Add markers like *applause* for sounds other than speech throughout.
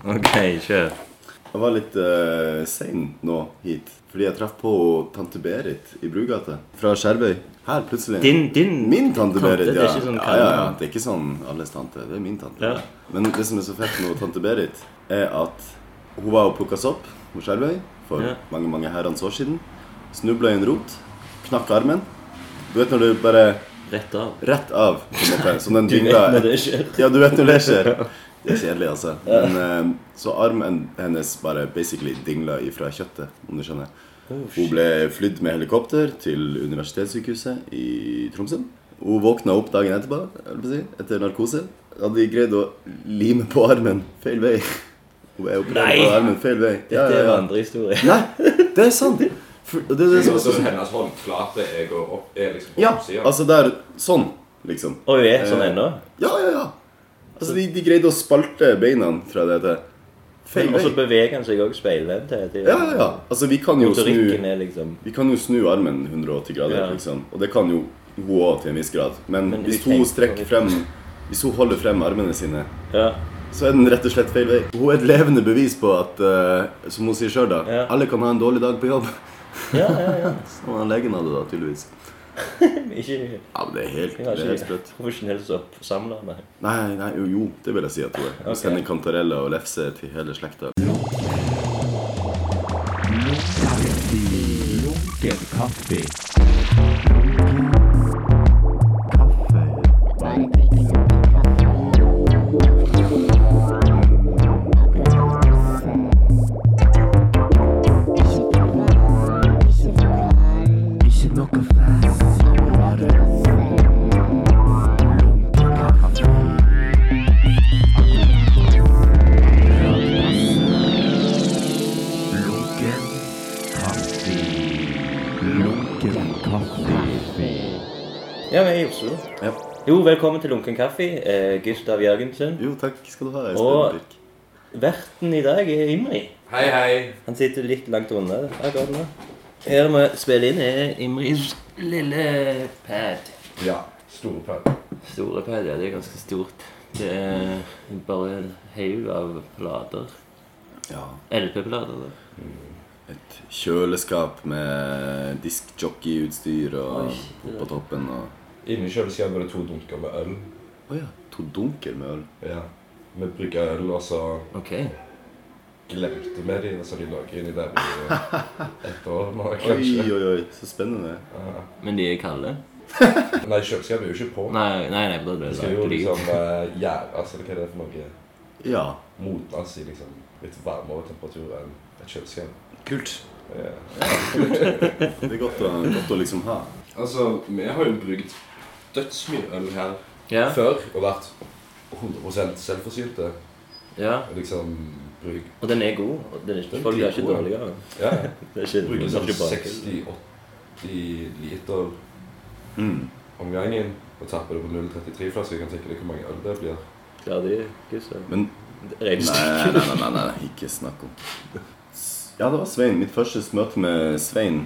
OK, kjør. Jeg var litt uh, sein nå hit. Fordi jeg traff på tante Berit i Brugata. Fra Skjervøy. Her, plutselig. Din- din min tante, tante, Berit, det er ja. ikke sånn ja, ja, ja. kallenavn. Det er ikke sånn alles tante. Det er min tante. Ja. Men det som er så fett med tante Berit, er at hun var og plukka sopp på Skjervøy for Ja. mange mange herrens år siden. Snubla i en rot. Knakk armen. Du vet når du bare Rett av. Rett av, på en måte. Som den Du vet dingla når det skjer. ja, du vet når det *laughs* skjer. Det er kjedelig, altså. Men, eh, så armen hennes bare basically dingla ifra kjøttet, om du skjønner. Oh, Hun ble flydd med helikopter til universitetssykehuset i Tromsø. Hun våkna opp dagen etterpå, jeg vil si, etter narkose. Hadde de greid å lime på armen feil vei. Hun er operert Nei! på armen feil vei. Dette er en andre historie. Nei, det er sant. For, og det er det som er så Så hennes håndflate er, går opp, er liksom på Ja, oppsiden. altså der Sånn, liksom. Og hun er sånn ennå. Ja, ja, ja. Altså, de, de greide å spalte beina fra det til feil Og vei. så beveger han seg òg speilvendt. hele tiden. Ja, ja, ja. Altså, vi kan jo Motorikken snu er liksom Vi kan jo snu armen 180 grader, Ja. liksom. Og det kan jo hun òg til en viss grad. Men, Men hvis vi hun tenker strekker litt. frem Hvis hun holder frem armene sine, Ja. så er den rett og slett feil vei. Hun er et levende bevis på at, eh, som hun sier sjøl, da Ja. Alle kan ha en dårlig dag på jobb. *laughs* Ja, ja, ja. Som han legen hadde, da, tydeligvis. Ikke Ja, men det er helt, Jeg det har er helt ikke sprøtt. profesjonell soppsamler, nei. Nei, nei, jo, jo, det vil jeg si at hun er. Hun Ok. sender kantareller og lefse til hele slekta. Ja, vi er i Oslo. Ja. Jo, velkommen til Lunken kaffe. Eh, Gustav Jørgensen. Jo, takk skal du ha, Og- Espen Birk. Verten i dag er Imri. Hei, hei. Han sitter litt langt unna akkurat nå. Her vi spiller inn, er Imris lille pad. Ja. Store pønn. Store pad, ja. Det er ganske stort. Det er bare en haug av plater. Ja, LP-plater. da. et kjøleskap med diskjockeyutstyr og Oi, shit, det på toppen og Inni kjøleskapet er det to dunker med øl. Å ja, to dunker med øl. Ja. Vi brygger øl, og så Ok. glemte vi de, og så de lå inni der i et år nå, Oi, kanskje. oi, oi, så spennende. Men de er kalde? Nei, kjøleskapet er jo ikke på. Nei, nei, nei da blir Det det skal jo lagt liksom lyd. eh, gjæres, eller hva det er for noe. Ja, Modnes i liksom litt varmere temperatur enn et kjøleskap. kult. Ja. Det er godt å, godt å liksom ha. Altså, vi har jo brukt dødsmye øl her Ja. før og vært 100 selvforsynte. ja. Og Liksom bruk Og den er god. og Den er ikke, Den er folk er ikke dritgod, ja. dårligere. *laughs* Ja, Det er ikke, bruker det er sånn ikke bra. 60-80 liter Mm. om gangen. Og tapper det på 0,33-flaske. Kan tenke deg hvor mange øl det blir. Klarer de Gustav? Men nei, Regnestykke. nei, nei, nei, nei, ikke snakk om Ja, det var Svein. Mitt første møte med Svein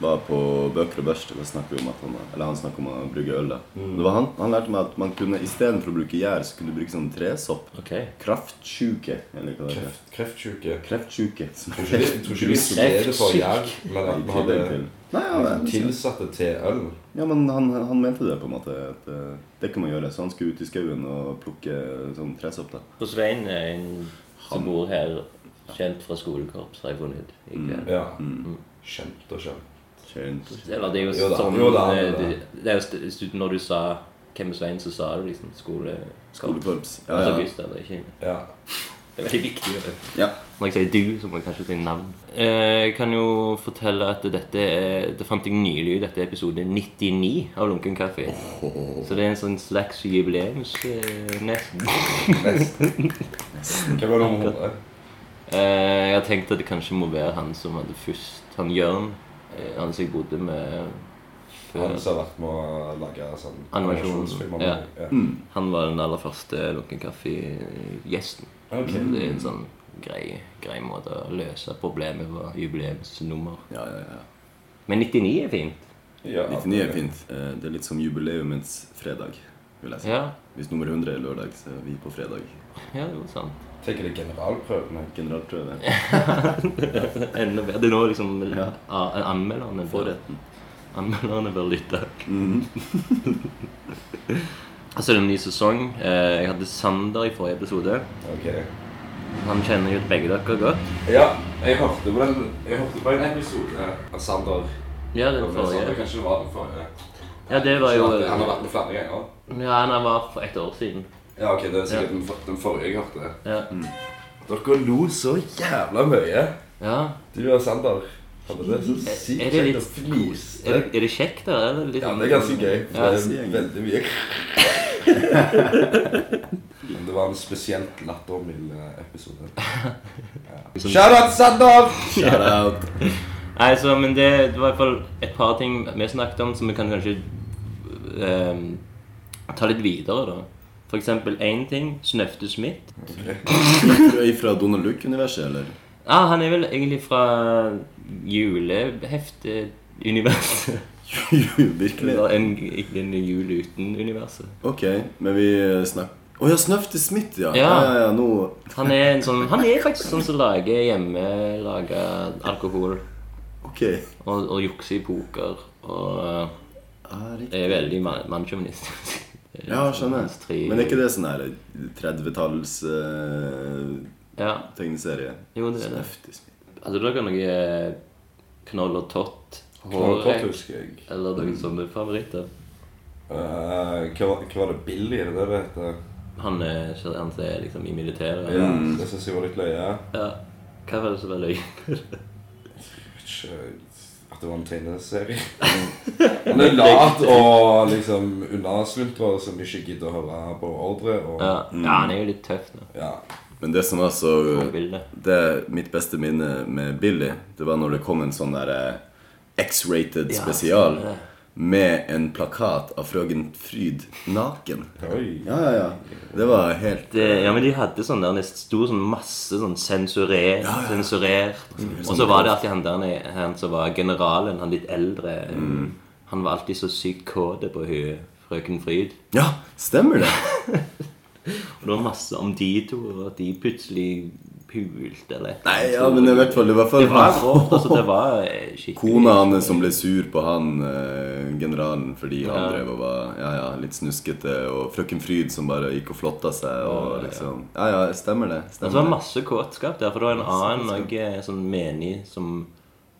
var på Bøker og Børst. Da snakker vi om at han, eller han snakker om å brygge øl. da. Mm. Det var han, han lærte meg at man kunne istedenfor å bruke gjær, så kunne du bruke sånn tresopp. Ok. Kraftsjuke, eller hva det heter. Kreft, kreftsjuke. Kreftsjuke. som Tror ikke de- tror *laughs* ikke de ser det for jern, men at vi I tillegg til. hadde Nei, ja, men- tilsatt det til øl. ja, men han, han mente det på en måte. At eh, det kan man gjøre. Så han skulle ut i skauen og plukke sånn tresopp. da. Og Svein er en som bor her, kjent fra skolekorps, har jeg funnet ut. i kveld. Ja. Kjent og kjent. Kjent. Eller det er jo, Jo da, sånn jo da, eh, jo da. du- Det er jo st- st- Når du sa hvem er Svein, så sa du liksom skolekorps. Skolekorps. Ja, Altså ja. Gustav, det er ikke Ja. Det er veldig viktig. å vite. ja. Når jeg sier du, så må jeg kanskje si navn. Eh, Jeg kan jo fortelle at dette er Det fant jeg nylig ut. Dette er episode 99 av Lunken kaffe. Så det er en sånn slags jubileums... eh, Nesten. *laughs* Nesten. Hvem var nummer 100? Eh, jeg har tenkt at det kanskje må være han som hadde først Han Jørn, eh, han som jeg bodde med før. Han som har vært med å lage sånn Animasjon, animasjonsfilmer. ja. med- ja. Mm. Han var den aller første Lunken Kaffe-gjesten. Ok. Så Det er en sånn grei, grei måte å løse problemet på. Jubileumsnummer. ja, ja, ja. Men 99 er fint. Ja, 99 er fint. Eh, Det er litt som jubileumets fredag, vil jeg si. Ja, Hvis nummer 100 er lørdag, så er vi på fredag. ja det var sant. Tenker det er generalprøven. jeg. Generalprøve. *laughs* *laughs* Enda bedre. Det er nå liksom Ja. a- anmelderne bør, Forretten. anmelderne bør lytte. Mm. *laughs* Og så er det en ny sesong. Eh, Jeg hadde Sander i forrige episode. Ok. Han kjenner jo begge dere godt. Ja, jeg hørte på, den, jeg hørte på en episode av Sander. Ja, den Sander forrige. kanskje det var den forrige. Ja, det var jo Han har vært med flere ganger. Ja, han var for et år siden. Ja, ok, det er sikkert Ja. den, for- den forrige jeg hørte. Ja. Dere lo så jævla mye. ja. Du og Sander hadde det så sykt Er det kjekt litt- å flise. Er, det- er det kjekt, da? Er det litt Ja, sånn- det er ganske gøy. for Ja. Det er veldig mye. Men det var en spesielt lattermild eh, *laughs* episode. Ja. Shout out, Sander! Shout out. Nei, så, men det, det var i hvert fall et par ting vi snakket om som vi kan kanskje ehm, ta litt videre, da. For eksempel én ting. Snøfte Smith. Du er fra Donald Duck-universet, eller? *laughs* Ah, han er vel egentlig fra juleheftuniverset. jo, virkelig. Eller en, ikke en jul uten-universet. Ok, men vi snakker Å ja, Snøfte Smith, ja. Ja. ja, ja, nå Han er, en sånn, han er faktisk sånn som lager hjemmelaga alkohol Ok. og, og jukser i poker. Og eh, Ja, Ah, riktig. er veldig man- mannssjåvinistisk. Ja, skjønner. Hans tre- Men er ikke det sånn her 30-talls eh, Ja, tegneserie? jo, det er det. Snøfte Smith. Hadde dere noe eh, knoll og tott? Kort, Hårek? husker jeg. Eller noen sånne favoritter? Eh, hva, var- hva var det Billy, er det det det heter? Han er, han er liksom i militæret. Ja, det syns jeg var litt løye. Ja. Hva var det som var løy? Ikke at det var en tegneserie. *laughs* Han er lat og liksom unnasluntra som ikke gidder å høre på ordre. Og, Ja. *laughs* ja, han er jo litt tøff nå. ja. Men det som var så på bildet. Det er mitt beste minne med Billy, det var når det kom en sånn der eh, X-rated Ja, spesial stemmer det. med en plakat av frøken Fryd naken. Oi. Ja, ja, ja. Det var helt Det, ja, men de hadde sånn der, det sto sånn masse sånn sensurer, sensurert. Og så var det alltid han der nede, han som var generalen, han litt eldre. Han var alltid så sykt kåte på hun, frøken Fryd. Ja, *laughs* stemmer det! Og det var masse om de to, og at de plutselig pulte eller et eller Nei, annet. ja, men i hvert fall, det var Det var for rått, altså. Det var eh, skikkelig kona hans som ble sur på han eh, generalen fordi han Ja. drev og var ja, ja, litt snuskete, og frøken Fryd som bare gikk og flotta seg og liksom Ja, ja, stemmer det. Altså, det var Stemmer det. masse kåtskap der, for det var en annen også, sånn menig som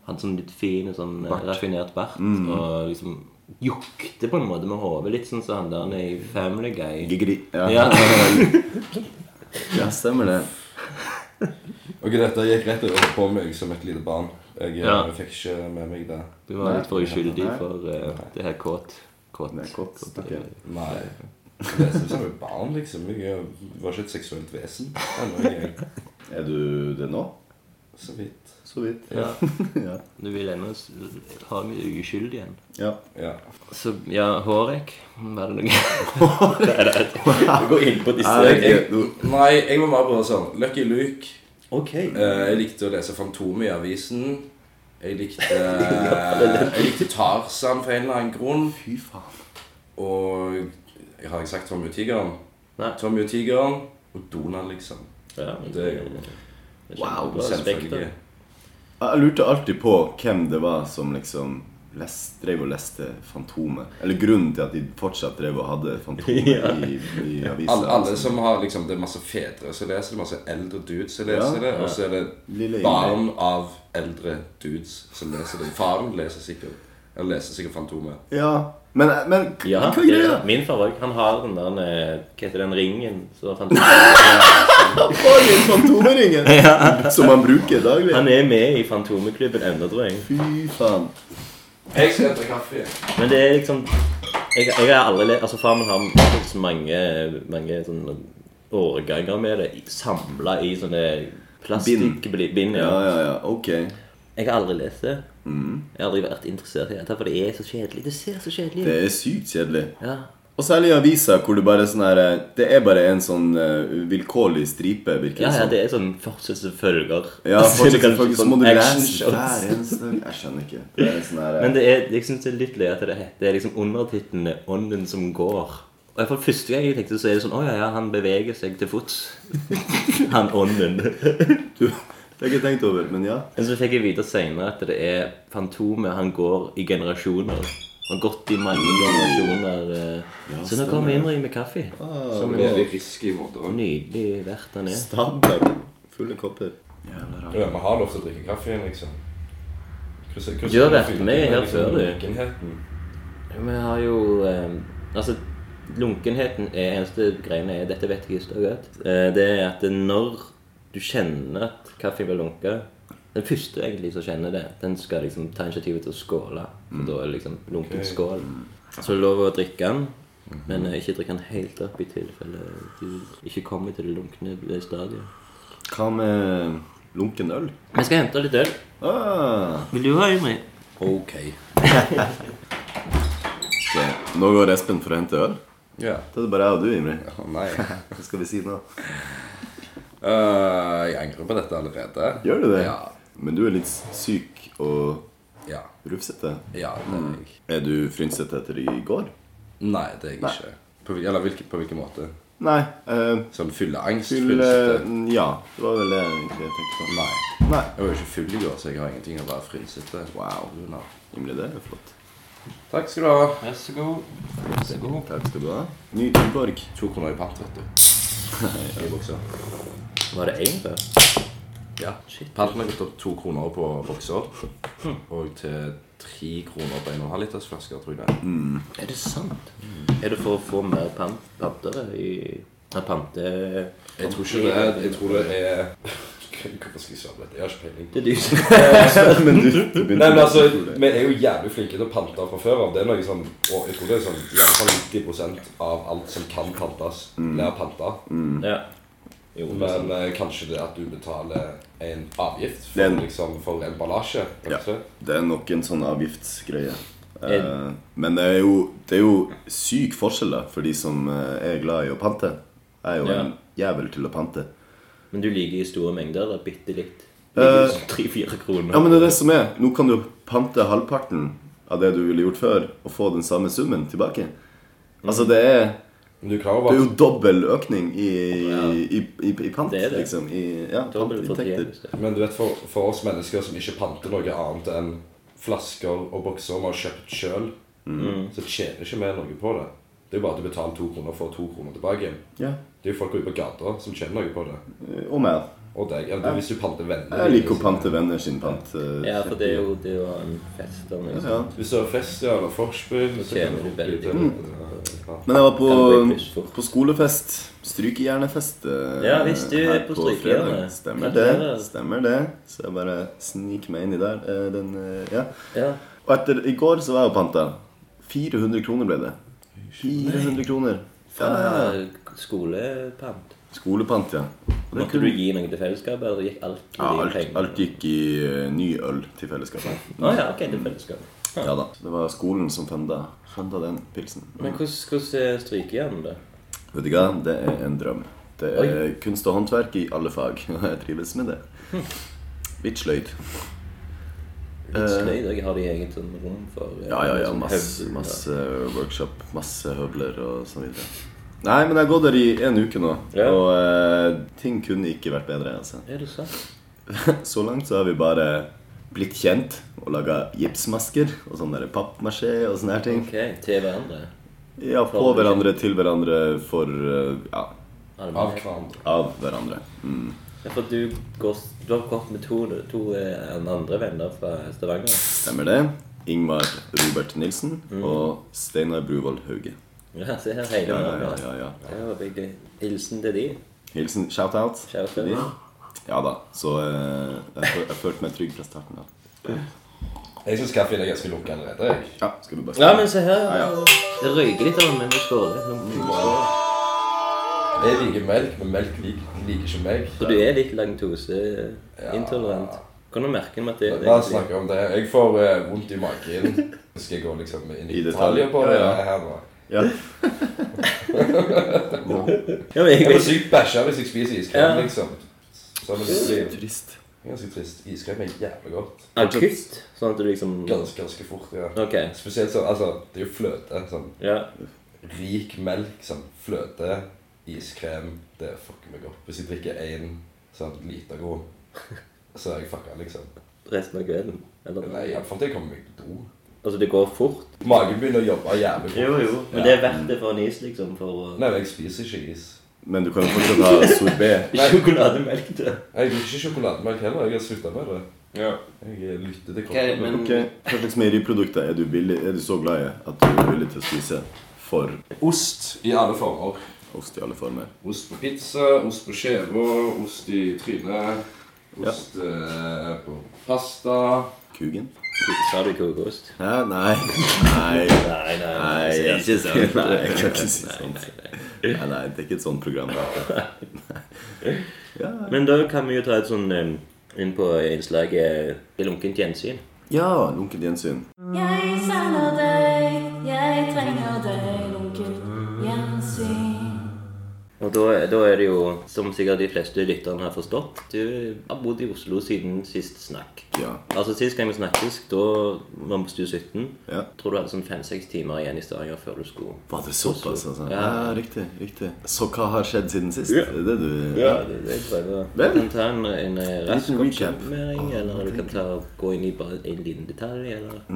hadde sånn litt fin, sånn eh, raffinert bart, Mm. og liksom jukte på en måte med hodet, litt sånn som han der nede i Family Guy. Gigri. Ja. *laughs* Ja, ja, stemmer det. Ok, dette gikk rett over på meg som et lite barn. Jeg eh, Ja. fikk ikke med meg det. du var litt for uskyldig Nei. for eh, det her kåt. Kåt. Det er kåt, ok. Nei. Jeg leste det som et barn, liksom. Jeg var ikke et seksuelt vesen. Ennå, jeg. Er du det nå? Så vidt. Så vidt. Ja, *laughs* ja. du vil ennå s- ha mye uskyldig igjen. ja. Ja. Så, ja, Hårek, var det noe? Nei, det er Gå inn på Ja, det er gøy. Nei, jeg må bare prøve sånn. Lucky Luke. Ok. Eh, jeg likte å lese Fantomet i avisen. Jeg likte, eh, jeg likte Tarzan for en eller annen grunn. Fy faen. Og jeg har ikke sagt Tommy og tigeren. Nei. Tommy og tigeren og Donald, liksom. Ja, Det er jo Wow, kjempebra respekt, da. selvfølgelig. Jeg lurte alltid på hvem det var som liksom les- drev og leste Fantomet. Eller grunnen til at de fortsatt drev og hadde Fantomet i, i avisa. Alle, alle som har liksom, Det er masse fedre som leser det, masse eldre dudes som leser Ja, det, og så er Lille det barn av eldre dudes som leser det. Faren leser sikkert eller leser sikkert Fantomet. Ja, men, men hva Ja, hva er det, greia? min far òg. Han har den der eh, Hva heter den ringen? Så han, Ja. Bare den *laughs* Fantomeringen som man bruker daglig. han er med i Fantomeklubben ennå, tror jeg. Fy faen. Jeg skal hente kaffe. Men det er liksom Jeg, jeg har aldri le- Altså, far min har faktisk mange, mange sånne årganger med det samla i sånne plastikkbind. Ja, Mm. Ja. ja, ja. Ok. Jeg har aldri lest det. Jeg har aldri vært interessert i det, for det er så kjedelig. Det ser så kjedelig ut. Det er sykt kjedelig. Ja. Og særlig i aviser hvor det bare er sånn her eh, Det er bare en sånn eh, vilkårlig stripe, virker Ja, det ja, som. det er sånn fortsettelsesfølger. *laughs* liksom Ja, fortsatt, sånn faktisk, så må du lese actionshots. hver eneste Jeg skjønner ikke. Det er sånn her, eh, Men det er, jeg synes det er litt løye at det heter Det er liksom undertitlene 'Ånden som går'. Og Og i hvert fall Første gang jeg tenkte så er det sånn Å ja, ja, han beveger seg til fots. *laughs* han ånden. Du, det har jeg ikke tenkt over, men ja. Men så fikk jeg vite senere at det er Fantomet. Han går i generasjoner. Han har gått i mange generasjoner. eh. så nå stemmer kommer Imri med kaffe. Som en veldig risky måte Og òg. nydelig vert han er. Stabler. Fulle kopper. Jævla rart. Ja, vi har lov til å drikke kaffe igjen, liksom. Krysser, krysser, Du har vært med her liksom, før, du. Lunkenheten. Vi har jo eh, Altså, lunkenheten er eneste greiene er Dette vet jeg ikke så godt. Eh, det er at når du kjenner at kaffen blir lunka Den første egentlig som kjenner det, den skal liksom ta initiativet til å skåle. For da er det liksom lunken Ok. skål. Så er det lov å drikke den. Men eh, ikke drikke den helt opp i tilfelle du ikke kommer til det lunkne stadiet. Hva med lunken øl? Vi skal hente litt øl. Ah, Vil du ha, Imri? *laughs* ok. Så, nå går Espen for å hente øl. Ja. Da er det bare jeg og du, Imri. Å nei. Hva skal vi si nå? Eh, jeg angrer på dette allerede. Gjør du det? Ja. Men du er litt syk og Ja. rufsete. ja det er jeg. Er du frynsete etter i går? Nei, det er jeg ikke. På, hvil- eller hvilken, på hvilken måte? Nei. eh, Sånn fylleangst? Fyll eh, frynsete? Ja, det var vel det egentlig jeg tenkte på. Nei. Nei. Jeg var jo ikke full i går, så jeg har ingenting å være frynsete Wow. pga. Imre, det er flott. Takk skal du ha. Vær så god. Vær så god. Takk skal du ha. Ny *laughs* Tuborg. To kroner i pant, *laughs* vet du. I buksa. Var det én før? Ja. Shit. Panten har gått opp to kroner på bokser. Og til tre kroner på en og en halv liters flasker, tror jeg det. er. Er det sant? Er det for å få mer pan pantere i ja, Pante... Jeg tror ikke det er Jeg tror det er Hvorfor skal jeg svare på dette? Jeg har ikke peiling. Det er du som *laughs* Men du, *laughs* du begynte Nei, men å altså, gjøre det. Vi er jo jævlig flinke til å pante fra før av. Det er noe sånn, og Jeg tror det er sånn, i alle fall 90 av alt som kan pantes, blir panta. Ja. Jo, det er Men eh, kanskje det at du betaler en avgift for, Den. liksom, for emballasje? kanskje? Det er nok en sånn avgiftsgreie. Eh, Er- men det er, jo, det er jo syk forskjell da, for de som eh, er glad i å pante. Jeg er jo Ja. en jævel til å pante. sant. Men du liker i store mengder, eller bitte litt? sånn Eh, Tre-fire kroner. Ja, men det er det som er. Nå kan du pante halvparten av det du ville gjort før, og få den samme summen tilbake. Altså, det er, Men du er klar det er over jo dobbel økning i, i, i, i pant, Det er det. liksom. I, ja, Dobbel pantinntekter. fortjeneste. Men du vet, for, for oss mennesker som ikke panter noe annet enn flasker og bokser vi har kjøpt sjøl, så tjener ikke vi noe på det. Det er jo bare at du betaler to kroner og får to kroner tilbake. igjen. Ja. Det er jo folk ute på gata som tjener noe på det. Og meg. Og deg. Ja, du, hvis du panter venner Jeg liker å liksom. pante venner sin pant. eh, Ja, for det er jo det var en fest liksom. og noe Ja. sånt. Hvis du har fest ja, eller forspill så tjener kan du veldig bytte- Ja. Men jeg Kan var bli på, pluss for. på skolefest. Strykejernefest. eh, Ja, visst, du er her på på strykejerne. fredag. Stemmer Gratulerer. det. stemmer det Så jeg bare sniker meg inni der. eh, Den, eh, ja. Ja. Og etter i går så var jeg og panta. 400 kroner ble det. 400 kroner. Ja, ja, ja. Eh, Skolepant. Skolepant, ja. Og det Måtte du kunne- gi noe til fellesskapet, eller gikk alt til ja de alt, pengene? alt gikk i eh, ny øl til fellesskapet. Å ja, ok, til fellesskapet. Ja da. Det var skolen som funda, funda den pilsen. Men hvordan, hvordan er strykejern, da? Vet du hva? Det er en drøm. Det er kunst og håndverk i alle fag, *laughs* og jeg trives med det. Hm. Litt sløyd. Litt sløyd, og jeg har de eget sånn rom for eh, Eh. Ja, ja, ja. sånn Masse, høvel, da. masse workshop, masse høvler og så videre. Nei, men jeg har gått der i en uke nå, Ja. og eh, ting kunne ikke vært bedre. altså. Er det sant? Så langt så har vi bare blitt kjent og laga gipsmasker og sånn der pappmasjé og sånne her ting. Ok, til hverandre. Ja, på hverandre, til hverandre, for eh, Ja, Av hverandre. av hverandre. Mm. Ja, for du, går, du har gått med to, to eh, andre venner fra Stavanger. Stemmer det. Ingmar Robert Nilsen og Steinar Bruvoll Hauge. Ja, se her, hele Ja, ja, verden. ja, ja, ja. Det var veldig Hilsen til de. Hilsen shout-out. Shout-out. til de. Ja da. Så eh, jeg, fø- jeg følte meg trygg fra starten av. Jeg syns kaffen er ganske lukket allerede. jeg. Ja, skal vi bare Ja, men se her. Ja, ja. Det røyker litt av den, men vi skåler. Nå- Jeg liker melk, men melk lik, liker ikke meg. Så du er litt laktoseintolerant. Kan du merke med at det La oss snakke om det. Jeg får eh, vondt i magen. Skal jeg gå liksom inn i I detaljer detalj? på det Ja, ja. her nå? Ja. Ja, men jeg Jeg blir vet sykt bæsja hvis jeg spiser iskrem, Ja. liksom. Så det blir det Trist. er ganske trist. Iskrem er jævlig godt. Akutt, sånn at du liksom Ganske, ganske fort, ja. Ok. Spesielt sånn, altså, det er jo fløte. sånn. Ja. rik melk, sånn fløte, iskrem Det fucker meg opp. Hvis jeg drikker én sånn liter god, *laughs* så er jeg fucka, liksom. resten av kvelden? Eller? Nei, iallfall til jeg kommer meg på do. Altså, det går fort. Magen begynner å jobbe jævlig fort. Men det er verdt det for en is, liksom. For å Nei, men jeg spiser ikke is. Men du kan jo fortsatt ha sorbé. Nei. Sjokolademelk til. Jeg liker ikke sjokolademelk heller. Jeg har slutta med det. Jeg lytter til Hva er- kroppen. men Ok, Hva slags meieriprodukter er du, villig, er du så glad i at du er villig til å spise for Ost i alle former. ost i alle former? Ost på pizza, ost på skjeva, ost i trynet, ost eh, på pasta. Kugen? Sa du kokost? Hæ? Nei. Nei. Nei, nei. Nei, det er ikke sånn. Nei, jeg kan ikke si sånt. Nei, nei, det er ikke et sånt program. da. Ja, Men da kan vi jo ta et sånn eh, inn på innslaget Det er lunkent gjensyn. ja lunkent gjensyn. Jeg savner deg, jeg trenger deg, lunkent gjensyn. Og da, da er det jo, som sikkert de fleste lytterne har forstått, du har bodd i Oslo siden sist snakk. Ja. Altså Sist gang vi snakkes, da var vi på Stue 17. Ja. Tror du hadde sånn fem-seks timer igjen i Stavanger før du skulle Var det såpass, altså? Ja. Ja, riktig. riktig. Så hva har skjedd siden sist? Er det det du Ja, det, det prøver jeg. Vel. Du kan ta en, en eh, rask Liten recap. oppsummering, eller du kan ta, gå inn i bare en liten detalj, eller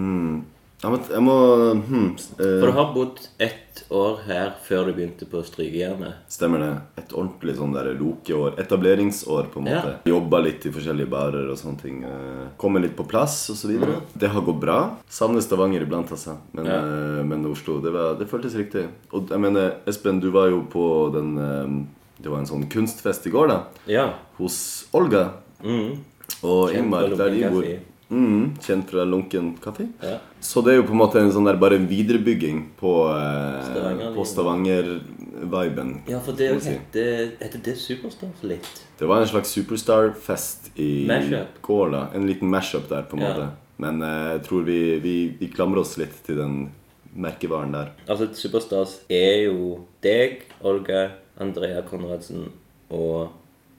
Jeg må, jeg må hmm, s- eh, For du har bodd ett år her før du begynte på Strykejernet. Stemmer det. Et ordentlig sånn der rokeår. Etableringsår, på en måte. Jobba litt i forskjellige barer og sånne ting. eh, Kommer litt på plass og så videre. Det har gått bra. Savner Stavanger iblant, altså. Men, Mm. Ja. eh, men Oslo, det, var, det føltes riktig. Og jeg mener, Espen, du var jo på den eh, Det var en sånn kunstfest i går, da. Ja. Hos Olga Mm. og Kjent Ingmar, fra der de Lunken bor. Kaffe. Mm, kjent fra Lunken kaffe. ja. Så det er jo på en måte en sånn der bare en viderebygging på, eh, Stavanger-viben. på Stavanger-viben. Ja, for det Må si. heter, heter det Superstars litt. Det var en slags superstar-fest i Mashup. går, da. En liten mashup der, på en Ja. måte. Men eh, jeg tror vi, vi, vi klamrer oss litt til den merkevaren der. Altså, Superstars er jo deg, Olga, Andrea Konradsen og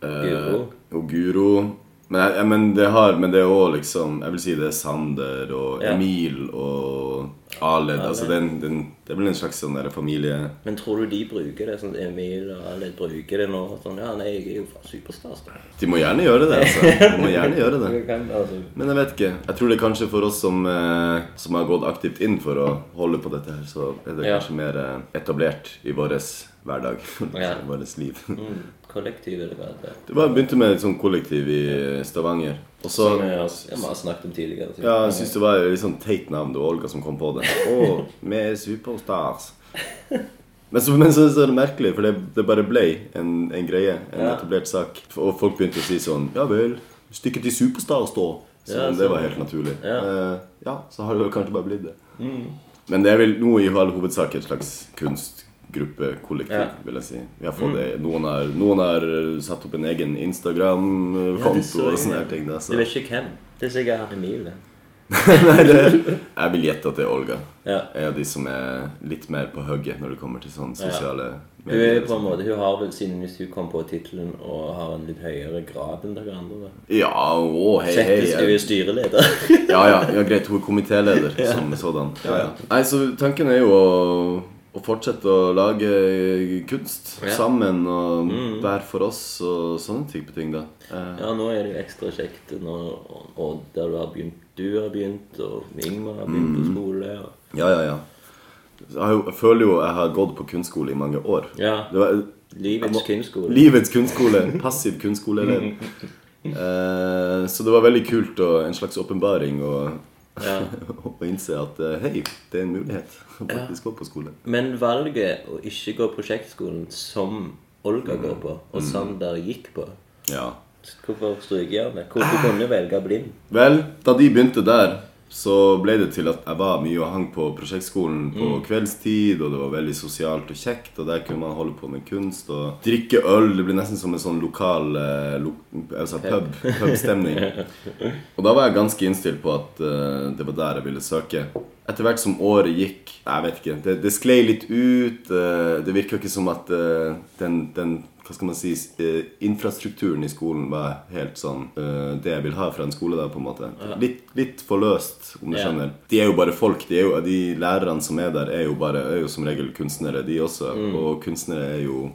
Eh. Guro. Og Guro. Men, jeg, jeg, men det har Men det er òg liksom Jeg vil si det er Sander og Ja. Emil og Aled. Altså det er en- det er en- det er vel en slags sånn der familie... Men tror du de bruker det sånn Emil og alle bruker det nå? Sånn, ja, nei, jeg er jo faen Superstars, da. De må gjerne gjøre det, altså. De må gjerne gjøre *laughs* det. Du kan, altså, Men jeg vet ikke. Jeg tror det er kanskje for oss som, eh, som har gått aktivt inn for å holde på dette her, så er det Ja. kanskje mer eh, etablert i vår hverdag. *laughs* Ja. I vårt liv. *laughs* mm, kollektivet det var det. Det var, begynte med et sånt kollektiv i eh, Stavanger. Og så Som jeg, har- som jeg har snakket om tidligere. så- Ja, jeg syns det var et litt sånn teit navn. Det var Olga som kom på *laughs* det. Å, vi er superstars. Men så, men så, så er det merkelig, for det, det bare ble en, en greie. En Ja. etablert sak. Og folk begynte å si sånn Ja vel, stykket til superstars, da. Så Ja, det sånn. var helt naturlig. Ja. Mm. Eh, ja, så har det vel kanskje bare blitt det. Men det er vel nå i all hovedsak et slags kunstgruppe, kollektiv, Ja. Mm. vil jeg si. Vi har fått det. Noen, har, noen har satt opp en egen Ja, det Instagram-konto så og sånne jeg. her ting. Da, så. Jeg vet ikke hvem. Det er sikkert han Emil. det. Nei, det, jeg vil gjette at det er Olga. Ja. Jeg er av de som er litt mer på hugget når det kommer til sånne sosiale Hun er jo medier. på en måte, hun har vel siden hvis hun kom på tittelen og har en litt høyere grad enn dere andre. da. Ja, å, hei, hei. Settes du Jeg, i styreleder? *laughs* ja, ja, ja, greit. Hun er komitéleder som sådan. Ja, ja. Nei, så tanken er jo å, å fortsette å lage kunst Ja. Mm. sammen og hver for oss og sånne type ting, da. Eh, Ja, nå er det jo ekstra kjekt nå, og, og der du har begynt, du har begynt, og Ingmar har begynt Mm. på skole. Og, Ja, ja, ja. Jeg, har jo, jeg føler jo jeg har gått på kunstskole i mange år. ja. Det var Jeg Livets må- kunstskole. Livets kunstskole. Passiv kunstskoleelev. Eh, så det var veldig kult og en slags åpenbaring å Ja. *laughs* å innse at eh, hei, det er en mulighet å faktisk gå på skole. Men valget å ikke gå prosjektskolen som Olga går på, og Mm. Sander gikk på Ja. Hvorfor stryker jeg med? Hvorfor kunne velge blind? Vel, da de begynte der, så ble det til at jeg var mye og hang på prosjektskolen på kveldstid, og det var veldig sosialt og kjekt, og der kunne man holde på med kunst og drikke øl. Det ble nesten som en sånn lokal eh, lo, altså pub, pubstemning. og da var jeg ganske innstilt på at eh, det var der jeg ville søke. etter hvert som året gikk Jeg vet ikke. Det, det sklei litt ut. eh, Det virka ikke som at eh, den, den hva skal man si, s- eh, infrastrukturen i skolen var helt sånn eh, det jeg vil ha fra en skole. da, på en måte. Litt, litt for løst, om du Ja. skjønner. De er jo bare folk. De, er jo, de lærerne som er der, er jo, bare, er jo som regel kunstnere, de også. Og kunstnere er jo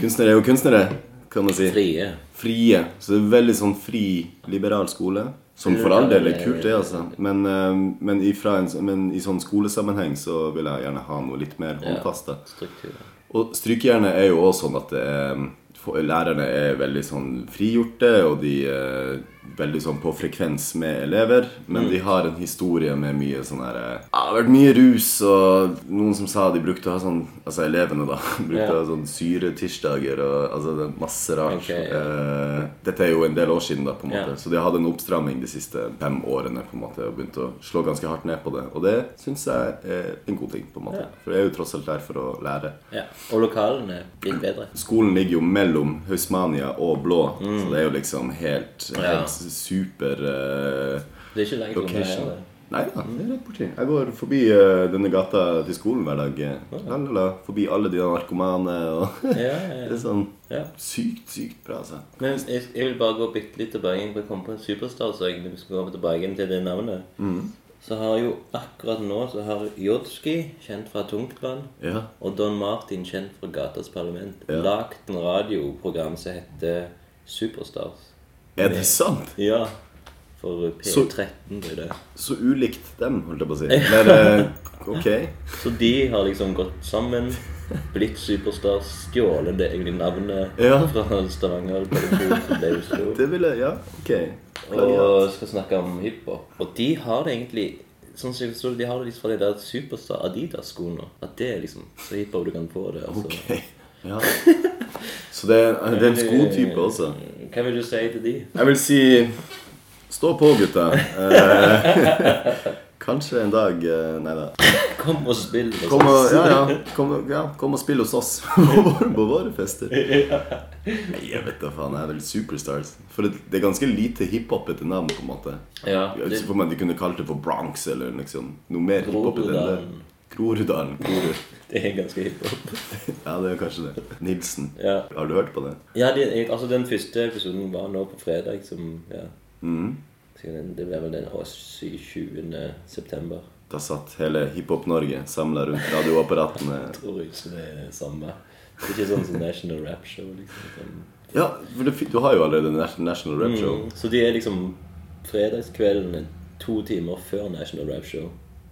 Kunstnere er jo kunstnere, kan man si Frie. frie. Så det er veldig sånn fri, liberal skole. Som for all del er kult, det, altså. Men, eh, men, ifra en, men i sånn skolesammenheng så vil jeg gjerne ha noe litt mer håndfast. da. Strukturer. Og strykejernet er jo også sånn at det er, for, lærerne er veldig sånn frigjorte, og de er veldig sånn på frekvens med elever. Mm. Men de har en historie med mye sånn her eh, Det har vært mye rus, og noen som sa de brukte å ha sånn Altså elevene, da. *laughs* Brukte Ja. å ha sånn syretirsdager og altså det er masse rart. Ok, ja. eh, dette er jo en del år siden, da, på en måte. Ja. Så de har hatt en oppstramming de siste fem årene på en måte, og begynt å slå ganske hardt ned på det. Og det syns jeg er en god ting, på en måte. For jeg er jo tross alt der for å lære. Ja. Og lokalene gikk bedre. Skolen ligger jo mellom Hausmania og Blå, så det er jo liksom helt, helt Mm. Ja. super eh, Det er ikke langt unna her. location. det. Nei da, det er rett borti. Jeg går forbi eh, denne gata til skolen hver dag. eh. La, la, la. Forbi alle de narkomane og *laughs* Ja, ja, ja. Det er sånn ja. sykt, sykt bra, altså. Men jeg, jeg vil bare gå bitte litt tilbake inn, for jeg kom på en superstar, så jeg skal komme tilbake inn til det navnet. Mm. Så har jo akkurat nå så har Jodski, kjent fra Tungtvann, Ja. og Don Martin, kjent fra Gatas Parlament, Ja. lagt en radioprogram som heter Superstars. Er det sant? Ja. For Så- P13, det er det. Så ulikt dem, holdt jeg på å si. Men eh, ok. Så de har liksom gått sammen, blitt superstars, stjålet det egentlig navnet Ja. fra Stavanger. Kollektiv, som ble i Oslo. Det ville Ja, ok. Plagiat. og skal snakke om hiphop. Og de har det egentlig Sånn som jeg forstår det, De har det liksom fra de der Superstar Adidas-skoene. At det er liksom så hiphop du kan få det. Altså. Ok. Ja. Så det er, det er en skotype også. Hva vil du si til de? Jeg vil si Stå på, gutta. Eh, *laughs* Kanskje en dag eh, Nei da. Kom og spill. hos Kom og, oss. ja, ja. Kom, og- ja, kom og spill hos oss *laughs* på våre, på våre fester. Nei, jeg vet da faen. Jeg er vel Superstars. For det, det er ganske lite hiphopete navn, på en måte. ja. Jeg det- ser for meg at de kunne kalt det for Bronx eller liksom noe mer hiphopete enn det. Groruddalen. Groruddalen. Grorud. Det er ganske hiphop. Ja, det er kanskje det. Nilsen. Ja. Har du hørt på det? Ja, de, jeg- altså Den første episoden var nå på fredag, som ja. Så den- Det ble vel den å, sy- 20. september. Da satt hele Hiphop-Norge samla rundt radioapparatene. Tror jeg så det er samme. Det er ikke sånn som National Rap Show. liksom sånn. Ja, for det, fi- du har jo allerede Nas- National Rap Show. Mm. Så de er liksom fredagskveldene to timer før National Rap Show.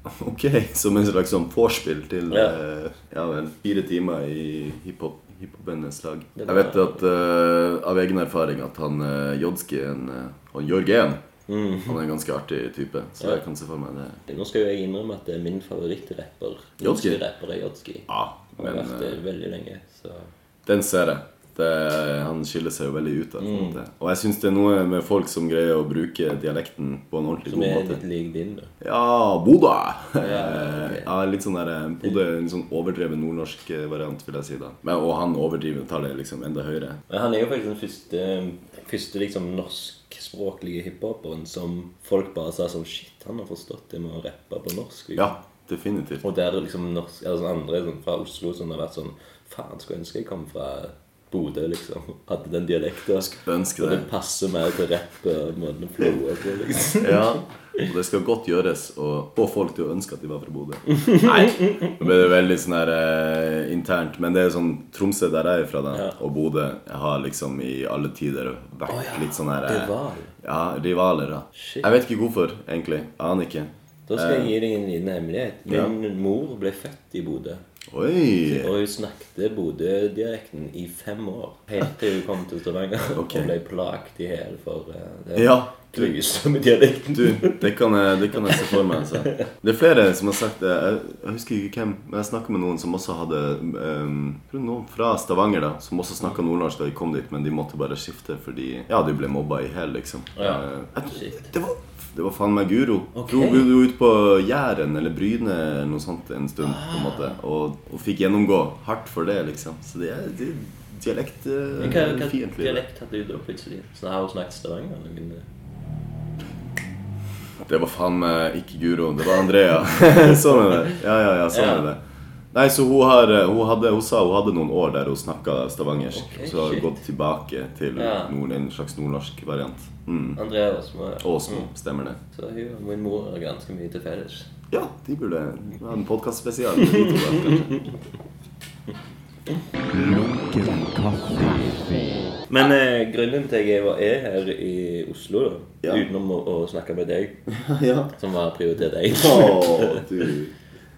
*laughs* Ok, Som en slags sånn vorspiel til Ja. eh, ja vel, fire timer i hiphop. Hiphopendenes lag. Det Jeg var- vet at eh, av egen erfaring at han uh, Jodski en, eh, Han Jørgen Han er en ganske artig type, så Mm. Ja. jeg kan se for meg det. Nå skal jo jeg innrømme at det er min favorittrapper. Jodski? Norske Rapper er Jodski. Ja, Har men vært det eh, veldig lenge, så Den ser jeg. Det, han skiller seg jo veldig ut. Der, på Mm. en måte. Og jeg syns det er noe med folk som greier å bruke dialekten på en ordentlig Som god er måte. litt lik din, da. Ja, Bodø! ok. *laughs* ja, litt sånn der, eh, Bodø er en sånn overdreven nordnorsk eh, variant, vil jeg si. da. Men, og han overdriver og tar det liksom enda høyere. Men han er jo faktisk den første, første liksom norskspråklige hiphoperen som folk bare sa sånn Shit, han har forstått det med å rappe på norsk. Liksom. Ja, definitivt. Og der er liksom norsk, eller sånn andre sånn, fra Oslo som har vært sånn Faen, skulle ønske jeg kom fra Bodø, liksom. Hadde den dialekten. Ønsker Og det. det passer mer til rapp og måten å flowe på, liksom. Ja, og det skal godt gjøres å få folk til å ønske at de var fra *laughs* Bodø. Nei, nå ble det veldig sånn her eh, internt. Men det er sånn Tromsø, der jeg er fra, da, og Bodø jeg har liksom i alle tider vært litt sånn her eh, Rival. Ja, rivaler, da. Shit. Jeg vet ikke hvorfor, egentlig. Aner ikke. Da skal jeg gi deg en liten hemmelighet. Min mor ble født i Bodø. Oi! Og hun snakket Bodø-dialekten i fem år. Helt til hun kom til Stavanger *laughs* Ok. og ble plaget i hjel for uh, den Ja, du- grusomme dialekten. Du, det kan jeg, det kan jeg se for meg. Altså. Det er flere som har sagt det. Jeg, jeg husker ikke hvem, men jeg snakka med noen som også hadde ehm, jeg tror Noen fra Stavanger da som også snakka nordnorsk da de kom dit, men de måtte bare skifte fordi ja, de ble mobba i hæl, liksom. Ja. Eh, jeg, Shit. det, var, det var faen meg Guro. Ok. Guro bodde jo ute på Jæren eller Bryne eller noe sånt en stund på en måte Ah. og, og fikk gjennomgå hardt for det, liksom. Så det er, eh, det er Men hva, hva dialektfiendtlig. dialekt hadde hun da plutselig? Så har hun snakket Stavanger? eller? Det var faen meg ikke Guro, det var Andrea. *laughs* sånn er det. Ja, ja, ja, sånn Ja. er det. Nei, så hun, har, hun, hadde, hun sa hun hadde noen år der hun snakka stavangersk. Ok, så har hun shit. gått tilbake til Ja. nord, en slags nordnorsk variant. Mm. Andrea Åsmo. ja. Åsmo, stemmer det. Mm. Så hun og min mor har ganske mye til felles. Ja, de burde ha en podkastspesial. Kanskje. Men eh, grunnen til at jeg var- er her i Oslo, da, Ja. utenom å, å snakke med deg, *laughs* ja. som var prioritet *laughs* én, Å, du.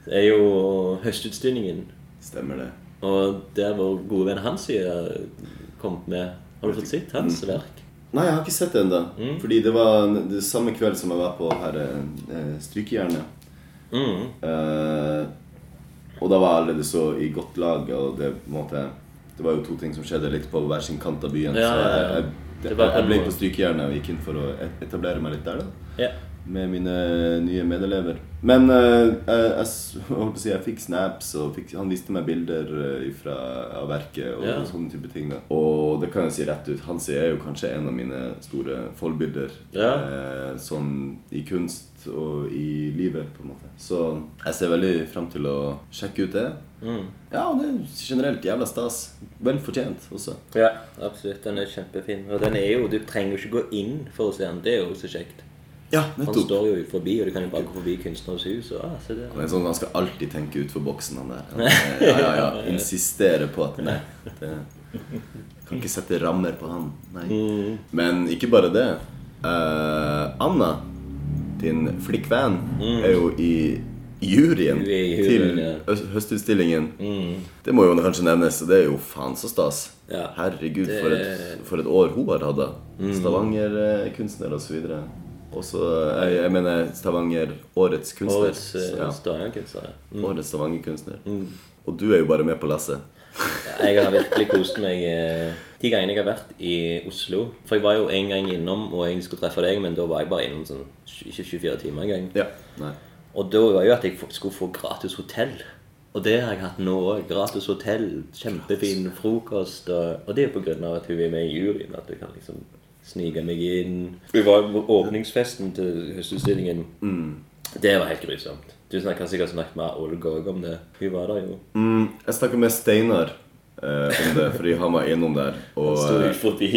er jo høstutstillingen. Stemmer det. Og der vår gode venn Hans har kommet med Har du fått sett hans verk? Nei, jeg har ikke sett det ennå. Mm. Fordi det var en- det samme kveld som jeg var på her eh, strykejernet. Mm. Eh, og da var jeg allerede så i godt lag, og det, på en måte, det var jo to ting som skjedde litt på hver sin kant av byen. Ja, så jeg, ja, ja. jeg, Det jeg, var jeg ble en- på strykejernet og gikk inn for å et- etablere meg litt der, da. Ja. Med mine nye medelever. Men eh, jeg, jeg, s- *laughs* holdt på å si, jeg fikk snaps, og fikk, han viste meg bilder eh, ifra, av verket og Ja. sånne type ting. da Og det kan jeg si rett ut. Hansi er jo kanskje en av mine store forbilder Ja. eh, sånn i kunst og i livet, på en måte. Så jeg ser veldig frem til å sjekke ut det. Mm. Ja, og det er generelt jævla stas. Vel fortjent også. ja, absolutt. Den er kjempefin. Og den er jo Du trenger jo ikke gå inn for å se den. Det er jo så kjekt. Ja, Han står jo ut forbi, og du kan jo bare gå forbi kunstnerens hus og ah, se der. Han er sånn, han skal alltid tenke utfor boksen, han der. *laughs* Han, eh, ja, ja, ja. Insistere på at nei, det, Kan ikke sette rammer på han. Nei. Mm. Men ikke bare det. Eh, Anna, din flikkvan, er jo i juryen Hun er Mm. i juryen, til ja. Mm. høst- høstutstillingen. Det må jo kanskje nevnes, og det er jo faen så stas. Ja. Herregud, Det- Mm. for et, for et år hun har hatt. da. Stavanger-kunstner og så videre. Også, jeg, jeg mener Stavanger Årets kunstner. Årets uh, ja. stavangerkunstner. Årets Stavanger-kunstner. Mm. Og du er jo bare med på lasset. Jeg har virkelig kost meg eh, de gangene jeg har vært i Oslo. For jeg var jo en gang innom og jeg skulle treffe deg, men da var jeg bare innom sånn ikke 24 timer engang. Ja. Nei. Og da var jo at jeg f- skulle få gratis hotell. Og det har jeg hatt nå òg. Gratis hotell, kjempefin frokost. Og, og det er jo på grunn av at hun er med i juryen, at du kan liksom snike meg inn. Vi var jo på åpningsfesten til høstutstillingen. Mm. Det var helt grusomt. Du snakker sikkert snakket med Olga òg om det. Hun var der jo. Mm, jeg snakka med Steinar eh, om det, fordi han var innom der. Og, Sto eh, ut forbi.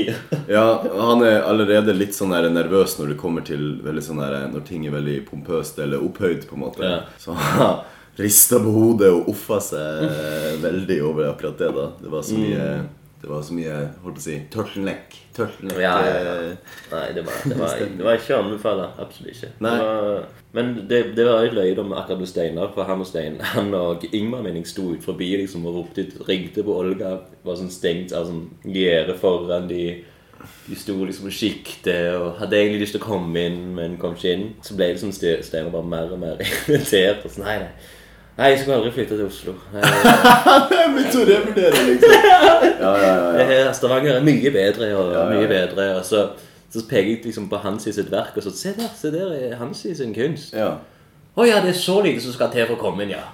ja, han er allerede litt sånn der nervøs når det kommer til veldig sånn der, når ting er veldig pompøst eller opphøyd, på en måte. Ja. Så han rista på hodet og offa seg eh, veldig over akkurat det. da Det var så mye Mm. Det var så mye, holdt på å si, turtleneck. Turtleneck Ja, ja, ja. eh, *laughs* Nei, det var, det var, det var ikke å anbefale. Absolutt ikke. Nei. Det var, men det, det var litt løye da med akkurat med Steinar. For han og Stein, *laughs* han og Ingmar Mening sto ut forbi liksom, og ropte ut, ringte på Olga. Var sånn stengt av sånn gjerde foran de. De sto liksom og sikte og hadde egentlig lyst til å komme inn, men kom ikke inn. Så ble liksom Ste- Steinar bare mer og mer *laughs* irritert. Og sånn, nei, nei. Nei, jeg skal aldri flytte til Oslo. Nei, Jeg begynte å revurdere, liksom. Ja, ja, ja. Det her, altså, Stavanger er mye bedre og Ja, ja, ja. mye bedre. Og så, så peker jeg liksom på Hansi sitt verk og så Se der, se der er Hansi sin kunst. Å ja. ja, det er så lite som skal til for å komme inn, ja.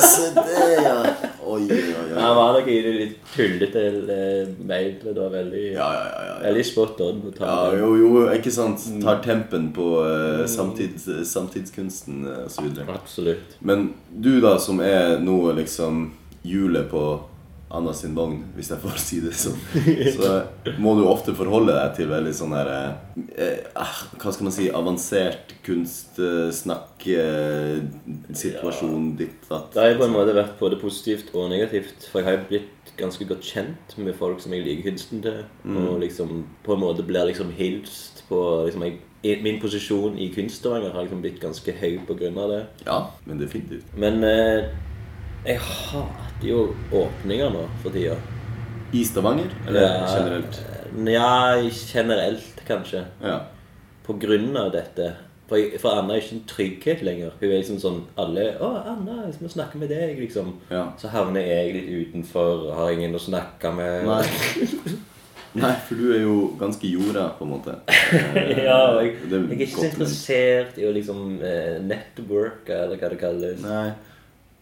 Se det, ja. Oi, oi, oi. Han var nok i det litt tullete eh, mailet. Det var veldig, Ja, ja, ja, ja. veldig spot on. å ta Ja, det. jo, jo, ikke sant. Tar tempen på eh, samtids, samtidskunsten eh, og så videre. Absolutt. Men du, da, som er nå liksom hjulet på Anna sin vogn, hvis jeg får si det sånn, så må du ofte forholde deg til veldig sånn her eh, ah, Hva skal man si Avansert kunstsnakk, eh, situasjon, ditt, datt Det har jo på en måte vært både positivt og negativt. For jeg har jo blitt ganske godt kjent med folk som jeg liker kunsten til. Og liksom på en måte blir liksom hilst på liksom, jeg, i- Min posisjon i Kunststavanger har liksom blitt ganske høy på grunn av det. Ja, men definitivt. Men eh, jeg hater jo åpninger nå for tida. I Stavanger, eller generelt? Eh, Ja, generelt, kanskje. Ja. På grunn av dette. For, jeg, for Anna er ikke en trygghet lenger. Hun er liksom sånn Alle 'Å, Anna, jeg må snakke med deg', liksom. Ja. Så havner jeg litt utenfor, har ingen å snakke med. Nei. Nei, for du er jo ganske jorda, på en måte. *laughs* ja, og jeg, Det er jeg er ikke godt, så men- interessert i å liksom eh, networke, eller hva det kalles. Nei.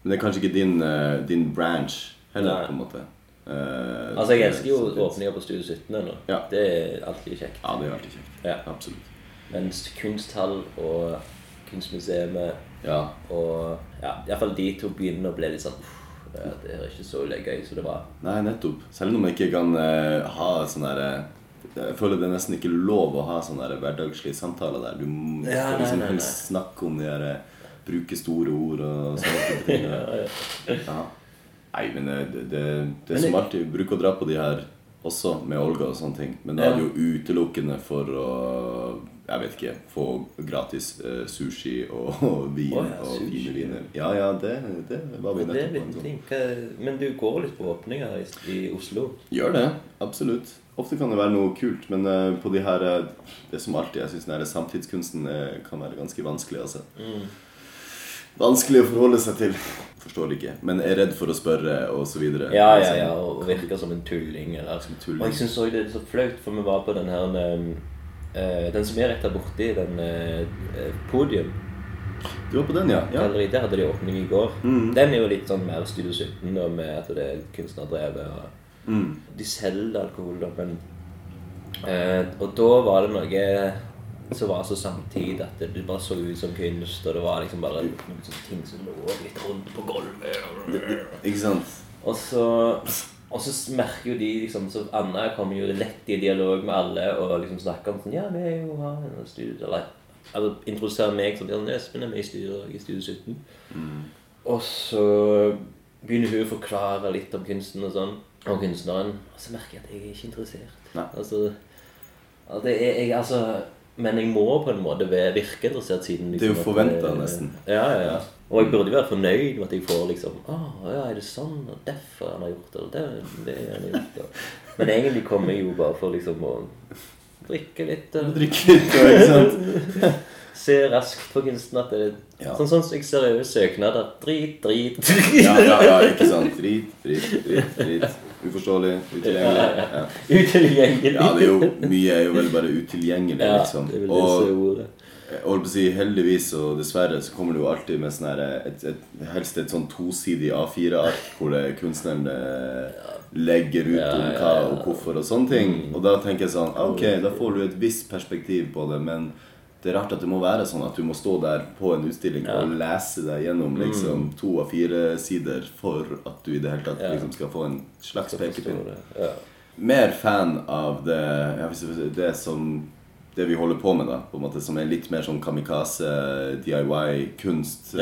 Men det er kanskje ikke din, eh, din branch heller, Nei. på en måte. Eh, Altså, jeg elsker jo så det- åpninger på Studio 17 ennå. Ja. Det er alltid kjekt. Ja, det er alltid kjekt. Ja. Absolutt. Mens kunsthall og kunstmuseet Ja. og ja, iallfall de to byene ble litt sånn uff, ja, Det er ikke så gøy som det var. Nei, nettopp. Selv om man ikke kan eh, ha sånn der eh, Jeg føler det er nesten ikke lov å ha sånne der hverdagslige samtaler der. Du må Ja, skal nei, liksom nei, kun nei. snakke om de der eh, Bruke store ord og sånne *laughs* type ting. ja. Nei, men eh, det, det, det Men er som det- alltid. Bruk å dra på de her også, med Olga og sånne ting. Men da Ja. er det jo utelukkende for å jeg vet ikke få gratis eh, sushi og, og *laughs* vin Å, ja, og sushi. fine viner. Ja, ja, det, det var vi Men det er nettopp på en litt sånn. ting. Hva- Men du går litt på åpninger i, i Oslo. Gjør det. Absolutt. Ofte kan det være noe kult, men eh, på de her eh, Det som alltid jeg syns samtidskunsten eh, kan være ganske vanskelig, altså. Mm. Vanskelig å forholde seg til. Forstår det ikke. Men er redd for å spørre, og så videre. Altså, Ja, ja, ja, og og virker som en tulling. Eller. Som en Liksom. tulling. Og jeg syns òg det er så flaut, for vi var på den her eh, Den som er rett der borte i den eh, podium. Du var på den, ja? ja. Galleri, der hadde de åpning i går. Den er jo litt sånn mer Studio 17, da, med at det er kunstnerdrevet. Og... De selger alkohol, da, men eh, Og da var det noe som var så samtidig at det bare så ut som kunst, og det var liksom bare noen sånne ting som lå litt rundt på gulvet. Ikke sant? Og så, og så merker jo de liksom så Anna kommer jo lett i dialog med alle og liksom snakker om sånn Ja, vi er jo her i studio Eller altså, introduserer meg som sånn, Espen er med i studio i Studio 17. Og så begynner hun å forklare litt om kunsten og sånn. Og kunstneren. Og så merker jeg at jeg er ikke interessert. Nei. Altså, ja, det er, jeg, altså Men jeg må på en måte være- virke interessert siden Det er jo at forventet, nesten. Ja, ja, ja. Og jeg burde være fornøyd med at jeg får liksom Å, ja, er det sånn? Og derfor han har gjort det. Og det, det har han gjort. Og. Men egentlig kommer jeg jo bare for liksom å drikke litt. Og, Drikke litt, og- ikke sant? Se raskt på kunsten at det er Ja. sånn sånn som jeg ser over søknader. Drit, drit, drit. Ja, ja, ja, ikke sant. Drit, drit, drit. drit. Uforståelig, utilgjengelig. Ja. Utilgjengelig. ja, det er jo mye er jo vel bare utilgjengelig, Ja, liksom. det er vel det som Og er ordet. Jeg holdt på å si heldigvis og dessverre så kommer det jo alltid med sånn her et, et, helst et sånn tosidig A4-ark hvor det kunstneren eh, legger ut Ja, om ja, hva ja. Mm. og hvorfor og sånne ting. Og da tenker jeg sånn ah, Ok, da får du et visst perspektiv på det, men det er rart at det må være sånn at du må stå der på en utstilling og lese deg gjennom liksom to av fire sider for at du i det hele tatt Mm. Ja. liksom skal få en slags Jeg forstår pekepinn det. Ja. mer fan av det, ja, hvis det- det som det vi holder på med, da, på en måte, som er litt mer sånn kamikaze, DIY-kunst. Ja.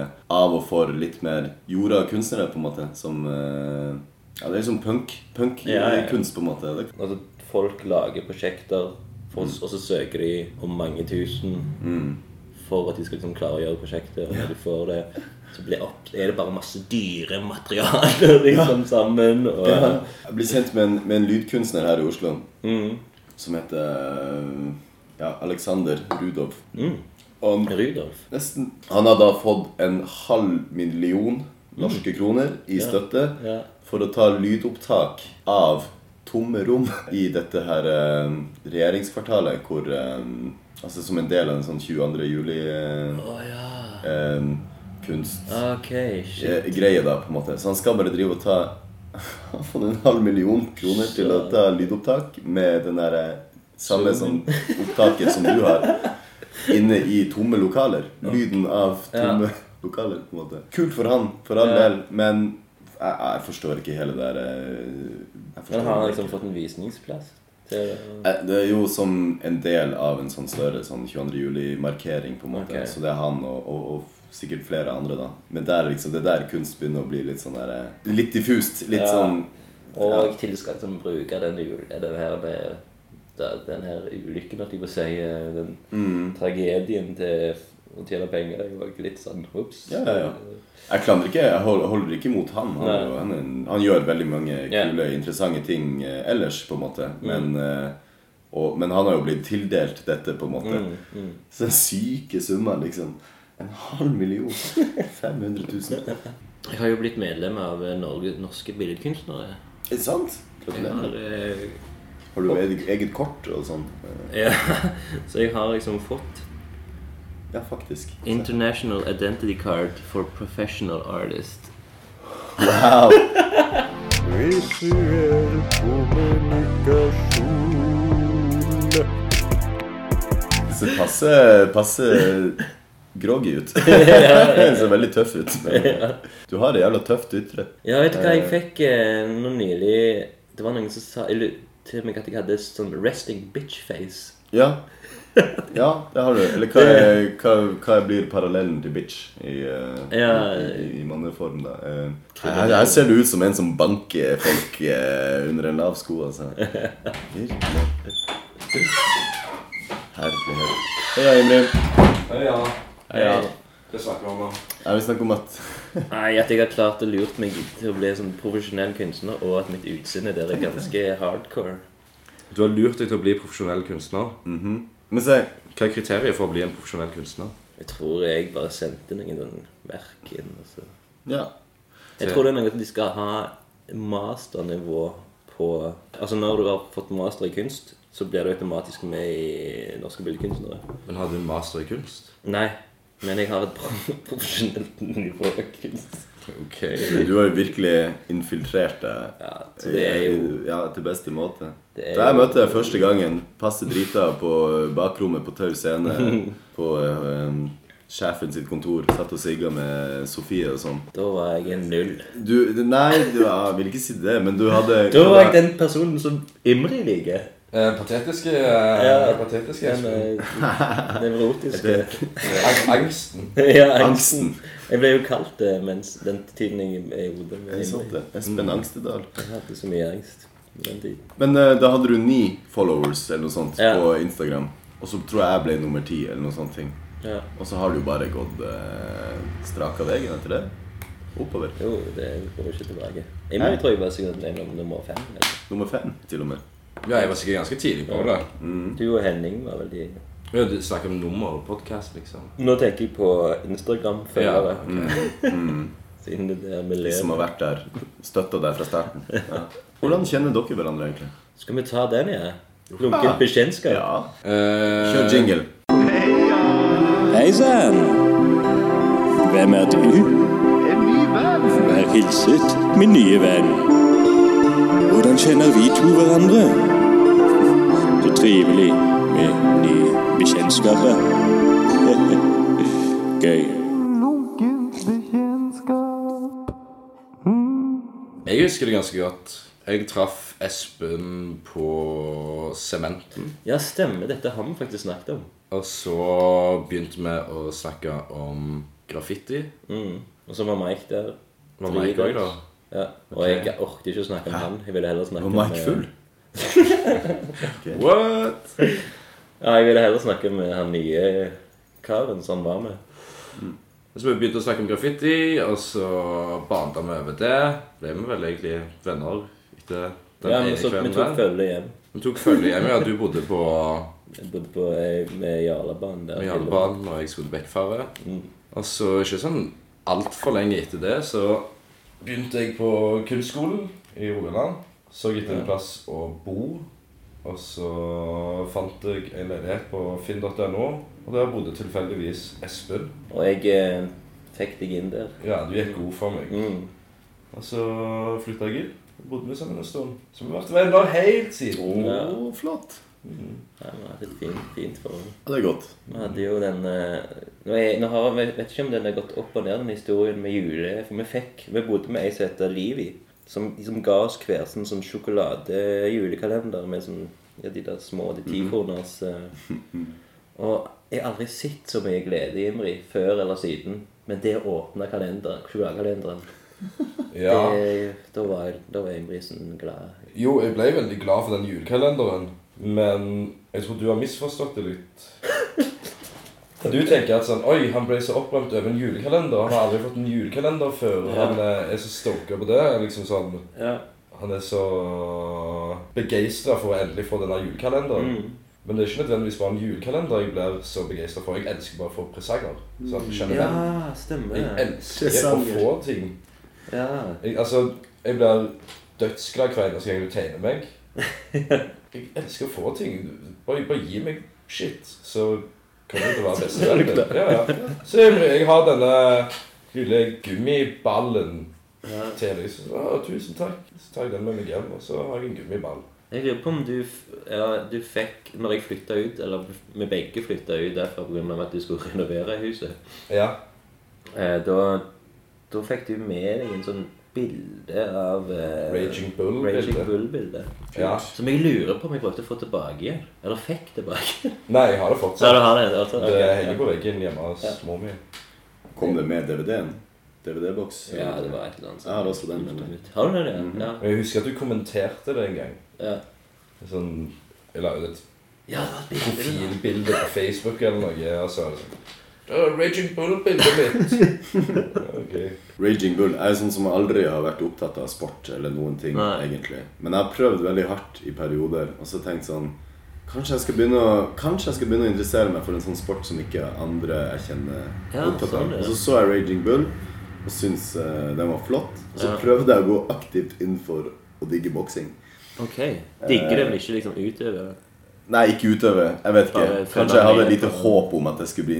Eh, av og for litt mer jorda kunstnere, på en måte. Som eh, Ja, det er liksom punk. Punk-kunst, Ja, ja, ja. på en måte. Det, Altså, folk lager prosjekter, for, og så søker de om mange tusen Mm. for at de skal liksom klare å gjøre prosjektet. Og når de får det, så blir opp, er det bare masse dyre materialer *laughs* liksom sammen. Og, Jeg ble kjent med en, med en lydkunstner her i Oslo Mm. som heter eh, ja, Alexander Rudolf. Mm. Og han Rudolf. Nesten. Han har da fått en halv million norske kroner i støtte Mm. ja. for å ta lydopptak av tomme rom i dette her eh, regjeringskvartalet, hvor eh, Altså som en del av en sånn eh, 22. Å ja. eh, juli-kunstgreie, Ok, shit. eh, da, på en måte. Så han skal bare drive og ta *laughs* Han har fått en halv million kroner til å ta lydopptak med den derre samme som opptaket som du har inne i tomme lokaler. Lyden av tomme *laughs* lokaler. på en måte Kult for han, for all Ja. del, men jeg, jeg forstår ikke hele det der eh, jeg forstår Men har han det ikke. liksom fått en visningsplass? Til, Eh, Det er jo som en del av en sånn større sånn 22. juli-markering, på en måte. Ok. Så det er han og, og, og sikkert flere andre, da. Men der, liksom, det er der kunst begynner å bli litt sånn der eh, Litt diffust. Litt Ja. sånn og til skal liksom bruke den, jul- den her med da- den her ulykken, at de må si eh, den tragedien til å tjene penger, det var litt sånn ups. Ja, ja, ja. Jeg klandrer ikke, jeg hold- holder ikke imot han. Han, er Nei. jo, han, er, en- han gjør veldig mange Ja. Mm. kule, interessante ting eh, ellers, på en måte. Men, eh, og, men han har jo blitt tildelt dette, på en måte. Mm, Så den syke summen, liksom. En halv *laughs* million. 500 000. Jeg har jo blitt medlem av eh, Norge, Norske Billedkunstnere. Er det sant? Jeg Gratulerer. har, eh, *laughs* Har du eget, eget kort og sånn? Eh, ja, så jeg har liksom fått Ja, faktisk. International Identity Card for Professional Artist. Wow! Visuell kommunikasjon. Ser passe, passe groggy *laughs* ut. Ser veldig tøff ut. *laughs* Men du har det jævla tøft ytre. Ja, vet du hva, jeg fikk eh, noe nylig Det var noen som sa eller, til meg at jeg hadde sånn resting bitch face. Ja. ja, det har du. Eller hva, er, hva, hva blir parallellen til bitch i, eh, Ja. i, i manneform, da? Eh, Her, her ser du ut som en som banker folk eh, under en lav sko, *laughs* altså. Virkelig. Herlighet. Hei, Emil. Ja, ja. Ja. Det snakker vi om nå. Jeg vil snakke om at Nei, at jeg har klart å lure meg til å bli sånn profesjonell kunstner, og at mitt utseende der er ganske hardcore. Du har lurt deg til å bli profesjonell kunstner. Men se, Hva er kriteriet for å bli en profesjonell kunstner? Jeg tror jeg bare sendte noen sånn verk inn. og så... ja. Jeg tror det er noe at de skal ha masternivå på Altså når du har fått master i kunst, så blir du automatisk med i Norske billedkunstnere. Men har du en master i kunst? Nei, men jeg har et *laughs* pro- profesjonelt nivå av kunst. Ok. Du har jo virkelig infiltrert deg Ja, så det er jo ja, til beste måte. Det er Da jeg jo- møtte deg første gangen, passe drita på bakrommet på Tau scene *laughs* på eh, sjefen sitt kontor, satt og sigga med Sofie og sånn Da var jeg en null. Du Nei, du, jeg vil ikke si det, men du hadde *laughs* Da var jeg den personen som Imri liker. Eh, patetiske Ja. eh, patetiske Den eh, *laughs* nevrotiske Det- Ang- Angsten. *laughs* Ja, angsten. Angsten. Jeg ble jo kalt det mens den tiden jeg er i hodet med Jeg sa Imri. det. Espen Mm. Angstedal. Jeg hadde så mye angst den tiden. Men eh, da hadde du ni followers eller noe sånt Ja. på Instagram. Og så tror jeg jeg ble nummer ti eller noe sånt. ting. Ja. Og så har du bare gått eh, straka veien etter det. Oppover. Jo, det går jo ikke tilbake. Imri tror jeg var sikkert ble nummer fem. Eller? Nummer fem, til og med. Ja, jeg var sikkert ganske tidlig på det. Mm. Du og Henning var vel de Ja, du snakker om nummer og podcast, liksom. Nå tenker jeg på Instagram-følgere. ok. Siden det der med De som løp. har vært der. Støtta deg fra starten. Ja. Hvordan kjenner dere hverandre, egentlig? Skal vi ta den, ja? Lunken bekjentskap? Ja. Eh, Kjør jingle. Hei sann! Hvem er du? Vær hilset, min nye venn. Hvordan kjenner vi to hverandre? Så trivelig med nye bekjentskaper. *laughs* Gøy. Jeg husker det ganske godt. Jeg traff Espen på Sementen. Ja, stemmer. Dette har vi faktisk snakket om. Og så begynte vi å snakke om graffiti. Mm. Og så var Mike der. Var Mike også da? Ja. Og jeg orket ikke å snakke om han. Jeg ville heller snakke eh, Var Mike med- full? What? Ja, jeg ville heller snakke med han nye karen som han var med. Så vi begynte å snakke om graffiti, og så banda vi over det. Ble vi vel egentlig venner etter den Ja, men ene så vi kvelden tok der. følge hjem. Vi tok følge hjem. Ja, du bodde på Jeg bodde på eh, med Jarlabanen der. Jarlebanen, og jeg skulle til Bekkfaret. Og så ikke sånn altfor lenge etter det, så begynte jeg på kunstskolen i Rogaland. Så etter en plass å bo, og så fant jeg en leilighet på finn.no. Og der bodde tilfeldigvis Espen. Og jeg eh, fikk deg inn der. Ja, du gikk god for meg. Mm. Og så flytta jeg inn. og Bodde vi sammen en stund. Så vi har vært venner helt siden. Ja. Å, flott. Ja, vi hadde et fint, fint forhold. Ja, det er godt. Vi hadde jo den eh, Nå, er, nå har, jeg vet ikke om den har gått opp og ned, den historien med jule... For vi fikk Vi bodde med ei som heter Livi, som, som ga oss hver sin sånn sjokoladejulekalender med sånn ja, de der små de Mhm. tikroners *laughs* eh. Og jeg har aldri sett så mye glede i Imri før eller siden. Men det å åpne kalenderen, sjokoladekalenderen Ja. det, da, var, da var Imri sånn glad. Jo, jeg ble veldig glad for den julekalenderen, men jeg tror du har misforstått det litt. Du tenker at sånn, oi, han ble så oppbrent over en julekalender. Han har aldri fått en julekalender før. og Ja. Han eh, er så stoka på det. liksom sånn, Ja. Han er så begeistra for å endelig få denne julekalenderen. Mm. Men det er ikke nødvendigvis bare en julekalender jeg blir så begeistra for. Jeg elsker bare å få presanger. Sånn ja, generelt. Jeg stemmer. elsker å få ting. Ja. Jeg, altså, jeg blir dødsglad hver eneste gang du tegner *laughs* meg. Jeg elsker å få ting. Bare, bare gi meg shit, så kommer jeg til å være *laughs* bestevenn din. Ja, ja. Så jeg, jeg har denne lille gummiballen ja. til deg. Så, å, tusen takk. Så tar jeg den med meg hjem, og så har jeg en gummiball. Jeg lurer på om du, f- ja, du fikk Når jeg flytta ut, eller vi begge flytta ut derfra pga. at du skulle *laughs* renovere huset Ja. eh, da, da fikk du med deg en sånn bilde av eh, Raging Bull-bilde. Raging Bull-bilde. ja. som jeg lurer på om jeg prøvde å få tilbake igjen. Eller fikk *laughs* tilbake. Nei, jeg har Så det du fortsatt. har det, altså, Det henger på veggen hjemme hos Ja. mor mi. Kom det med DVD-en? DVD-boks? Ja, det var et eller annet. sånt. Jeg har også den, vet Har du den? ja? Mhm. Ja. Men Jeg husker at du kommenterte det en gang. Ja. Sånn, jeg la ut et ja, det var et bilde. profilbilde på Facebook eller noe. Og så var det sånn «Det er Raging Bull-bildet *laughs* mitt. ok. Raging Bull jeg er sånn som aldri har vært opptatt av sport eller noen ting, Nei. egentlig. Men jeg har prøvd veldig hardt i perioder, og så tenkt sånn Kanskje jeg, skal begynne å, kanskje jeg skal begynne å interessere meg for en sånn sport som ikke andre jeg kjenner er Ja, opptatt sånn, ja. av. Og så så jeg Raging Bull og syntes eh, den var flott. Og så Ja. prøvde jeg å gå aktivt inn for å digge boksing. Ok. Eh, Digger det, men ikke liksom utøve det. Nei, ikke utøve. Jeg vet ikke. Bare følge Kanskje jeg hadde med et lite på- håp om at jeg skulle bli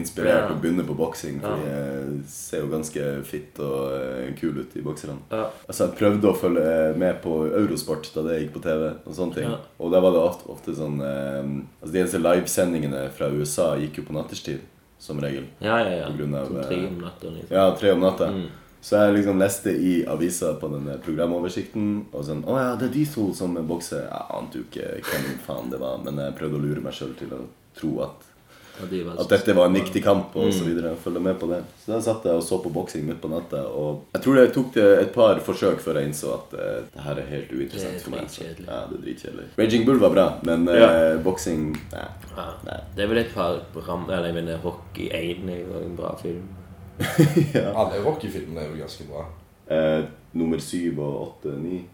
Ja. inspirert og begynne på boksing. Ja. Fordi jeg ser jo ganske fitt og eh, kul ut i bokserne. Ja. Altså, jeg prøvde å følge med på Eurosport da det gikk på TV. Og sånne ting Ja. Og da var det ofte, ofte sånn eh, Altså, De eneste livesendingene fra USA gikk jo på natterstid, som regel. Ja, ja, ja. På grunn av, Som tre eh, om natta. Liksom. Ja, tre om natta. Så jeg liksom leste i avisa på den der programoversikten og sånn Å ja, det er de to som bokser. Jeg ante jo ikke hvem faen det var, men jeg prøvde å lure meg sjøl til å tro at, Og de var at dette var en viktig kamp og Mm. så videre. og Følge med på det. Så da satt jeg og så på boksing midt på natta, og jeg tror det tok det et par forsøk før jeg innså at eh, det her er helt Det er uinteressant for meg. Så, dritkjedelig. ja, det er dritkjedelig. Raging Bull var bra, men eh, boksing Nei. Ja. Nei. Det er vel et par ram... Eller jeg mener Rocky 1 er jo en bra film. Alle Rocky-filmene er jo ganske bra. Eh, nummer syv og åtte, ni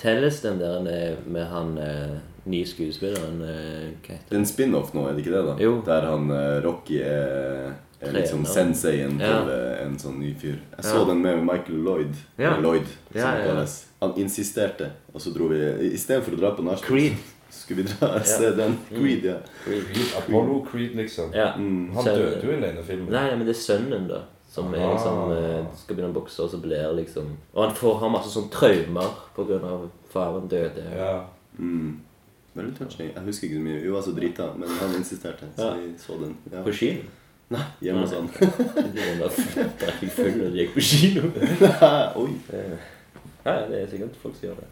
Telles den der med- med han eh, nye skuespilleren eh, Hva Det heter er en spin-off nå, er det ikke det? da? Jo. Der han eh, Rocky er, er Trener. liksom senseien Ja. til eh, en sånn ny fyr. Jeg Ja. så den med Michael Lloyd. Ja. eller Lloyd Ja, som ja, han ja. kalles. Han insisterte, og så dro vi Istedenfor å dra på nachspiel, Creed. Mm. så skulle vi dra og se den. Creed, ja. Creed, Apollo Creed, liksom. Ja. Han Så- døde jo i den ene filmen. Nei, nei, men det er sønnen, da. Som er Ah. liksom, eh, skal begynne å bokse, og så blir det liksom Og han får, har masse sånne traumer pga. faren døde. Ja. Veldig touching. Jeg husker ikke så mye. Jo, jeg var så drita, men han insisterte, så Ja. vi så den. Ja. På *laughs* kino. Nei, hjemme hos han. Det var da drakk jeg full når de gikk på *laughs* kino. Oi. Ja, ja, det er sikkert folk som gjør det.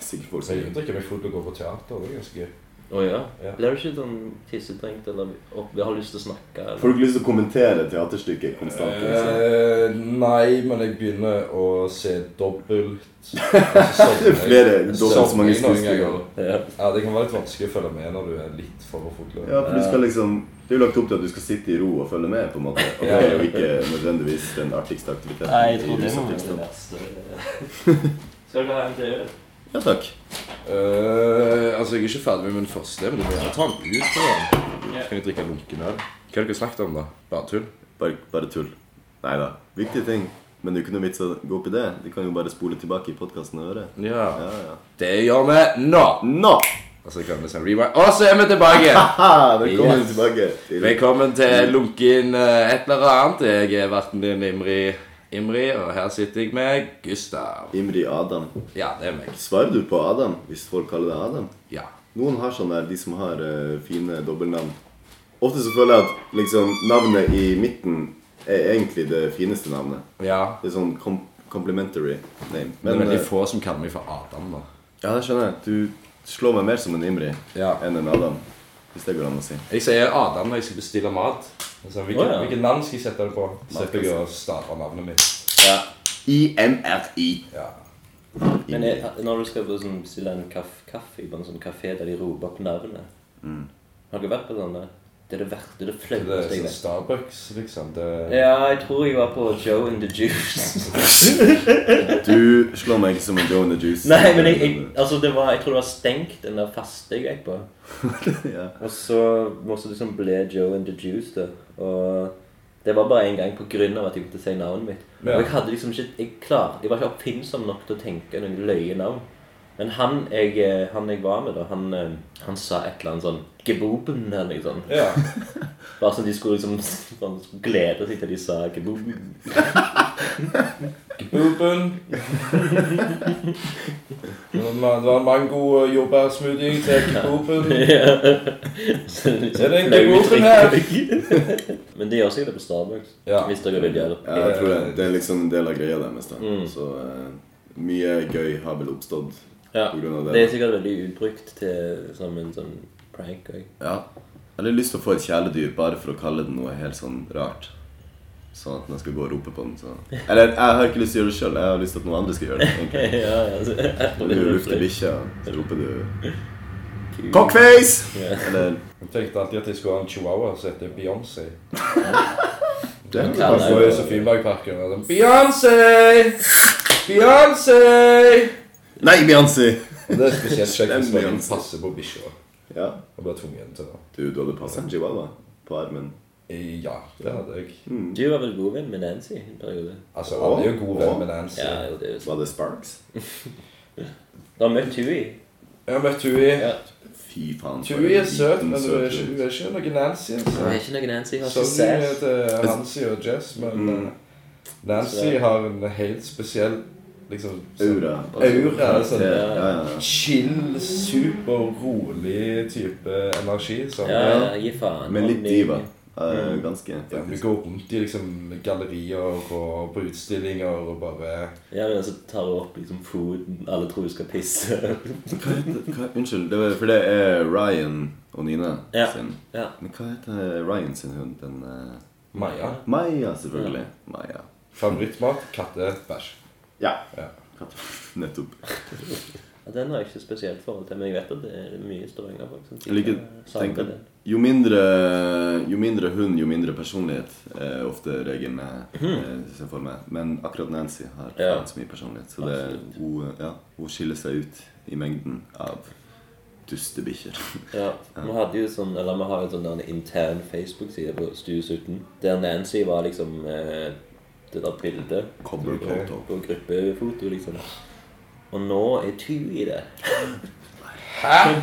Sikkert folk Så som jeg drikker meg full og går på teater. Det er ganske gøy. Å ja? Ja. Blir du ikke sånn tissetrengt eller opp, har lyst til å snakke? Eller? Folk har lyst til å kommentere teaterstykket konstant. Liksom. Eh, nei, men jeg begynner å se *laughs* dobbelt. Altså, sovner jeg- Flere dobbelt så mange sovner jeg noen skuespillere. ganger. Ja. Ja, det kan være litt vanskelig å følge med når du er litt for fortløpende. Ja, for du Eh. skal liksom Det er jo lagt opp til at du skal sitte i ro og følge med, på en måte. Og det er jo ikke nødvendigvis den artigste aktiviteten. Nei, jeg i tror det må være rusavhengighet. det *laughs* verste. Skal du ha en til øl? Ja takk. Eh, altså, jeg er ikke ferdig med min første, men du må gjerne ta den ut. Da. Ja. Kan jeg drikke lunken øl? Hva har dere snakket om, da? Bare tull? Bare, bare tull. Nei da. Viktige ting. Men det er jo ikke noe vits å gå opp i det. Du kan jo bare spole tilbake i podkasten og høre. Ja. Ja, ja. Det gjør vi nå! Nå! Altså, jeg kan liksom rewind. Og så er vi tilbake! *laughs* Haha, velkommen Yes. tilbake. til- Velkommen til lunken eh, et eller annet. Jeg er verten din, Imri. Imri, og her sitter jeg med Gustav. Imri Adam. Ja, det er meg. Svarer du på Adam hvis folk kaller deg Adam? Ja. Noen har sånn der, de som har eh, fine dobbeltnavn. Ofte så føler jeg at liksom, navnet i midten er egentlig det fineste navnet. Ja. Det er sånn kom complimentary name. Det er Men, veldig eh, få som kaller meg for Adam, da. ja, det skjønner jeg. Du slår meg mer som en Imri Ja. enn en Adam. Hvis det går an å si. Jeg sier Adam når jeg skal bestille mat. Altså, hvilket, Å, ja. hvilket navn skal jeg sette det på? Så Matkasse. slipper jeg å stave navnet mitt. IMRI. Ja. Men er, når du skal på sånn, bestille en kaff, kaffe på en sånn kafé der de roper på navnet Har dere vært på sånne? Det er det verste, Mm. det Det er flaueste jeg sånn vet. Starbucks, liksom. Det, Ja, jeg tror jeg var på Joe and the Juice. *laughs* Du slår meg ikke som en Joe and the Juice. Nei, men jeg, jeg, altså det var, jeg tror det var stengt, den der faste jeg gikk på. *laughs* ja. Og så måtte det liksom ble Joe and the Juice, da. Og det var bare en gang på grunn av at jeg måtte si navnet mitt. Ja. Og jeg hadde liksom ikke, jeg klar, jeg var ikke oppfinnsom nok til å tenke noen løye navn. Men han jeg, eh, han jeg var med, da, han, eh, han sa et eller annet sånn Geboben eller noe sånt. Ja. Bare så de skulle liksom *laughs* sånn, skulle glede seg til de sa keboob. *laughs* Boopen. Det var- det var en mango- og jordbærsmoothie *laughs* til kebooben. Så liksom, Er det en flau keboob uttrykk. *laughs* Men de gjør sikkert det på Starbucks. Ja. Hvis dere vil gjøre det. Ja, jeg tror det. Det er liksom en del av greia deres. da. Så eh, mye gøy har vel oppstått Ja. på grunn av Det det. er sikkert veldig utbrukt til som en sånn prank. også. Ja. Jeg hadde lyst til å få et kjæledyr bare for å kalle det noe helt sånn rart. Sånn at man skal gå og rope på den. Så. Eller jeg har ikke lyst til å gjøre det sjøl, jeg har lyst til at noen andre skal gjøre det. egentlig. *laughs* ja, ja, så, Når du lufter bikkja, så roper du Cockface! Ja. Eller Jeg tenkte alltid at jeg skulle ha en chihuahua som heter Beyoncé. det er Ja, Han nei, står i det- Sofienbergparken og er sånn Beyoncé! Beyoncé! Nei, Beyoncé! Og Det er spesielt kjekt hvis Slem man Beyoncé. passer på bikkja Ja. og blir tvungen til det. Du, du hadde passa en chihuahua på armen. Ja, det hadde jeg. Du var vel god venn med Nancy en periode? Altså, alle er jo god venn med Nancy. Ja, jo, det er jo sånn. Var det Sparks? Du har møtt Tui. Jeg har møtt Tui. Ja. Fy faen. for Tui er en søt, liten, men hun er søt ikke, hund. hun er ikke noe Nancy. Du altså. er ikke noen Nancy. Har ikke Sorry sass. til Hansi eh, og Jess, men eh, Nancy har en helt spesiell liksom sånn Aura. Aura, altså. Ja, ja, ja. chill, super rolig type energi. Som, eh, Ja, ja, gi faen. Men litt Om de- diva. Eh, ganske, Ja, vi faktisk. går rundt i liksom gallerier og på utstillinger og bare Ja, men altså tar hun opp liksom foten. Alle tror hun skal pisse. Hva heter, hva, unnskyld, det var, for det er Ryan og Nina Ja. sin. Ja. Men hva heter Ryan sin hund? Den eh, Maja. Maja, selvfølgelig. Maja. Favorittmat kattebæsj. Ja. Ja. Nettopp. Ja, Den har jeg ikke spesielt forhold til, men jeg vet at det er mye stavanger-folk som Jeg liker eh, tenk savner at den. jo mindre, jo mindre hund, jo mindre personlighet er ofte regelen jeg eh, ser for meg. Men akkurat Nancy har Mhm. Ja. faen så mye personlighet, så det, hun, eh, ja, hun skiller seg ut i mengden av dustebikkjer. Ja, Vi hadde jo sånn, eller vi har jo sånn der en intern Facebook-side på Stue 17, der Nancy var liksom eh, det der bildet Cobbercoat på gruppefoto, liksom. Og nå er Tui det. Hæ?!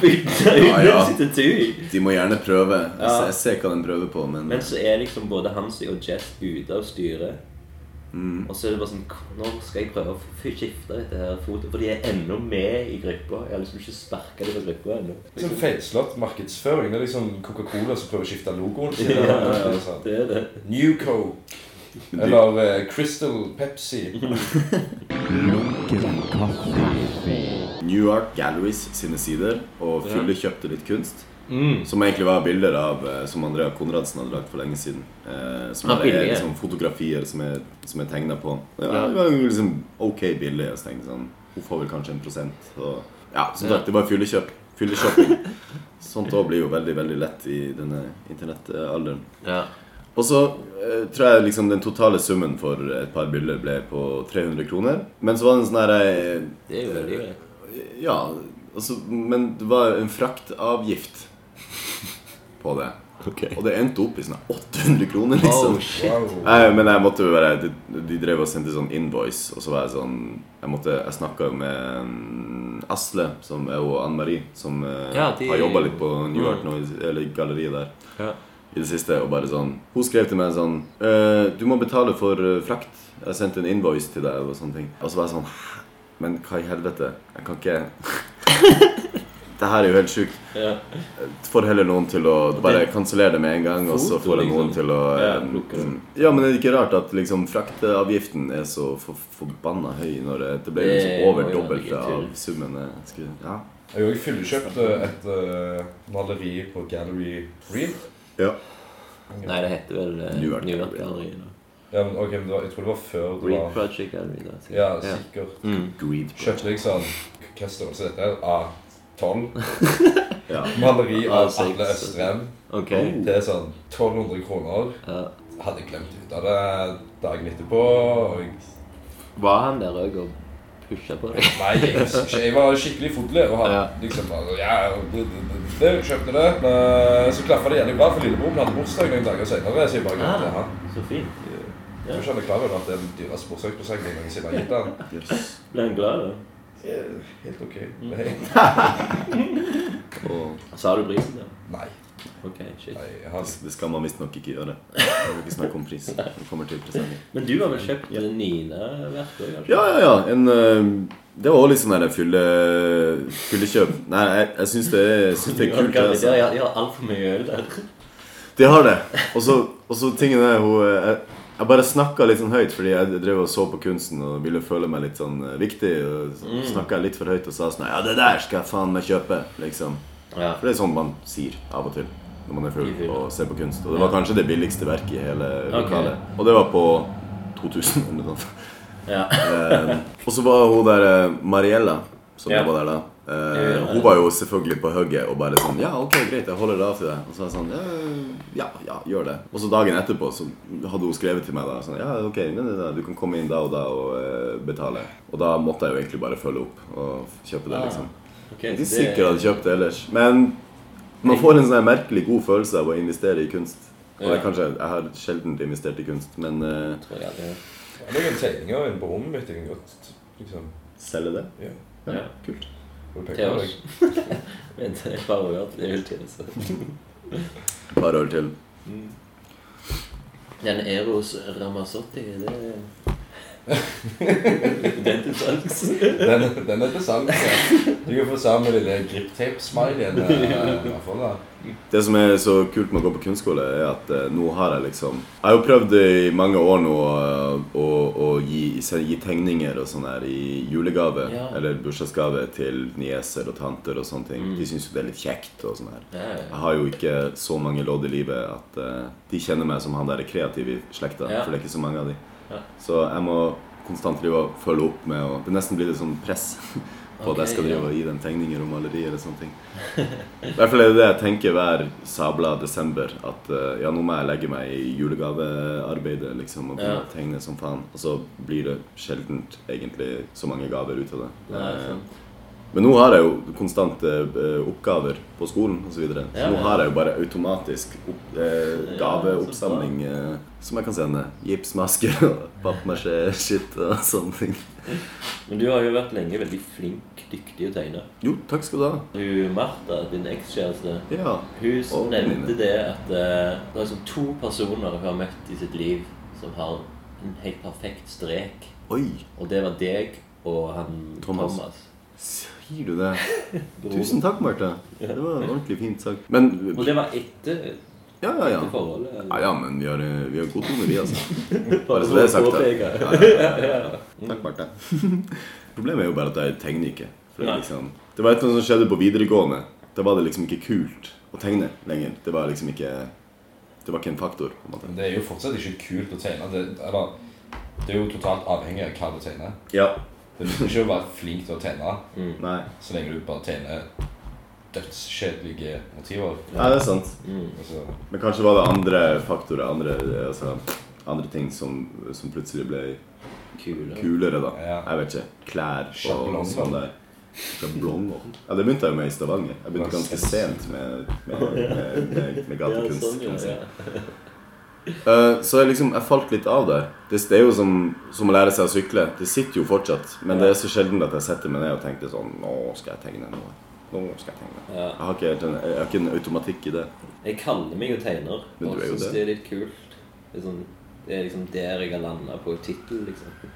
Ja, ja. Til Tui. De må gjerne prøve. Jeg, Ja. ser- jeg ser hva de prøver på, men Men så er liksom både Hansi og Jess ute av styret. Mm. Og så er det bare sånn Nå skal jeg prøve å f- skifte dette her fotet. For de er ennå med i gruppa. Jeg har liksom ikke sparka dem fra gruppa ennå. Liksom feilslått markedsføring. Det er liksom Coca-Cola som prøver å skifte logoen sin. *laughs* Ja, ja, Det er ja, sånn. det er det. New Coke. Eller eh, Crystal Pepsi. New Art Galleries sine sider og Fylle kjøpte litt kunst. Som egentlig var bilder av eh, som Andrea Konradsen hadde lagt for lenge siden. Eh, som Ah, bare er billige. liksom fotografier som er, som er tegna på. Ja, det var jo liksom ok billig. Og så tenkte jeg sånn, Hun får vel kanskje en prosent. Og, ja, som sagt, det var fyllekjøp. Fylleshopping. *laughs* Sånt òg blir jo veldig veldig lett i denne internettalderen. Ja. Og så eh, tror jeg liksom den totale summen for et par bilder ble på 300 kroner. Men så var det en sånn her eh, Det er jo veldig greit. ja, altså, men det var en fraktavgift på det. Og det endte opp i sånn 800 kroner, liksom. Oh, shit. Wow. Nei, men jeg måtte jo være De, de drev og sendte sånn invoice, og så var jeg sånn Jeg, måtte- jeg snakka med mm, Asle som er, og Anne Marie, som eh, Ja, de- har jobba litt på New York nå, eller i galleriet der. Ja. I det siste, og bare sånn Hun skrev til meg sånn «Eh, Du må betale for eh, frakt. Jeg sendte en invoice til deg, og sånne ting. Og så var jeg sånn «Hæ? Men hva i helvete? Jeg kan ikke *laughs* Det her er jo helt sjukt. Ja. Får heller noen til å bare kansellere det med en gang, og så Foto, får jeg noen liksom. til å Ja, eh, plukke det. ja, men er det ikke rart at liksom, fraktavgiften er så for, forbanna høy når det, det ble Det liksom må over jo dobbelte ligge til. av summen? jeg skulle- Ja. Jeg har også fyllekjøpt eh, et eh, maleri på Gallery Reef. ja. Nei, det heter vel eh, New York New York Gallery. Gallery nå. Ja, men, ok, men det var, jeg tror det var før det Reed var Project Gallery. Da, sikkert. Ja, sikkert. Mm. Greed. Kjøpte jeg sånn Hva størrelse er dette? A12. Ja. Maleri av A6. Atle Østrem. Ok. Det er sånn 1200 kroner. Ja. Hadde glemt ut av det dagen etterpå. Og jeg, Var han der òg og pusha på deg? nei, jeg, husker ikke. jeg var skikkelig fodlig og hadde Ja. liksom bare, ja, det, det, det, det, kjøpte det. Men så klaffa det jævlig bra, for lillebroren hadde bursdag noen dager senere. Så jeg bare glemte Ah. han. Så fint. Jeg tror ikke han er klar over at det er den dyreste bursdagspresangen jeg noensinne har gitt han. Yes. Ble han glad, da? Eh, Helt ok. Nei. Og Sa du prisen, da? Nei. Ok, shit. Nei, jeg har Det skal man visstnok ikke gjøre. Jeg vil ikke snakke om pris. Det kommer til presangen. Men du har vel kjøpt ja. Nina-verk òg, kanskje? Ja, ja, ja. En, eh, det var også litt sånn her fylle, fyllekjøp. Nei, jeg, jeg syns det, er- jeg synes det er kult. det, altså. Jeg, jeg har altfor mye øl der. De har det. Og så- og så tingen er hun eh, jeg, jeg bare snakka litt sånn høyt fordi jeg drev og så på kunsten og ville føle meg litt sånn eh, viktig. Og snakka litt for høyt og sa sånn Ja, det der skal jeg faen meg kjøpe. Liksom. Ja. For det er sånn man sier av og til når man er I full fylla. og ser på kunst. Og det var kanskje det billigste verket i hele Ok. lokalet. Og det var på 2000 eller noe sånt. ja. Eh, og så var hun der eh, Mariella, som Ja. jobba der da. Eh, hun var jo selvfølgelig på hugget og bare sånn Ja, ok, greit, jeg holder det av til deg. Og så var jeg sånn «Eh, Ja, ja, gjør det. Og så dagen etterpå så hadde hun skrevet til meg da sånn Ja, ok, men det er da, du kan komme inn da og da og eh, betale. Og da måtte jeg jo egentlig bare følge opp og kjøpe Ah, det, liksom. Ok, Jeg er så ikke sikker jeg hadde kjøpt det ellers. Men man får en sånn her merkelig god følelse av å investere i kunst. Og jeg, Ja. kanskje, jeg har sjelden investert i kunst, men eh, tror jeg aldri har hørt. Jeg har en tegning av en på rommet mitt. Jeg kan godt liksom selge det? Ja. Ja. Kult. få penger Til av oss. deg. Vent, jeg bare har hørt det hele tiden, så. Et par år til. Den Eros Ramazzotti, det er- *laughs* Den til salgs. Den, den er til salg. ja. Du kan få sammen med lille eh, griptape-smileyen. Hva Det som er så kult med å gå på kunstskole, er at eh, nå har jeg liksom Jeg har jo prøvd i mange år nå eh, å, å gi, se- gi tegninger og sånn her i julegave Ja. eller bursdagsgave til nieser og tanter og sånne ting. De syns jo det er litt kjekt og sånn her. Ja, Jeg har jo ikke så mange lodd i livet at eh, de kjenner meg som han der kreative i slekta, Ja. for det er ikke så mange av de. Ja. Så jeg må konstant drive og følge opp med å Det nesten blir litt sånn press *laughs* på at Ok, jeg skal ja. drive og gi dem tegninger og malerier eller sånne ting. I hvert fall er det det jeg tenker hver sabla desember. At eh, ja, nå må jeg legge meg i julegavearbeidet liksom, og begynne Ja. å tegne som faen. Og så blir det sjeldent egentlig så mange gaver ut av det. Nei, Eh, sant. men nå har jeg jo konstante eh, oppgaver på skolen osv. Så, videre. så Ja, nå ja. har jeg jo bare automatisk opp, eh, gaveoppsamling eh, som jeg kan sende. Gipsmasker og pappmasjé-shit og sånne ting. Men du har jo vært lenge veldig flink, dyktig å tegne. Jo, takk skal du ha. Hun Martha, din ekskjæreste, Ja. hun Og nevnte venninne. det at eh, det er liksom to personer hun har møtt i sitt liv som har en helt perfekt strek. Oi, Og det var deg og han Thomas. Thomas. sier du det? Tusen takk, Marte. Det var ordentlig fint sagt. Men Og det var etter Ja, ja, ja. etter forholdet? Ja, eller? ja, men vi har, eh, vi har god tone, vi, altså. Bare så det er sagt. da. Påpeke. Ja, ja, *laughs* ja, ja. Takk, Marte. Problemet er jo bare at jeg tegner ikke. For det, er Nei. liksom, det var et eller annet som skjedde på videregående. Da var det liksom ikke kult å tegne lenger. Det var liksom ikke Det var ikke en faktor. på en måte. Men det er jo fortsatt ikke kult å tegne. Det, eller, det er jo totalt avhengig av hva du tegner. Ja. Det nytter ikke å være flink til å tegne Nei. så lenge du bare tegner dødskjedelige motiver. Nei, det er sant. Mm. Altså, Men kanskje var det andre faktorer, andre, altså, andre ting som, som plutselig ble Kul, ja. kulere, da. Ja. Jeg vet ikke. Klær og Sjablonger. sånn der. Sjablonger. Ja, det begynte jeg med i Stavanger. Jeg begynte ganske sent med, med, med, med, med sånn. Ja, gatekunst. sånn, kan ja, man si. ja. Eh, så jeg liksom, jeg falt litt av der. Det, det er jo som, som å lære seg å sykle. Det sitter jo fortsatt, men det er så sjelden at jeg setter meg ned og tenker sånn Nå skal jeg tegne noe. Nå skal jeg tegne. Ja. Jeg har ikke, helt en- jeg har ikke en automatikk i det. Jeg kaller meg jo tegner, Men og du er jo syns det. det er litt kult. Det er, sånn, det er liksom der jeg har landa på tittel, liksom.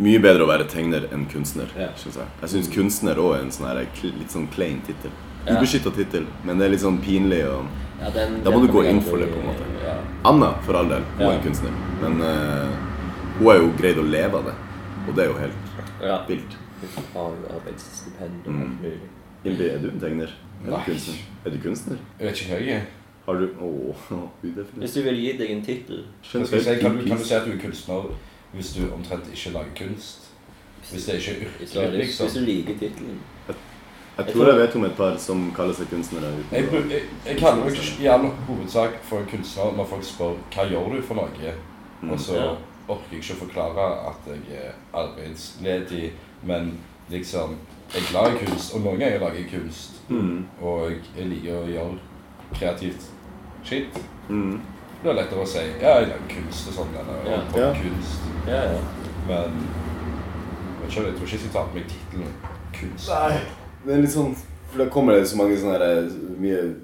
Mye bedre å være tegner enn kunstner, Ja. synes jeg. Jeg syns kunstner òg er en sånn her kl- litt sånn plain tittel. Ja. Ubeskytta tittel, men det er litt sånn pinlig og Ja, den- Da må den du gå jeg inn for aldri- det, på en måte. Ja. Anna, for all del, hun er Ja. en kunstner, men eh, hun har jo greid å leve av det. Og det er jo helt ja. vilt. Fag, arbeidsstipend og Mm. alt mulig. Hilde, er du en tegner? Er du Nei. kunstner? Er du kunstner? jeg vet ikke hva jeg er. Har du Åh, *laughs* udefinert. Hvis du vil gi deg en tittel Jeg skal si, Kan, du- kan du si at du er kunstner hvis du omtrent ikke lager kunst? Hvis det ikke er yrket så er ditt, det- liksom. Hvis du liker tittelen. Jeg tror jeg vet om et par som kaller seg kunstnere. Jeg, Uten bru- jeg, jeg kaller meg ikke i all hovedsak for en kunstner når folk spør hva gjør du for noe, Mm. og så ja. orker jeg ikke å forklare at jeg er arbeidsledig, men liksom Jeg lager kunst, og noen ganger lager jeg kunst, Mm. og jeg liker å gjøre kreativt shit. Mm. Det er lettere å si ja, jeg lager kunst og sånn, Ja. eller ja. på Ja. kunst, Ja, ja. men jeg, vet ikke, jeg tror ikke jeg skal ta på meg tittelen kunst. Nei, det er litt sånn For da kommer det så mange sånne her, eh, Mye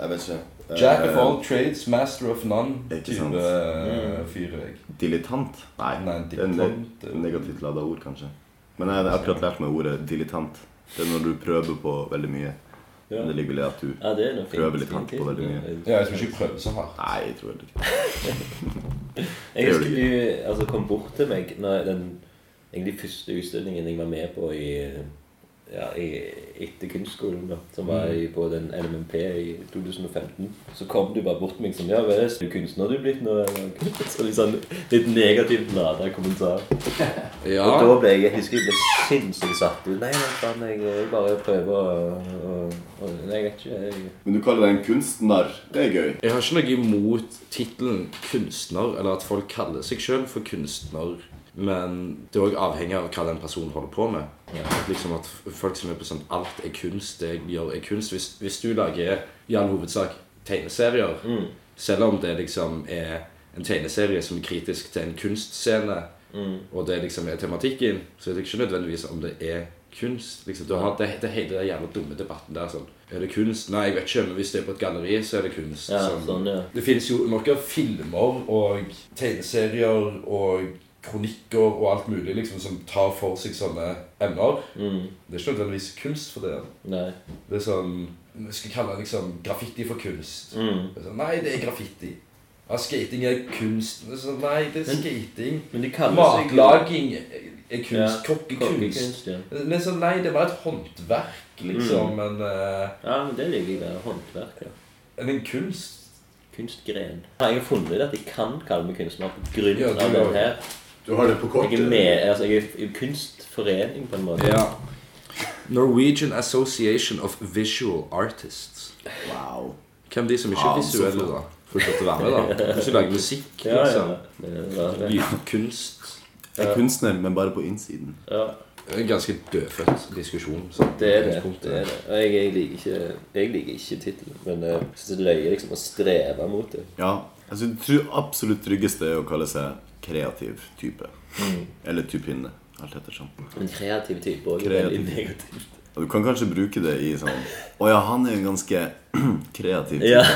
Jeg vet ikke. Eh, Jack of all trades, master of none. Ikke Type sant. eh, fyr er jeg. Dilettant? Nei, Nei, det er dilettant. ne- negativt lada ord, kanskje. Men jeg jeg har akkurat lært meg ordet dilettant. Det er når du prøver på veldig mye. Ja. Men det ligger vel i at du Ja, det er noe fint. Prøver litt hardt på veldig mye. Ja, Ja, jeg tror ikke jeg prøver så hardt. Nei, jeg tror det ikke. Jeg Det husker gjør du altså, kom bort til meg når den egentlig første utstillingen jeg var med på i, ja, i, etter kunstskolen, da, som var i, på den LMNP i 2015. Så kom du bare bort til meg som Ja, hva er det, er du kunstner du er blitt nå? eller?» *laughs* Så litt sånn litt negativt lada kommentar. Ja, Og da ble jeg, jeg husker jeg ble sinnssykt satt ut. Nei, nei, faen, jeg, jeg bare prøver å, å, å Nei, jeg vet ikke. Jeg, Men du kaller deg en kunstner. Det er gøy. Jeg har ikke noe imot tittelen kunstner, eller at folk kaller seg sjøl for kunstner. Men det er òg avhengig av hva den personen holder på med. Liksom At f- folk som er på sånn Alt er kunst, det jeg gjør er kunst. Hvis, hvis du lager i all hovedsak tegneserier, selv om det liksom er en tegneserie som er kritisk til en kunstscene, Mm. og det liksom er tematikken, så er det ikke nødvendigvis om det er kunst. Liksom, du har det, det hele den jævla dumme debatten der sånn Er det kunst? Nei, jeg vet ikke, men hvis det er på et galleri, så er det kunst. ja, sånn. sånn, ja. Det finnes jo nok av filmer og tegneserier og kronikker og alt mulig liksom, som tar for seg sånne emner. Mm, Det er ikke nødvendigvis kunst for det. nei. Det er sånn Vi skal kalle liksom graffiti for kunst. Mm. Det er sånn, nei, det er graffiti. Ja, skating er kunst. Det er sånn, nei, det er Men- skating. Men de kaller seg Matlaging er kunst. Kokkekunst. Kokkekunst, Mm. ja. Det er sånn, nei, det var et håndverk, liksom. Men eh, Ja, men det liker jeg der. Håndverk, ja. men en kunst Kunstgren. Har jeg funnet at jeg kan kalle meg kunstner på grunn Ja, av du har- den her? Du har det på Jeg er med, altså jeg er i kunstforening på en måte. Ja. Norwegian Association of Visual Artists. Wow. Hvem er de som ikke Ah, er så visuelle, da? Får ikke lov til å være *laughs* med, da. Får ikke lage musikk, Ja, ja. liksom. Det er bra, det. Lydkunst. Jeg er kunstner, men bare på innsiden. Ja, En ganske dødfødt diskusjon. sånn, det er det. utgangspunktet. det, er det. Og jeg, jeg liker ikke, jeg liker ikke tittelen, men eh, jeg synes det løyer liksom å streve mot det. Ja. Altså, jeg tror absolutt tryggeste er å kalle seg kreativ type. Eller typinne. Alt ettersom. Men kreativ type også er Kreativ. veldig *laughs* negativt. Og du kan kanskje bruke det i sånn Å ja, han er jo en ganske *clears throat* kreativ type. Ja,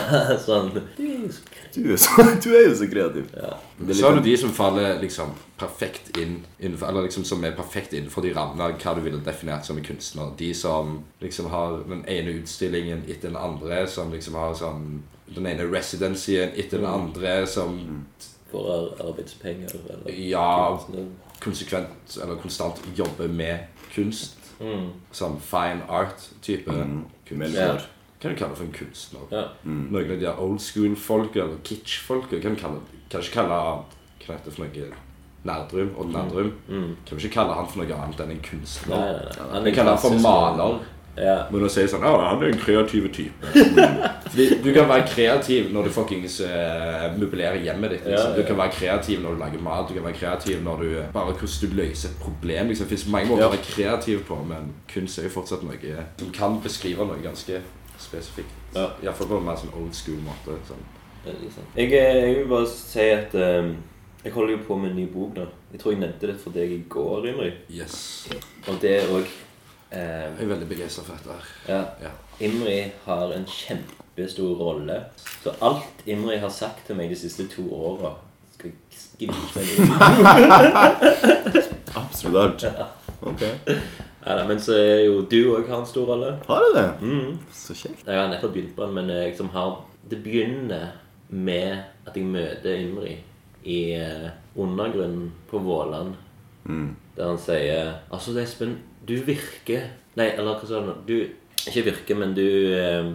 sånn. Du er jo så kreativ. Du, er så, *laughs* du er jo så kreativ. Det er Så har du litt, de som faller liksom perfekt inn innenfor, Eller liksom som er perfekt innenfor de rammene av hva du ville definert som en kunstner. De som liksom har den ene utstillingen etter den andre, som liksom har sånn Den ene residencyen etter den Mm. andre, som For ar- arbeidspenger, eller Ja, kunstner. konsekvent eller konstant jobber med kunst. Som fine art-type kunst. Melder. Mm. Ja. Kan du kalle det for en kunstner? Ja. Noen av de her old school-folka eller kitsch-folka kan du kalle, kan du ikke kalle Hva heter det for noe? Nerdrum? Odd Nerdrum? Kan du ikke kalle han for noe annet enn en kunstner? Mm. Nei, nei, nei. Han Vi kaller han for klassisk- maler. Ja. Men å si sånn Ja, han er en kreativ type. Fordi *laughs* du kan være kreativ når du fuckings eh, møblerer hjemmet ditt. Ja, Liksom. ja. Du kan være kreativ når du lager mat, du kan være kreativ når du Bare hvordan du løser et problem. Liksom. Det fins mange måter å være kreativ på, men kunst er jo fortsatt noe som kan beskrive noe ganske spesifikt. Ja. Iallfall på en mer sånn old school-måte. Sånn. Det er litt sant. Jeg, eh, jeg vil bare si at eh, jeg holder jo på med en ny bok nå. Jeg tror jeg nevnte det for deg i går, Imri. Yes. Og det òg eh, Jeg er veldig begeistra for dette her. ja. Ja. Imri har en kjempestor rolle. Så alt Imri har sagt til meg de siste to åra skal jeg skrive ned. Absolutt alt. Ok. Nei, nei, Men så er jo du òg har en stor rolle. Mm. Har du det? Så kjekt. Jeg har nettopp begynt på den, men jeg liksom har Det begynner med at jeg møter Imri i eh, undergrunnen på Våland. Der han sier Altså, Espen, du virker Nei, eller hva sa du nå? Du Ikke virker, men du eh,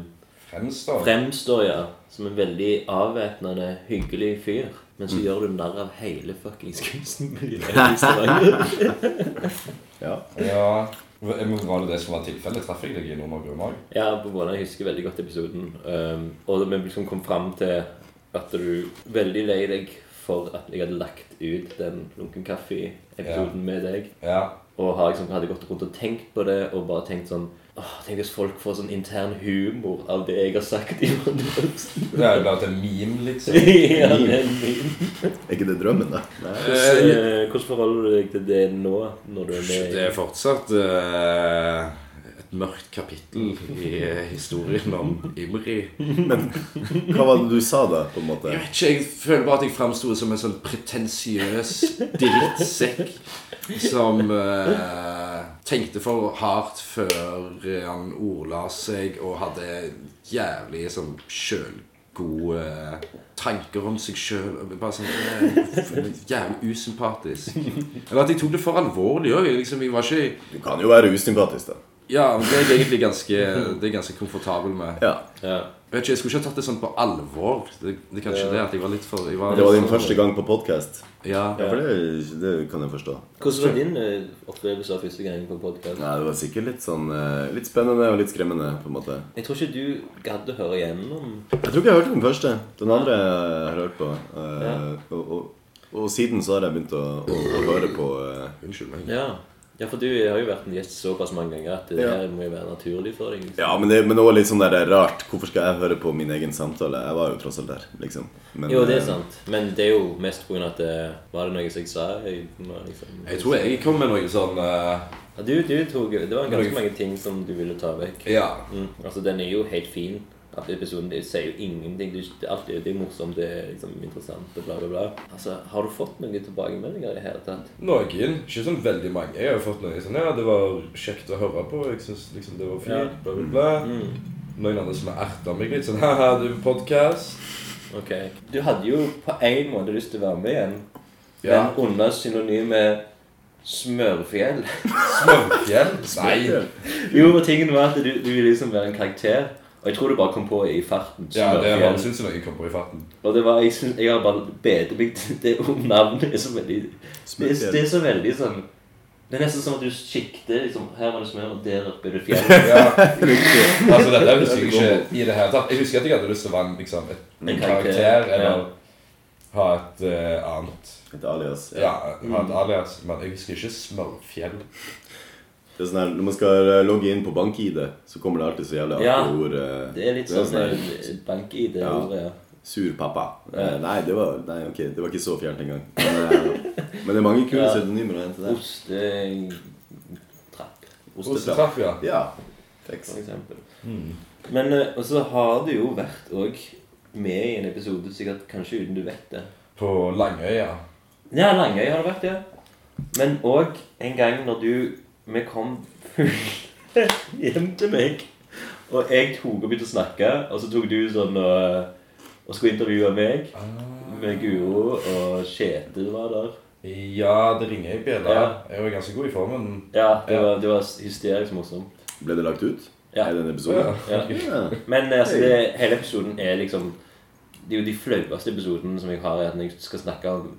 Fremstår. fremstår ja, som en veldig avvæpnende, hyggelig fyr. Men så gjør du narr av hele *laughs* fuckings kunstmiljøet i Stavanger. Ja. Ja. Men Var det det som var tilfellet? Traff jeg deg i noen år òg? Ja, på Våland. Jeg husker veldig godt episoden. Um, og vi liksom kom fram til at du veldig lei deg for at jeg hadde lagt ut den Lunken kaffe-episoden med deg. Ja. Og har liksom hadde gått rundt og tenkt på det og bare tenkt sånn Åh, Tenk hvis folk får sånn intern humor av det jeg har sagt i *laughs* podkasten. Det er jo bare til meme, *laughs* liksom. ja, det er min. Er ikke det drømmen, da? Hvordan, eh, hvordan forholder du deg til det nå? når du er Det med er fortsatt eh, et mørkt kapittel i eh, historien om Imri. Men hva var det du sa da, på en måte? Jeg vet ikke, jeg føler bare at jeg framsto som en sånn pretensiøs drittsekk som eh, tenkte for hardt før han ordla seg og hadde jævlig sånn sjølgode tanker om seg sjøl. Bare sånn eh, jævlig usympatisk. Eller at jeg tok det for alvorlig òg. Liksom, jeg var ikke Du kan jo være usympatisk, da. Ja, men det er jeg egentlig ganske, det er jeg ganske komfortabel med. Ja. Jeg vet ikke, jeg skulle ikke ha tatt det sånn på alvor. Det, det er kanskje det at jeg var litt for jeg var Det var litt din for- første gang på podkast. Ja. Ja, for det, det kan jeg forstå. Hvordan var din eh, opplevelse av første gang på podkast? Nei, det var sikkert litt sånn eh, Litt spennende og litt skremmende, på en måte. Jeg tror ikke du gadd å høre gjennom Jeg tror ikke jeg hørte den første. Den andre jeg har hørt på. eh, og, og, og siden så har jeg begynt å, å, å høre på eh, Unnskyld meg. Ja. ja, for du har jo vært en gjest såpass mange ganger at det Ja. her må jo være naturlig for deg. liksom. Ja, men det, men det var litt sånn der rart. Hvorfor skal jeg høre på min egen samtale? Jeg var jo tross alt der, liksom. Men, Jo, det eh, er sant. Men det er jo mest på grunn av at det, Var det noe som jeg sa? Jeg, nå er liksom, Jeg tror jeg kom med noe sånn eh, ja, du, du tok jo Det var ganske Noe- mange ting som du ville ta vekk. Ja. Mm. Altså, den er jo helt fin. At episoden det sier jo ingenting. Det, er ikke- alt er, det er morsomt, det er liksom interessant og bla, bla, bla. Altså, Har du fått noen tilbakemeldinger i det hele tatt? Noen. Ikke sånn veldig mange. Jeg har jo fått noe sånn Ja, det var kjekt å høre på. Jeg syns liksom det var fint. Bla, bla, bla. Mm. Noen andre som har erta meg litt sånn *laughs* Haha, du er podkast. Ok. Du hadde jo på en måte lyst til å være med igjen, Ja. men under synonymet Smørfjell. *laughs* Smørfjell? Nei. Jo, og tingen var at du, du ville liksom være en karakter. Og jeg tror du bare kom på i farten. Ja, det var Smørfjell. det syns jeg noe kom på i farten. Og det var, jeg, synes, jeg har bare bedt meg til det om navnet. er så veldig, det, er- det er så veldig sånn Det er nesten som at du sikter liksom, Her var det smør, og der oppe er det fjell. Ja. altså, dette husker jeg ikke i det hele tatt. Jeg husker at jeg hadde lyst til å være en, liksom, et, en karakter eller ha et eh, annet Et alias. Ja, Mm. ha et alias. Men jeg husker ikke Smørfjell. Det er sånn her, Når man skal eh, logge inn på bank-ID, så kommer det alltid så jævlig artige Ja. ord. eh, Det er litt det er sånn eh, bank i det Ja. ordet. ja. Sur pappa. Eh, Nei, det var, nei, ok, det var ikke så fjernt engang. Men, eh, men det er mange kule Ja. pseudonymer å hente der. Ostetrapp, Ostetraff, ja. Ja. for Tekst. eksempel. Men eh, Og så har du jo vært òg med i en episode, sikkert kanskje uten du vet det. På Langøya. Ja, Langøy har det vært, ja. Men òg en gang når du Vi kom fulle hjem til meg, og jeg tok og begynte å snakke, og så tok du sånn og, og skulle intervjue meg. Med Guro og Kjetil var der. Ja, det ringer i bjella. Ja. Jeg var ganske god i formen. Ja, det Ja. var, det var hysterisk morsomt. Ble det lagt ut? Ja. Er det en episode? Ja. Ja. Ja. Men altså, det, hele episoden er liksom Det er jo de flaueste episodene som jeg har, er at når jeg skal snakke om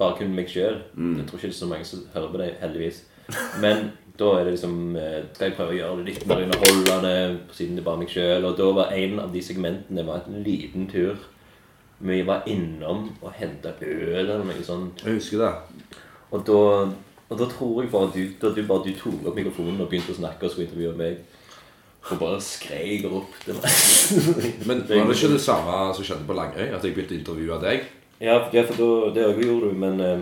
bare kun meg sjøl. Jeg tror ikke det er så mange som hører på det, heldigvis. Men da er det liksom eh, Skal jeg prøve å gjøre det litt mer underholdende, siden det er bare meg sjøl? Og da var en av de segmentene var en liten tur. Vi var innom og henta øl eller noe sånt. Jeg husker det. Og da, og da tror jeg bare du, da du bare du tok opp mikrofonen og begynte å snakke og skulle intervjue meg. Og bare skreik og ropte. *laughs* Men var det ikke det samme som skjedde på Langøy? At jeg begynte å intervjue deg? Ja, for- ja, for da, det også gjorde du, men eh,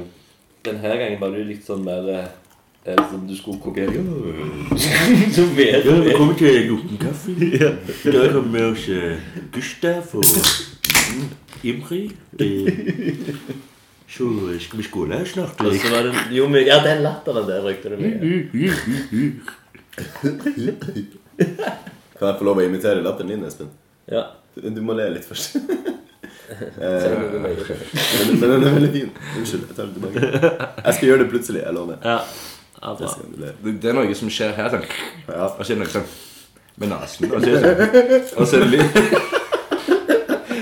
denne gangen var du litt sånn mer eh, eh, Som du skulle kopiere *laughs* Så mer og mer. Velkommen til Lukken Kaffe. I dag har vi med oss eh, Gustav og mm, Imri. Eh, Så eh, skal vi skåle snart. Og så var det, jo, men, ja, den latteren der røykte det med. Kan jeg få lov å imitere latteren din, Espen? Ja. Du, du må le litt først. *laughs* Eh, selv om det var veldig fint. Men, men den er veldig fin. Unnskyld, jeg tar den tilbake. Jeg skal gjøre det plutselig. Jeg lover. Ja. Ja, Jeg bra. skal le. Det, det er noe som skjer her. Sånn. Ja. Og så er det noe sånn med nesen. Og så er det, sånn. og så er det litt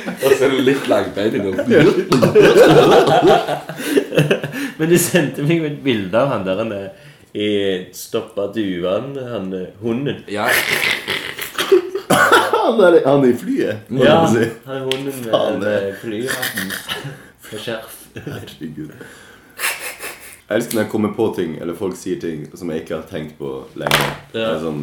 Og så er det litt langbein innom. Men du sendte meg jo et bilde av han der han eh, i Stoppa duan, han eh, hunden. Ja, Han, er, han er i flyet. må Ja, jeg si. han er hunden med Faen, den, det- eh, flyhatten og skjerf. Herregud. Jeg elsker når jeg kommer på ting, eller folk sier ting som jeg ikke har tenkt på lenge. Det er Sånn,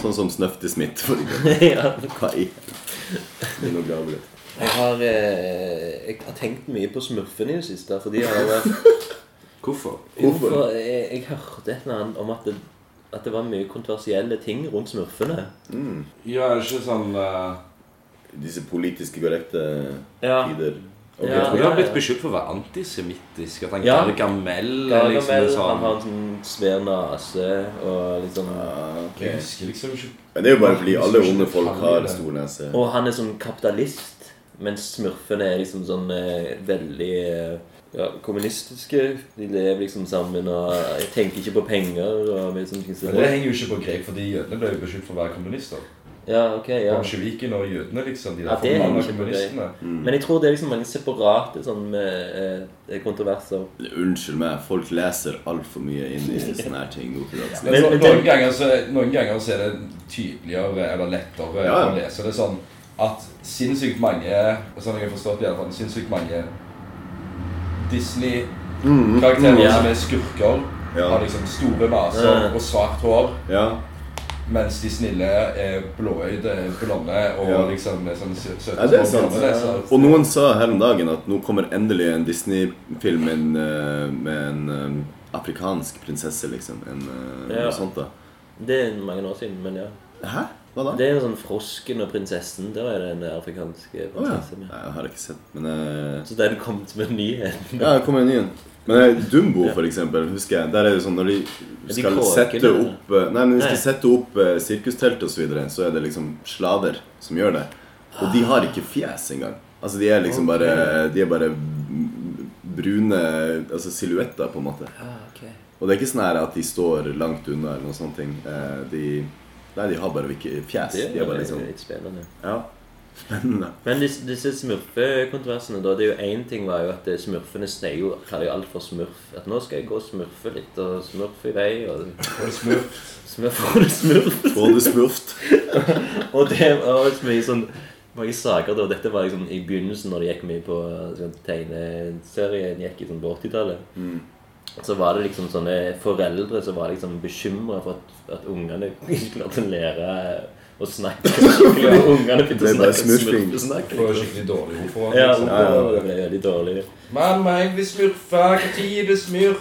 sånn som Snøff til Smith, for eksempel. *laughs* *laughs* ja. Hva i Det er noe galt. Jeg har, eh, jeg har tenkt mye på smurfene i det siste, for de har vært hvorfor? Hvorfor? Jeg, jeg hørte et eller annet om at det, at det var mye kontroversielle ting rundt smurfene. Ja, er det ikke sånn eh, Disse politiske korrekte Ja. tider. Ok. Jeg Ja, tror jeg ja, har blitt ja. beskyldt for å være antisemittisk. At han Ja. Gargamel er Gargamel liksom en han sånn har en sånn svær nase og liksom Ah, ok. Jeg husker liksom ikke Men det er jo bare fordi alle onde folk har stor nese. Og han er sånn kapitalist, mens smurfene er liksom sånn eh, veldig eh, ja, kommunistiske. De lever liksom sammen og tenker ikke på penger og mye sånne ting. som Men det det. henger jo ikke på grep, fordi jødene ble jo beskyldt for å være kommunister. Ja, ok, ja. Bolsjeviken og jødene, liksom. De Ja, der det henger forbanna ikke på kommunistene. Men jeg tror det er liksom mange separate sånn eh, eh, kontroverser. Unnskyld meg, folk leser altfor mye inn *laughs* i sånne her ting. nå for dags. Men- Men, men noen, tenk- ganger så, noen ganger så er det tydeligere eller lettere Ja, ja. å lese det sånn at sinnssykt mange Sånn jeg har forstått det, i alle fall, sinnssykt mange Disney-karakterer ja. som er skurker, Mm, Ja. har liksom store maser Mm. og svart hår, Ja, mens de snille er blåøyde, blonde og Ja. liksom er sånn sø- søte ja det er små sant. blondeleser. Og noen sa her om dagen at nå kommer endelig en Disney-film med en, eh, med en eh, afrikansk prinsesse, liksom. En, eh, Ja. Noe sånt, da. Det er mange år siden, men ja. Hæ? Hva da? Det er jo sånn 'Frosken og prinsessen'. Der er det en afrikanske Å ja. prinsesse med. Nei, jeg har ikke sett, men eh, Så den kom til med nyheten. Ja, det kommer en ny en. Men eh, Dumbo, for eksempel, husker jeg. Der er det sånn når de de skal kråkene, sette eller? opp eh, Nei, men hvis Nei. de setter opp eh, sirkustelt og så videre, så er det liksom slaver som gjør det. Og de har ikke fjes engang. Altså, de er liksom bare De er bare mm, brune Altså silhuetter, på en måte. Ah, ok. Og det er ikke sånn her at de står langt unna eller noe sånt. ting. Eh, De Nei, de har bare ikke fjes. Det De er er bare litt liksom spennende. Ja. Spennende. Men disse, disse smurfekontroversene, da. Det er jo én ting var jo at smurfene sneg jo kaller jo alt for smurf. At nå skal jeg gå og smurfe litt, og smurfe i vei, og Og det smurf. smurf og smurf. Både smurft Og det var så mye sånn mange saker da. Dette var liksom i begynnelsen, når det gikk mye på sånn, tegneserien gikk i sånn på 80-tallet. Mm. Så var det liksom sånne foreldre som var liksom bekymra for at, at ungene ikke klarte å lære å snakke *laughs* skikkelig. og Ungene begynte Det å er bare snakke smurfing. smurfesnakk. Får skikkelig dårlig ord for Ja, liksom. det ble veldig dårlig. Mamma, jeg vil smurfe. Hva tid er det smurf?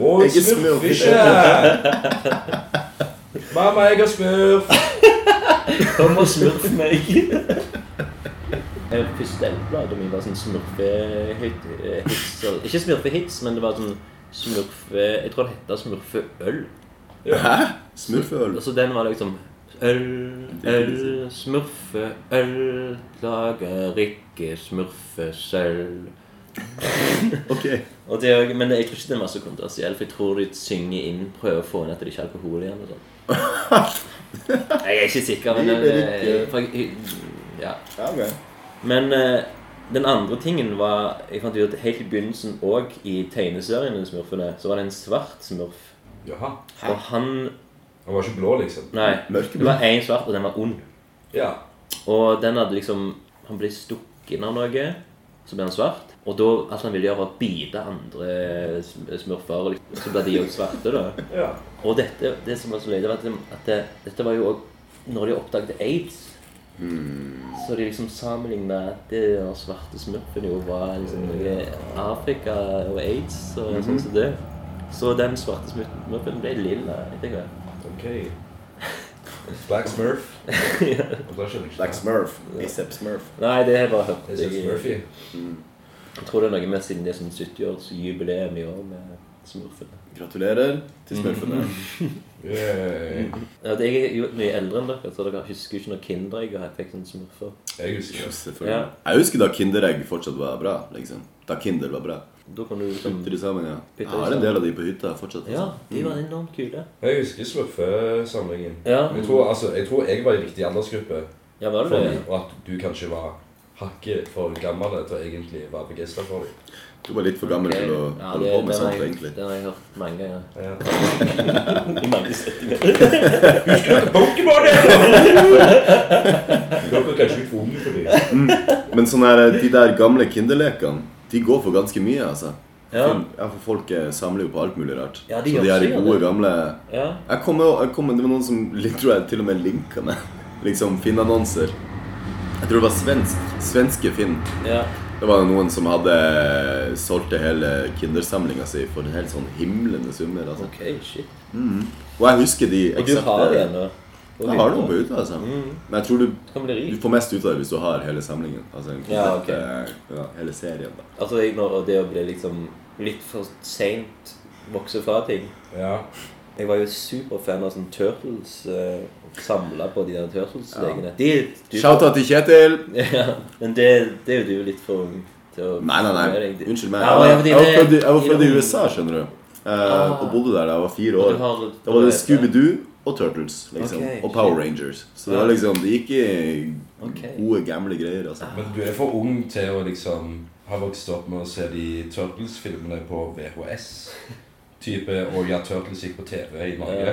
Å, jeg Jeg er smurf. smurfer ikke. *laughs* Mamma, jeg har smurf. Kom og smurf *laughs* meg. Første elbladet mitt var sånn smurfehits. Ikke smurfehits, men det var sånn smurfe... Jeg tror det heter smurfeøl. smurfeøl. Altså den var liksom Øl, øl, smurfeøl, lager ikke smurfesølv. Ok. Og det, er jo- men jeg tror ikke den var så kontroversiell, for jeg tror de synger inn, prøver å få inn at det ikke er alkohol igjen og sånn. Jeg er ikke sikker, men eh, for jeg- ja. Ja, ok. Men eh, den andre tingen var Jeg fant ut at helt i begynnelsen òg i tegneseriene Smurfene, så var det en svart smurf. Jaha. Og han Han var ikke blå, liksom. Nei. Mørkeblå. Det var én svart, og den var ond. Ja. Og den hadde liksom Han ble stukket av noe, så ble han svart. Og da alt han ville gjøre, var å bite andre sm- smurfer, og liksom, så ble de òg svarte, da. ja. Og dette, det som var så løye, det var at, de- at det, dette var jo òg når de oppdaget aids. Hmm. Så de liksom sammenligna det den svarte smurfen jo var liksom noe Afrika og aids og sånn som det. Så den svarte smurfen ble lilla. tenker jeg. Ok. Black smurf. Og da skjønner jeg ikke Black Smurf. Bicep Smurf. Nei, det har jeg bare hørt. Det er Seth Jeg, Murphy. jeg tror det er noe med siden det er sånn 70-årsjubileum i år med smurfene. Gratulerer til smurfene. Yay. Ja, det- jeg er jo mye eldre enn dere, så dere husker jo ikke når Kinder jeg har fikk sånn smurfer. Jeg husker Jo, det. selvfølgelig. Ja. Jeg husker da Kinderegg fortsatt var bra. liksom. Da Kinder var bra. Da kan du Putter de liksom sammen, ja. Putter de Jeg har en sammen. del av de på hytta fortsatt. Ja, altså. de var enormt kule. Jeg husker smurfesamlingen. Ja. Jeg tror, altså, jeg tror jeg var i riktig aldersgruppe, Ja, var for, det det? og at du kanskje var hakket for gammel til å egentlig være begeistra for dem. Du var litt for gammel til å Ja, holde det- på med den har sånt, jeg- egentlig. Den har jeg hørt mange ganger. *laughs* Ja. I mange settinger. Pokémon! Dere er kanskje litt for unge for det. Men sånne her, de der gamle Kinderlekene, de går for ganske mye, altså. Ja. For- Ja, for Folk eh, samler jo på alt mulig rart. Ja, de Så gjør de her ikke det. gode, gamle ja. Jeg kom, jo- jeg kom, Det var noen som *laughs* li- tror jeg til og med linka meg. Liksom Finn-annonser. Jeg tror det var svensk, svenske Finn. ja. Det var noen som hadde solgt hele Kindersamlinga si for en helt sånn himlende summer. altså. Ok, shit. Og jeg husker de Og du har det ennå. Jeg har noen på ute, altså. Mm. Men jeg tror du, Du kan bli du rik. får mest ut av det hvis du har hele samlingen. Altså en Ja, komplett, eh, ja, hele serien, da. Altså jeg, når det å bli liksom litt for seint vokse fra ting Ja. Jeg var jo superfan av sånn Turtles. Uh, Samla på de der Turtles-legene. De- du- Shout-out til Kjetil! *laughs* Ja, men det, det er jo du litt for ung til å Nei, nei, nei. med deg. Unnskyld meg. Ja, Jeg var, fordi jeg var, det- født, i- jeg var født i Iran. USA, skjønner du. Eh, og bodde der da jeg var fire Ah. Og år. du har- Da var det Scooby-Doo og Turtles liksom. Ok, og Power shit. Rangers. Så det var liksom, det gikk i Ok. gode, gamle greier. altså. Men du er for ung til å liksom ha vokst opp med å se de Turtles-filmene på VHS. Type Og ja, Turtles gikk på TV i Norge.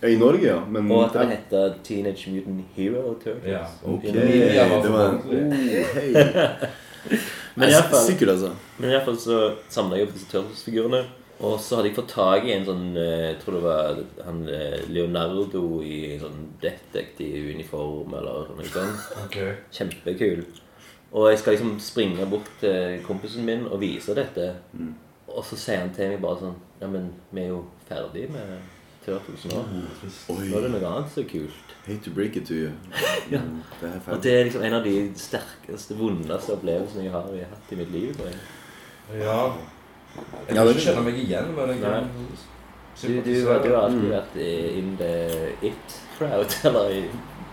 Ja, I Norge, ja. Men Og at det jeg- heter Teenage Mutant Hero Turtles. Ja. Ok, Media var det var en for vanlig. oh, *laughs* hei. Men i Jeg er hvert fall- Sikkert, altså. Men i hvert fall så samla jeg opp disse Turtles-figurene. Og så hadde jeg fått tak i en sånn eh, Jeg tror det var han eh, Leonardo i sånn detektivuniform eller noe sånt. Ok. Kjempekul. Og jeg skal liksom springe bort til kompisen min og vise dette. Mm. Og så sier han til meg bare sånn Ja, men vi er jo ferdig med Turtles nå. Nå er Oi. det noe annet som er kult. Hate to break it to you. Mm, Det er Og feil. det er liksom en av de sterkeste, vondeste opplevelsene jeg har, jeg har hatt i mitt liv. tror jeg. Ja. Ja, Jeg kan det ikke kjenne meg igjen, men jeg kan Du, du, du har Mm. alltid vært i- in the it-crowd, *laughs* eller i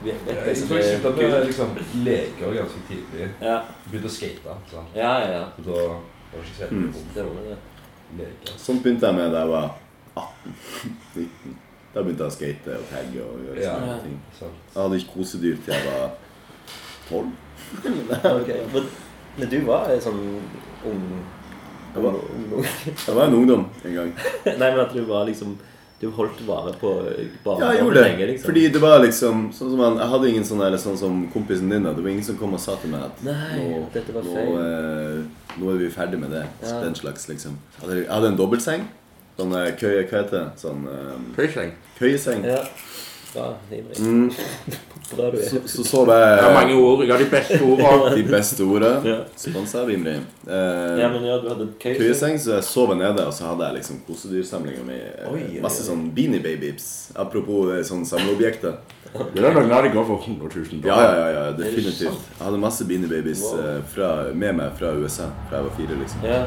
vet- vet Jeg det som tror jeg er slutta med kult. liksom, leker ganske tidlig. Ja, Begynte å skate. Så. ja, ja. Så da var det ikke så veldig mye om Stemmer *laughs* det. leker. Sånn begynte jeg med da jeg var *laughs* 18-19. Da begynte jeg å skate og tagge og gjøre Ja. sånne ting. Så. Jeg hadde ikke kosedyr til jeg var 12. Ok, Men, men du var en sånn ung Jeg var, ung- *laughs* ung- jeg var en ungdom en gang. Nei, men at du var liksom Du holdt vare på bare Ja, jeg gjorde det. Fordi det var liksom sånn som han, Jeg hadde ingen sånn, eller sånn som kompisen din. da. Det var ingen som kom og sa til meg at Nei, nå, dette var nå, feil. eh, nå er vi ferdig med det. Ja. Den slags, liksom. Jeg hadde, jeg hadde en dobbeltseng. Sånn eh, køye, hva heter det? Sånn eh, Pøyseng. køyeseng. Ja. Bra, Henrik. eh, Mm, *laughs* Bra du så, er. så sov jeg ord. Jeg har de beste ordene. de beste ordene. Ja. Sponsa av Imri. Eh, Ja, men ja, du hadde et køyeseng. køyeseng, så jeg sov nede, og så hadde jeg liksom kosedyrsamlinga mi. Oi, oi, oi. Masse sånn Beanie Babies. Apropos eh, sånn samleobjekter. Det er noen av de går for 100 000 Ja, ja, ja, ja, det definitivt. sant? Jeg hadde masse Beanie Babies Wow. eh, fra, med meg fra USA fra jeg var fire, liksom. Ja.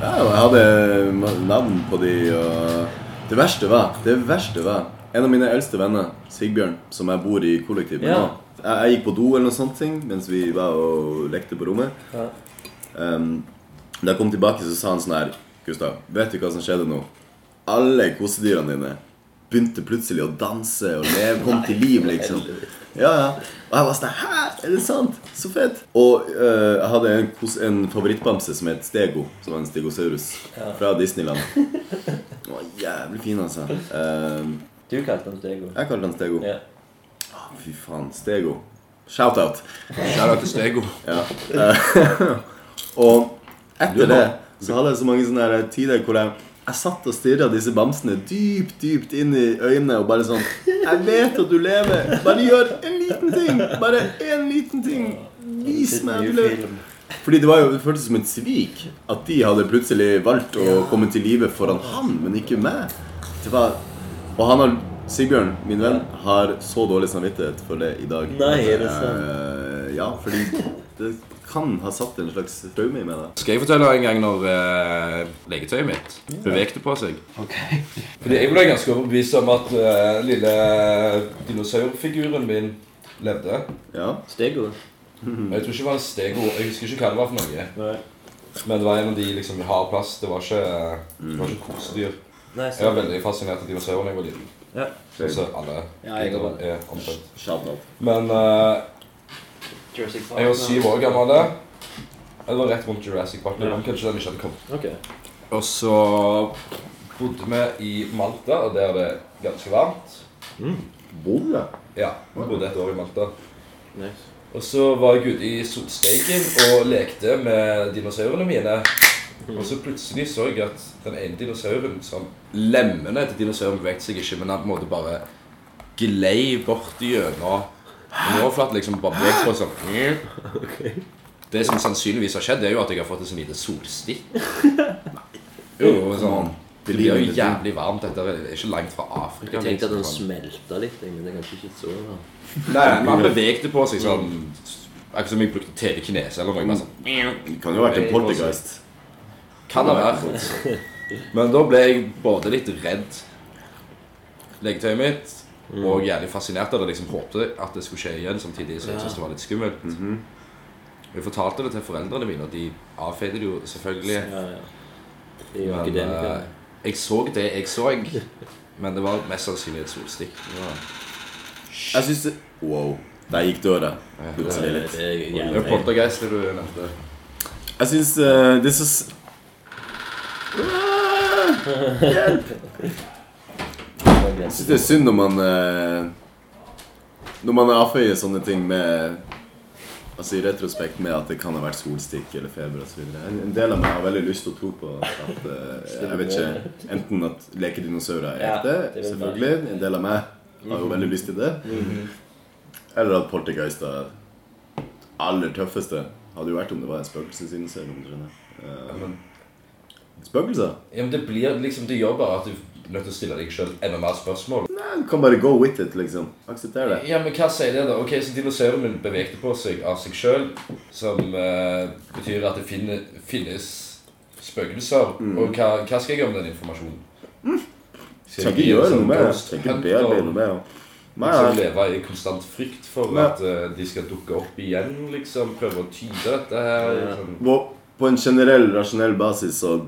Ja, og jeg hadde ma- navn på de, og Det verste var Det verste var En av mine eldste venner, Sigbjørn, som jeg bor i kollektiv med Ja. nå jeg, jeg gikk på do eller noe sånt ting, mens vi var og lekte på rommet. Ja. Um, da jeg kom tilbake, så sa han sånn her Gustav, vet du hva som skjedde nå? Alle kosedyrene dine begynte plutselig å danse og leve, kom til liv, liksom. Ja, ja. Og jeg var sånn Hæ, er det sant? Så fett. Og eh, jeg hadde en, kos en favorittbamse som het Stego, som var en stegosaurus fra Disneyland. Han var jævlig fin, altså. Um, Du kalte han Stego. jeg kalte han Stego. Ja. Å, Fy faen, Stego. Shout-out. Shout-out til Stego. Eh, *laughs* Og etter det så hadde jeg så mange sånne her tider hvor jeg, jeg satt og stirra disse bamsene dypt, dypt inn i øynene og bare sånn Jeg vet at du lever. Bare gjør en liten ting. Bare en liten ting. Vis meg at du lever. Fordi det, var jo, det føltes som et svik at de hadde plutselig valgt å komme til live foran han, men ikke meg. Det var, og han har, Sigbjørn, min venn, har så dårlig samvittighet for det i dag. Nei, er det Eh, Ja, fordi det kan ha satt en slags traume i meg. da. Skal jeg fortelle en gang når eh, leketøyet mitt bevegte på seg? Fordi jeg ble ganske overbevist om at eh, lille dinosaurfiguren min levde. Ja. Stego. Mm. Jeg tror ikke det var en stego. Jeg husker ikke hva det var for noe. Men det var en av de liksom vi har plass. Det var ikke, det var ikke kosedyr. Nei, Jeg var så. veldig fascinert av dinosaurer da jeg var liten. Ja. Sånn som alle Ja, jeg gutter også. er omtrent. Shout out. Men eh, Jurassic Park. jeg var syv år gammel da. Det var rett rundt Jurassic Park. men Kanskje den ikke hadde kommet. Ok. Og så bodde vi i Malta, og der er det ganske varmt. Bolle? Ja, vi bodde et år i Malta. Nice. Og så var jeg ute i solsteiken og lekte med dinosaurene mine. Mm. Og så plutselig så jeg at den ene dinosauren som Lemmene til dinosauren bevegde seg ikke, men han på en måte bare glei bort gjennom en overflate. liksom bare beveget på sånn. Det *laughs* som sannsynligvis har skjedd, er jo at jeg har fått et sånn lite solstikk. Jo, sånn Det blir jo jævlig varmt. Dette er ikke langt fra Afrika. Jeg tenkte at liksom. den smelta litt, jeg, men det er kanskje ikke så da. Nei, man bevegte på seg sånn Mm. Akkurat som jeg brukte telekinese eller noe. men Sånn. Det kan jo ha vært en poltergeist. Kan det være. Men da ble jeg både litt redd legetøyet mitt Mm. og jævlig fascinert av det. liksom Håpte at det skulle skje igjen, samtidig så jeg syntes det var litt skummelt. Mhm. Jeg fortalte det til foreldrene mine, og de avfeide det jo selvfølgelig. Ja, ja. Det er jo Men, ikke det. eh, jeg så det jeg så, men det var mest sannsynlig et solstikk. Ja. Altså, Jeg syns det Wow. Der gikk døra. Plutselig litt. Det er Det er jævlig. poltergeist det du nevnte. Jeg syns eh, det er så s- Ah, Hjelp! Jeg syns det er synd når man eh, Når man avføyer sånne ting med Altså i retrospekt med at det kan ha vært solstikk eller feber osv. En en del av meg har veldig lyst til å tro på at eh, Jeg vet ikke Enten at lekedinozaurer er Ja, ekte, det vil være. selvfølgelig. En del av meg har jo veldig lyst til det. Eller at poltergeister aller tøffeste hadde jo vært om det var en spøkelsesinnsel. om du skjønner. Eh, Spøkelser? Ja, men det blir liksom, det gjør bare at du er nødt til å stille deg selv enda mer spørsmål. Nei, du kan bare go with it, liksom. Aksepter det. Ja, men hva sier det da? Ok, så dinosauren min bevegte på seg av seg selv, som eh, betyr at det finne, finnes spøkelser. Mm. Og hva, hva skal jeg gjøre med den informasjonen? Skal Skal jeg ikke bli en gjøre sånn Mm. noe med det. ghost Skal ikke hunter bearbeide noe med det. Nei, Som nei. lever i konstant frykt for Nei. at eh, de skal dukke opp igjen, liksom. Prøve å tyde dette her. Sånn. Og På en generell, rasjonell basis så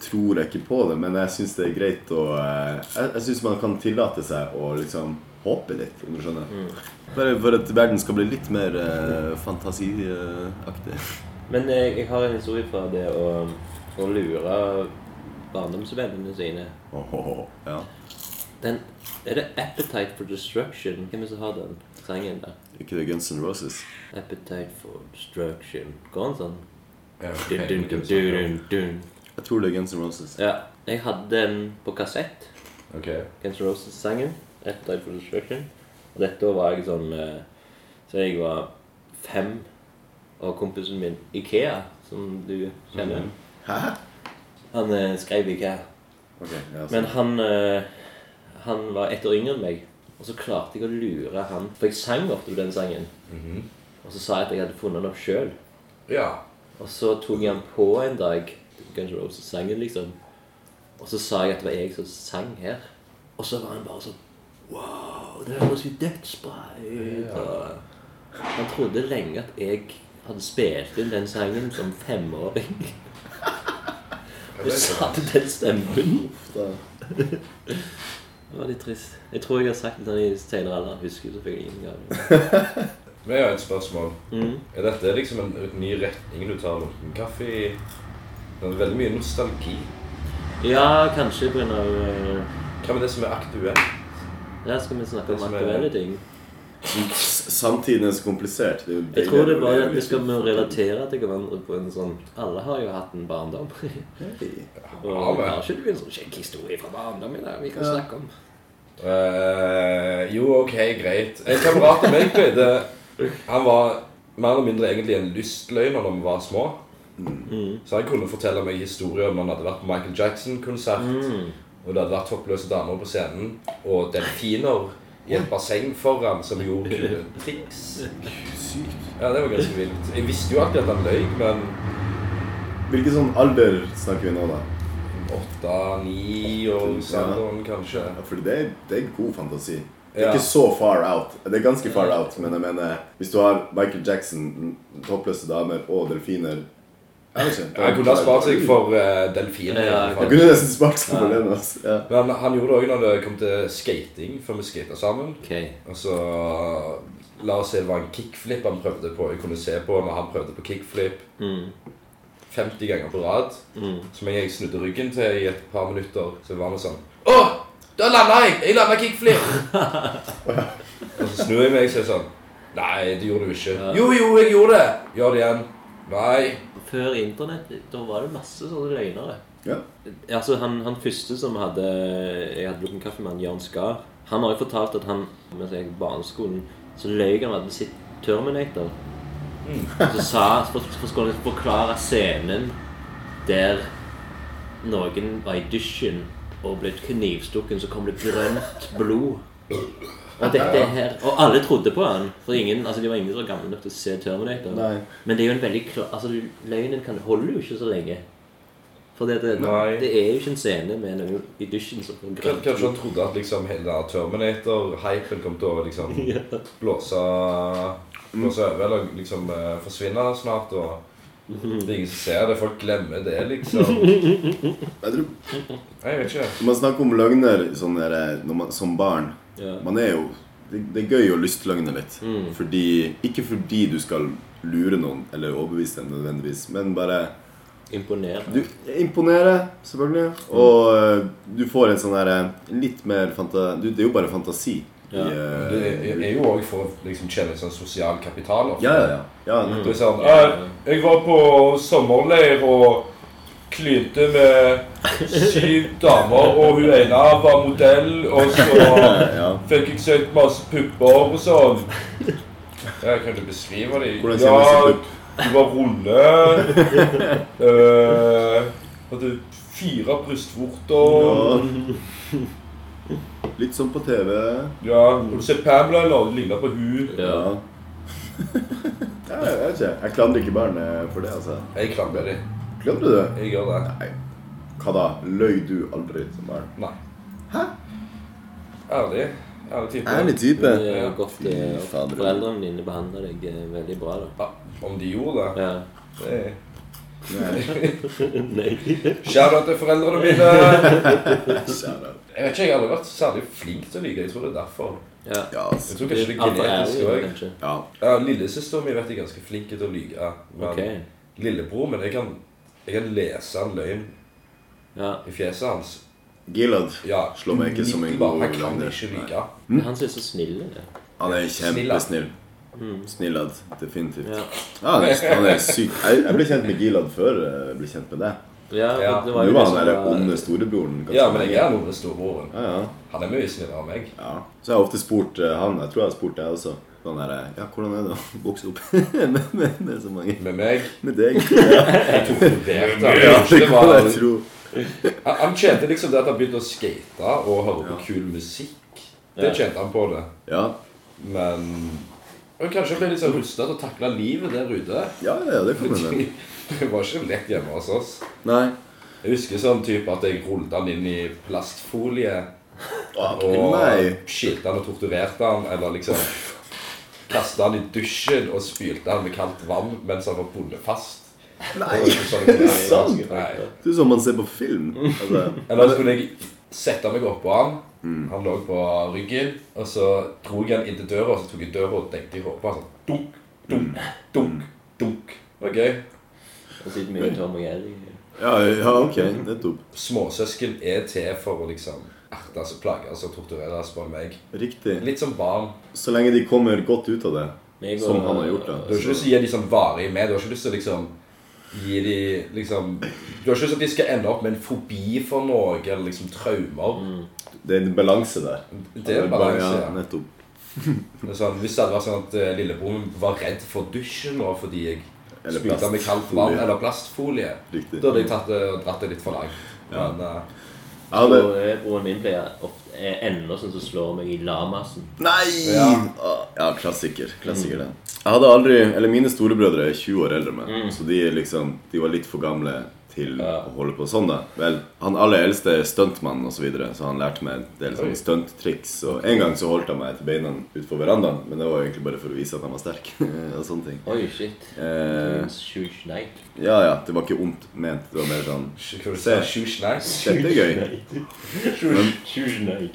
tror jeg ikke på det, men jeg syns det er greit å eh, Jeg, jeg syns man kan tillate seg å liksom håpe litt, om du skjønner. Mm. Bare for at verden skal bli litt mer eh, fantasiaktig. *laughs* Men eh, jeg, jeg har en historie fra det å, å lure barndomsvennene sine. Åhåhå, Ja. Den, er det 'Appetite for Destruction'? Hvem er det som har den sangen der? Ikke det Guns N' Roses? Appetite for Destruction. Går den sånn? Ja, ok. Dun, dun, dun, dun, dun. Jeg tror det er Guns N' Roses. Ja. Jeg hadde den på kassett. Ok. Guns N' Roses-sangen. Etter for Destruction. Og dette år var jeg sånn eh, Så jeg var fem, og kompisen min Ikea, som du kjenner Han eh, skrev Ikea. Ok, ja, så- Men han, eh, han var ett år yngre enn meg, og så klarte jeg å lure han. For jeg sang ofte den sangen. Og så sa jeg at jeg hadde funnet den opp sjøl. Ja. Og så tok jeg han på en dag, kanskje også sangen, liksom. Og så sa jeg at det var jeg som sang her. Og så var han bare sånn Wow, det høres jo dødsbra ut. og- Han trodde lenge at jeg hadde spilt inn den sangen som femåring. Og så hadde den stemmen. Det var litt trist. Jeg tror jeg har sagt det til han i senere alder. Han Husker selvfølgelig ingen gang. Men jeg har et spørsmål. Er dette liksom en, en ny retning du tar rundt en kaffe i? Det er veldig mye nostalgi. Ja, kanskje på grunn av øh, Hva med det som er aktuelt? Ja, skal vi snakke om Det som er- aktuelle ting? S- Samtiden er så komplisert. Det er jo Jeg tror det er bare deilig å at vi skal leve relatere til hverandre på en sånn Alle har jo hatt en *laughs* barndom. Og men- har ikke du en sånn kjekk historie fra barndommen der vi kan snakke om? Eh, jo, ok, greit. En kamerat av meg pleide Han var mer eller mindre egentlig en lystløgner da vi var små. Så han kunne fortelle meg historier om han hadde vært på Michael Jackson-konsert, og det hadde vært toppløse damer på scenen, og delfiner i et basseng foran som gjorde kule triks. Ja, det var ganske vilt. Jeg visste jo alltid at han løy, men Hvilken sånn alder snakker vi nå, da? åtte, ni og sanderen, kanskje. Ja, For det, er- det er god fantasi. Det er Ja. ikke så far out. Det er ganske far out, men jeg mener Hvis du har Michael Jackson, toppløse damer og delfiner Jeg vet ikke. Han kunne ha spart seg for eh, delfiner. i Ja, hvert Jeg fall. kunne nesten spart seg for den. Altså. Ja. Men han gjorde det òg når det kom til skating, for vi skata sammen. Ok. Og så La oss si det var en kickflip han prøvde på. Jeg kunne se på når han prøvde på kickflip 50 ganger på rad. Så med en gang jeg snudde ryggen til i et par minutter, så var han sånn Å! Da landa jeg! Jeg landa kickflip! og så snur jeg meg og sier sånn Nei, det gjorde du ikke. Jo, jo, jeg gjorde det! Gjør det igjen. Nei. Før internett, da var det masse sånne løgnere. Ja. Altså, han, han første som hadde Jeg hadde drukket kaffe med han, Jan Skar. Han har jo fortalt at han mens jeg gikk på barneskolen, så løy han at han sitt Terminator. Mm. Så sa så for, for, skulle han liksom forklare scenen der noen var i dusjen og ble knivstukken, så kom det grønt blod. Og dette her, og alle trodde på han. For ingen, altså Det var ingen som var gamle nok til å se Terminator. Nei. Men det er jo en veldig klar altså du- løgnen kan, holder jo ikke så lenge. For det, det, Nei. det er jo ikke en scene med noen i dusjen som får Kan- grønt Kanskje han trodde at liksom hele den Terminator-hypen kom til *laughs* å liksom blåse Blåse over eller liksom eh, forsvinne snart. Og Mhm. det er ingen som ser det. Folk glemmer det, liksom. *laughs* Jeg tror Jeg vet ikke. Når man snakker om løgner sånn der, når man, som barn Ja. Man er jo det, det er gøy å lystløgne litt. Mm. Fordi, ikke fordi du skal lure noen eller overbevise dem nødvendigvis, men bare imponerende. Du imponerer, selvfølgelig. Og eh, du får en sånn derre litt mer fanta... Du, det er jo bare fantasi. i, Ja. eh, Det er- er jo òg for å liksom tjene sånn sosial kapital. ofte. ja, ja, ja. ja Det er sånn «Eh, Jeg var på sommerleir og klynte *laughs* med syv damer, og hun ene var modell, og så ja. fikk jeg søkt masse pupper og sånn. Jeg kan ikke beskrive dem. Hvordan ser Ja, det ut? de var runde. Eh, hadde fire brystvorter. Litt som på TV. Ja, Har du sett Pamela? eller? Det ligner på hun. Ja. *laughs* jeg vet ikke. Jeg klandrer ikke barn eh, for det, altså. Jeg klamrer dem. Klandrer du? Jeg gjør det. Hva da? Løy du aldri som barn? Nei. Hæ? Ærlig. Ærlig type. Ærlig type. Det er jo godt eh, Fy fader. Foreldrene dine behandler deg eh, veldig bra, da. Ja, om de gjorde det. Ja. *laughs* det er- Nei. Shout-out til foreldrene mine. *laughs* Kjære. Jeg vet ikke, jeg har aldri vært særlig flink til å lyve. Jeg tror det er derfor. Ja. Ja, Jeg altså. tror kanskje det er Alt for genetisk ærlig, òg. kanskje. Ja. Ja, Lillesøsteren min vet jeg er ganske flink til å lyve. Men Ok. lillebror min jeg kan, jeg kan lese en løgn Ja. i fjeset hans. Gilad Ja, slår meg ikke som en umiddelbart. god Han kan løgner. ikke lyve. Mm. Han ser så snill ut. ja. Han er Snillad. kjempesnill. Mm. Snillad, definitivt. Ja. Ja. han, er, han er syk. Jeg, jeg ble kjent med Gilad før eh, jeg ble kjent med deg. Ja, Ja. for det var Nå jo det var han som der var- onde storebroren. ganske liksom Ja, men jeg lenge. er noe med storebroren. ja, ja, Han er mye snillere enn meg. ja. Så jeg har ofte spurt eh, han, jeg tror jeg har spurt deg også, sånn her eh, Ja, hvordan er det å vokse opp *laughs* med, med, med så mange Med meg. Med deg? Ja, Jeg tok vurdert han. det Det kan var- jeg tro. Han han tjente liksom det at han begynte å skate og høre på kul musikk. Det tjente han på det. Ja, Men og kanskje ble litt sånn rustet til å takle livet der ute. ja, ja det kan jeg *laughs* hende. Det var ikke lett hjemme hos oss. Nei. Jeg husker sånn type at jeg rullet han inn i plastfolie Å, og nei. skilte han og torturerte han, eller liksom kastet han i dusjen og spylte han med kaldt vann mens han var bundet fast. Nei, Det var ikke sånn jeg er det sant? gjorde. Nei. Det er som man ser på film. Altså, Eller så kunne jeg sette meg oppå han. Han lå på ryggen, og så dro jeg han inn til døra, og så tok jeg døra og dengte i hodet på han. Sånn, dunk, dunk, dunk, dunk. Det var gøy. Og siden mye Tom og Jerry. ja, ja, ok, nettopp. Småsøsken er til for å liksom ertes og plages og tortureres, spør du meg. Riktig. Litt som barn. Så lenge de kommer godt ut av det, Meg og- som han har gjort, Du har da. ikke lyst til å gi dem sånn varig med. Du har ikke lyst til å liksom gi dem liksom Du har ikke lyst til at de skal ende opp med en fobi for noe, eller liksom traumer. Det er en balanse der. Det er balanse. Mm. Ja, ja. nettopp. Det er Sånn, hvis det hadde vært sånn at eh, lillebror min var redd for dusjen nå fordi jeg Eller spylte med kaldt plastfolie. vann eller plastfolie, Riktig. da hadde jeg tatt det, dratt det litt for langt. Men eh, Ja, Og det, eh, broren min pleier ofte, er ennå sånn som slår meg i lamasen. nei! Ja, Ja. ja klassiker. Klassiker, den. Jeg hadde aldri Eller mine storebrødre er 20 år eldre enn Mm. meg, så de, er liksom, de var litt for gamle til å holde på sånn, da. Vel, han aller eldste er stuntmann og så videre, så han lærte meg en del sånne stunttriks. Og en gang så holdt han meg til beina utfor verandaen, men det var jo egentlig bare for å vise at han var sterk. *laughs* og sånne ting. Oi, shit. Eh, Sjuk sneik. ja, ja, det var ikke ondt ment. Det var mer sånn hva var det du sa? Shush nice? Dette er gøy. Sjuk sneik.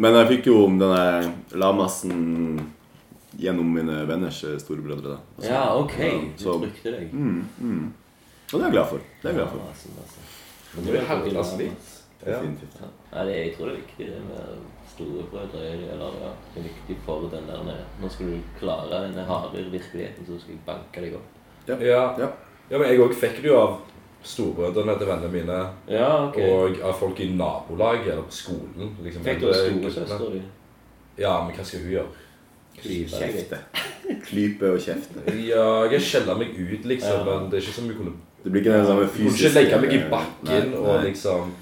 Men jeg fikk jo om denne lamassen gjennom mine venners eh, storebrødre. da. Altså, Ja, ok. Du så- Mm, trykte deg. Og det er jeg glad for. Det er jeg glad for. Lamasen, altså. Men det er jo herreklassen din. Ja. Definitivt. Nei, det, jeg tror det er viktig det med store brødre. Eller ja, det er viktig for den der Nå skal du klare denne harde virkeligheten, så skal jeg banke deg opp. Ja. Ja. ja, men jeg òg fikk det jo av storebrødrene til vennene mine. Ja, ok. Og av folk i nabolaget eller på skolen. Liksom, Fikk du Eller- storesøster di? Ja, men hva skal hun gjøre? Kjefte. Klype og kjefte. Ja, jeg skjeller meg ut, liksom, men det er ikke som jeg kunne Det blir ikke den samme Du kunne fysiske ikke legge meg i bakken Nei, og nei. liksom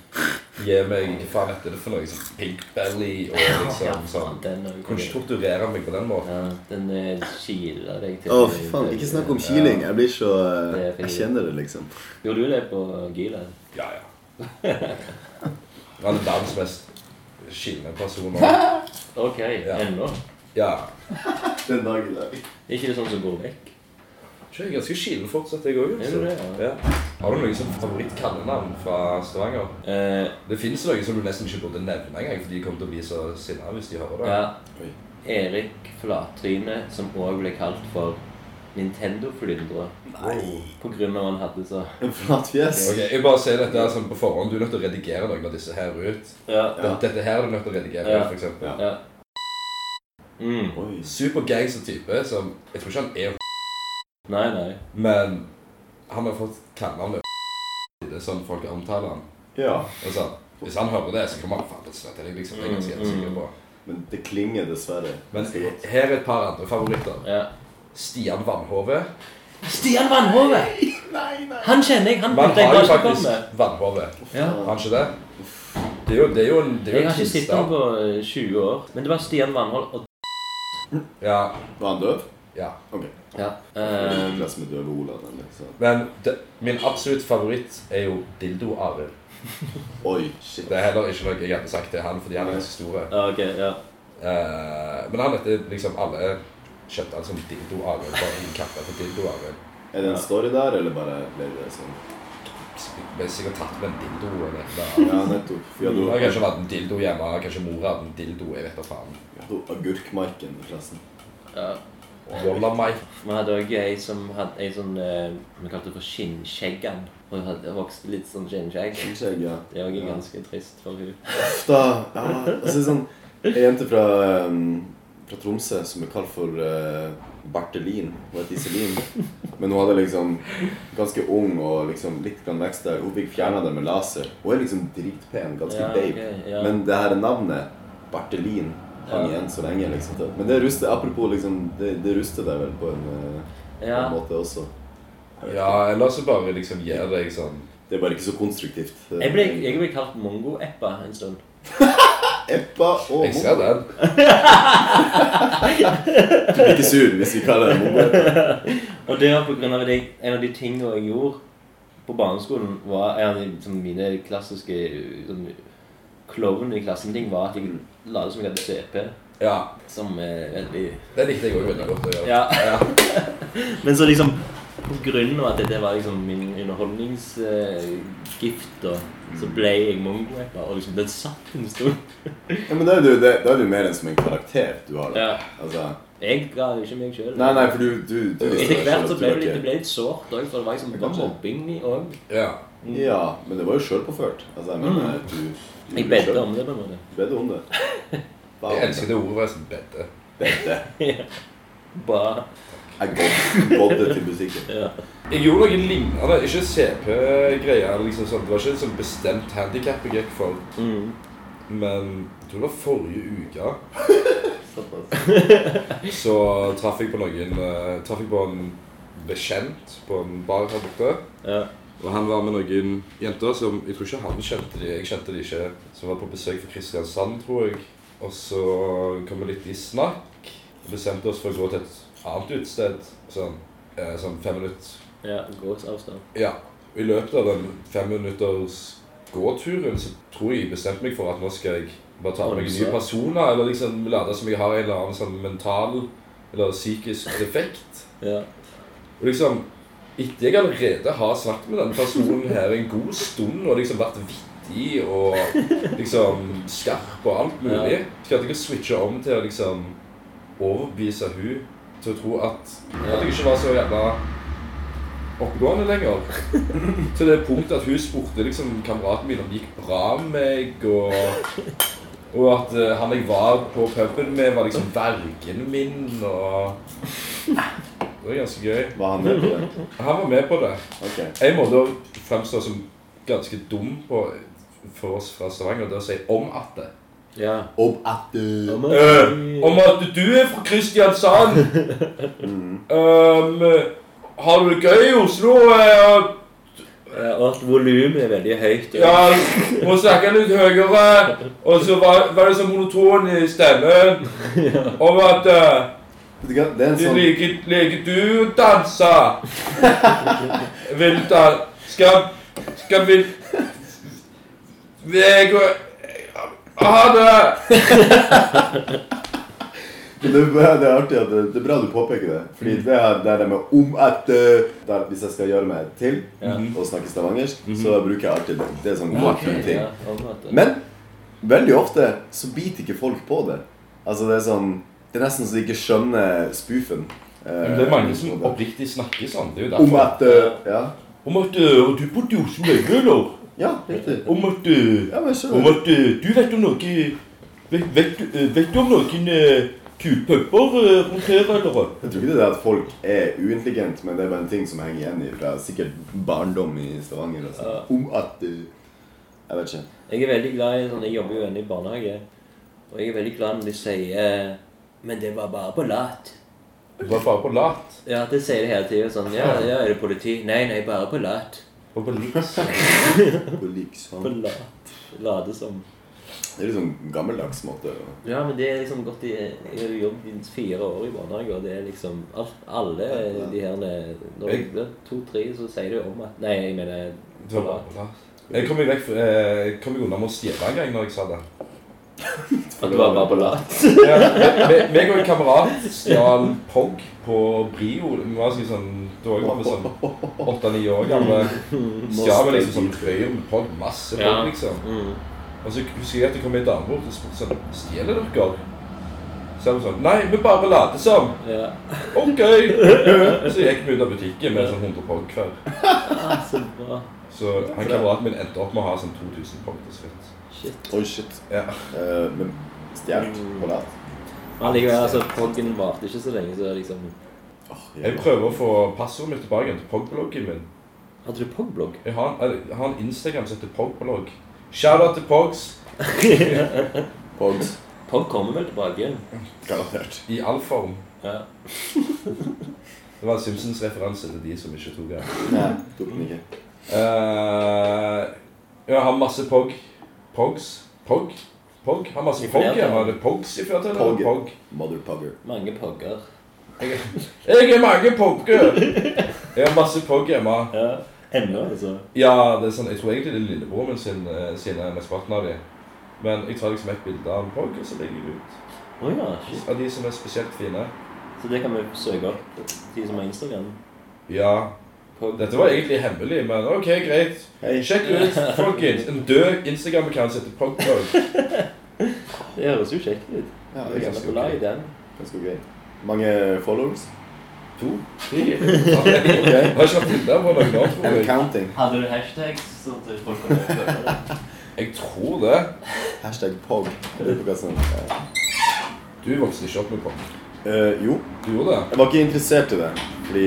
gi meg Hva faen heter det for noe? Liksom, pink belly og liksom sånn. Den er Du kunne ikke torturere meg på den måten. Ja, den eh, kiler deg til Å, faen. Ikke snakk om kiling. Jeg blir så eh, Det er Jeg kjenner det, liksom. Gjorde du det på Gila? Ja, ja. Han er verdens mest skilne person. *laughs* og- Ok, Ja. ennå? Ja. Den dagen der. Er ikke det sånn som går vekk? Ikke, jeg er ganske skilen fortsatt, jeg òg. Er du det? Ja. Ja. Har du noe som favorittkallenavn fra Stavanger? Eh, Det fins noe som du nesten ikke burde nevne engang, for de kommer til å bli så sinna hvis de hører det. ja. Erik Flattryne, som òg ble kalt for Nintendo-flyndre. På grunn av han hadde så En flat fjes. Ok, Jeg bare sier dette her sånn på forhånd. Du er nødt til å redigere noen av disse her ut. Ja. Dette- Dette her er du nødt til å redigere Ja. ut, for eksempel. ja. Mm. Oi. Supergangster-type som Jeg tror ikke han er Nei, nei. men han har fått kallenavnet Det er sånn folk omtaler han. Ja. Og sånn, hvis han hører det, så kommer han faen til å svette deg, liksom. Det er jeg ganske helt sikker på. Mm, Men det klinger dessverre. Men ganske godt. her er et par andre favoritter. Ja. Stian Vannhove. Stian *laughs* Vannhove! Han kjenner Mm. jeg. Han Man burde jeg har jo bare snakke om. faktisk Vannhove. Ja. Har han ikke det? Det er jo, det er jo en, det er jo Jeg en har ikke sett ham tilstand. på eh, 20 år. Men det var Stian Vannhold og Ja, Var han døv? ja. Ok. ja. Um, ehm, med døve liksom. Olav, nemlig. Så. Men det, min absolutt favoritt er jo Dildo-Arild. Oi, shit. Det er heller ikke noe jeg hadde sagt til han, fordi han er så stor. ja, ok, ja. Eh, men han heter liksom alle kjøpte han som Dildo-Arild, bare innkappa på Dildo-Arild. Er det en story der, eller bare ble det sånn? Ble sikkert tatt med en dildo. eller et eller annet. Ja, nettopp. Vi hadde Han jo har kanskje vært en dildo hjemme, kanskje mor hadde en dildo. jeg vet da faen. vi hadde jo agurkmarken, forresten. ja. Walla Mike. Vi hadde òg ei som hadde ei sånn eh, Vi kalte det for skinnskjeggan. Hun hadde vokste litt sånn skinnskjegg. Kanskje jeg, ja. Det er òg Ja. ganske trist for hun. Da, ja, altså sånn, En jente fra, um, fra Tromsø som er kalt for eh, Bertelin. Hun het Iselin. Men hun hadde liksom ganske ung og liksom litt grann vekst der. Hun fikk fjerna det med laser. Hun er liksom dritpen. Ganske Ja, babe. ok, ja. Men det her navnet, Bertelin, Ja. hang igjen så lenge. liksom til. Men det ruster apropos liksom, det, det ruster deg vel på en, eh, Ja. på en måte også. Ja, eller så bare liksom gir deg sånn Det er bare ikke så konstruktivt. eh. Jeg ble, jeg ble kalt mongo-eppa en stund. Eppa og Jeg ser Mongo. den. Du blir ikke sur hvis vi kaller det Mongo. Og det var på grunn av at jeg, en av de tingene jeg gjorde på barneskolen, var en av de, som mine klassiske sånn, klovn i klassen-ting, var at jeg la det som jeg hadde CP. Ja, Som er veldig Det likte jeg òg veldig godt å gjøre. Ja. *laughs* Men så liksom på grunn av at dette var liksom min underholdningsgift, da, så ble jeg mongo-eppa, og liksom den satt en stund. Ja, men da er, du, det, da er du mer enn som en karakter du har. da. Ja. Altså, Jeg ga jo ikke meg sjøl. nei, nei, for du, du, du Etter hvert så du ble var det litt, det ikke- ble litt sårt òg, for det var liksom det var mobbing òg. Ja. Mm. Ja, men det var jo sjølpåført. Altså, jeg mener, du, du Jeg ble bedte selv- om det på en måte. Bedde om *laughs* det. Ba om Jeg elsker det ordet være som bedde. Bedde. Bare Jeg bod- bodde til musikken. Jeg gjorde noe lignende. Ikke CP-greier. eller liksom sånn. Det var ikke et sånn bestemt handikap jeg gikk for. Mm. Men jeg tror det var forrige uke. Så traff jeg på noen eh, Traff jeg på en bekjent på en bar her borte. Ja. Og han var med noen jenter som Jeg tror ikke han kjente de, jeg kjente de ikke. Som var på besøk fra Kristiansand, tror jeg. Og så kom vi litt i snakk. Og bestemte oss for å gå til et annet utested. Sånn, eh, sånn fem minutter ja, gåsavstand. ja. I løpet av den fem minutters gåturen så tror jeg jeg bestemte meg for at nå skal jeg bare ta med meg nye personer, eller liksom late som jeg har en eller annen sånn mental eller psykisk defekt. Ja. Og liksom, etter jeg allerede har snakket med denne personen her en god stund, og liksom vært vittig og liksom skarp og alt mulig, skal jeg ikke switche om til å liksom overbevise hun til å tro at, at jeg ikke var så jævla oppegående lenger. Til det punktet at hun spurte liksom kameraten min om det gikk bra med meg, og, og at eh, han jeg var på puben med, var liksom vergen min, og Det var ganske gøy. Var han med på det? Han var med på det. Ok. Jeg må da fremstå som ganske dum på, for oss fra Stavanger det å si om at det. Ja. Om at eh, Eh, om at du er fra Kristiansand. Ehm, har du det gøy i Oslo? Eh, Eh, Og at volumet er veldig høyt. og- ja, må snakke litt høyere. Og så var, var det så monoton i stemmen. Om at eh, Vet du hva, det er en de sånn liker, liker du å *laughs* danse? Vil da Skal Skal vi Jeg og eh, Ha det! Det er, bra, det er artig at det, det er bra du påpeker det. Fordi det her det der med om at eh, der, Hvis jeg skal gjøre meg til og snakke stavangersk, Mhm. så bruker jeg alltid det. Det er sånn go-to ting. Ja, om at det- Men veldig ofte så biter ikke folk på det. Altså Det er sånn Det er nesten så de ikke skjønner spoofen. Eh, Det er mange som oppriktig snakker sånn. Det er jo Om derfor. at eh, Ja, Om at eh, og du bodde i Oslo lenge, eller? ja riktig. Om at, eh, äh, Ja, men jeg om skjønner. at eh, du vet om noe Vet, vet, du- äh, eh, vet du om noen eh, kule puber eh, rundt her, eller? hva? Jeg tror ikke det er at folk er uintelligente, men det er bare en ting som henger igjen i fra sikkert barndom i Stavanger. Altså. Om at eh, Jeg vet ikke. Jeg er veldig glad i sånn, Jeg jobber jo ennå i barnehage. Og jeg er veldig glad når de sier eh, 'Men det var bare på lat'. Du var bare på lat. Ja, det sier de hele tiden. Sånn, ja, ja, 'Er det politi?' 'Nei, nei, bare på lat'. Og på liks. *laughs* På lik sånn. På lat. Late som. Det er litt sånn gammeldags måte. å- Ja, men det er liksom gått i Jeg har jo jobbet i fire år i barnehage, og det er liksom alt, Alle de her eh, Når Jeg- jeg blir to-tre, så sier de om at Nei, jeg mener Det var bare på lat. Jeg kom meg vekk fra- eh, jeg kom meg unna med å stjele en gang når jeg sa det. At du var bare på lat. Ja, me- meg og en kamerat stjal POG på Brio. Vi var sikkert sånn, da var vi sånn åtte-ni år gamle. Stjal vi liksom sånn trøyer med POG. Masse POG, Ja. liksom. Mm. Og så husker jeg at det kom en dame bort og spurte sånn Stjeler dere? Så er det sånn Nei, vi bare later som. Ja. Ok. Så gikk vi ut av butikken med sånn 100 pogg hver. Ah, så bra. Så han kameraten min endte opp med å ha sånn 2000 pogg til slutt. Shit. Oi, shit. Mm. Ja. Eh, men stjålet på lat? Men likevel, altså, poggen varte ikke så lenge, så liksom Åh, Jeg jævla. prøver å få passordet mitt tilbake til pogbloggen min. Hadde du pogblogg? Jeg har, en- jeg har en Instagram som heter pogblogg. Shout-out til Pogs. Pogs. Pog kommer vel tilbake igjen? Garantert. I all form. Ja. Det var en Simpsons-referanse til de som ikke tok det. Nei, tok den ikke. Eh, jeg har masse POG. POGs? POG? POG? Har masse I POG flertall. hjemme. Er det POGs i flertall? eller POG. POG? Mother pugger. Mange pogger. Jeg er mange POG-er! Jeg har masse POG hjemme. Ja. Ennå, altså. Ja, det er sånn, jeg tror egentlig det er lillebror min sin, eh, sine mesteparten av de. Men jeg tar liksom et bilde av en POG, og så legger jeg ut. Å ja, shit. Av de som er spesielt fine. Så det kan vi søke opp, de som har Instagram. Ja. Pog. Dette var egentlig hemmelig, men ok, greit. Hei. Sjekk ut, folkens. En død Instagram-account som heter POG-POG. Det høres jo kjekt ut. Vi Ja, det er kan ganske få la i ok. den. Ganske ok. Mange followers? To? Tre? Jeg *laughs* Ok. har ikke vært inne der på noen år, tror *laughs* And jeg. counting. Hadde du hashtags, så at folk kan følge *laughs* deg? Jeg tror det. Hashtag pog. Jeg lurer på hva som eh, Du vokste ikke opp med pop. eh, Jo, Du gjorde det? jeg var ikke interessert i det. Fordi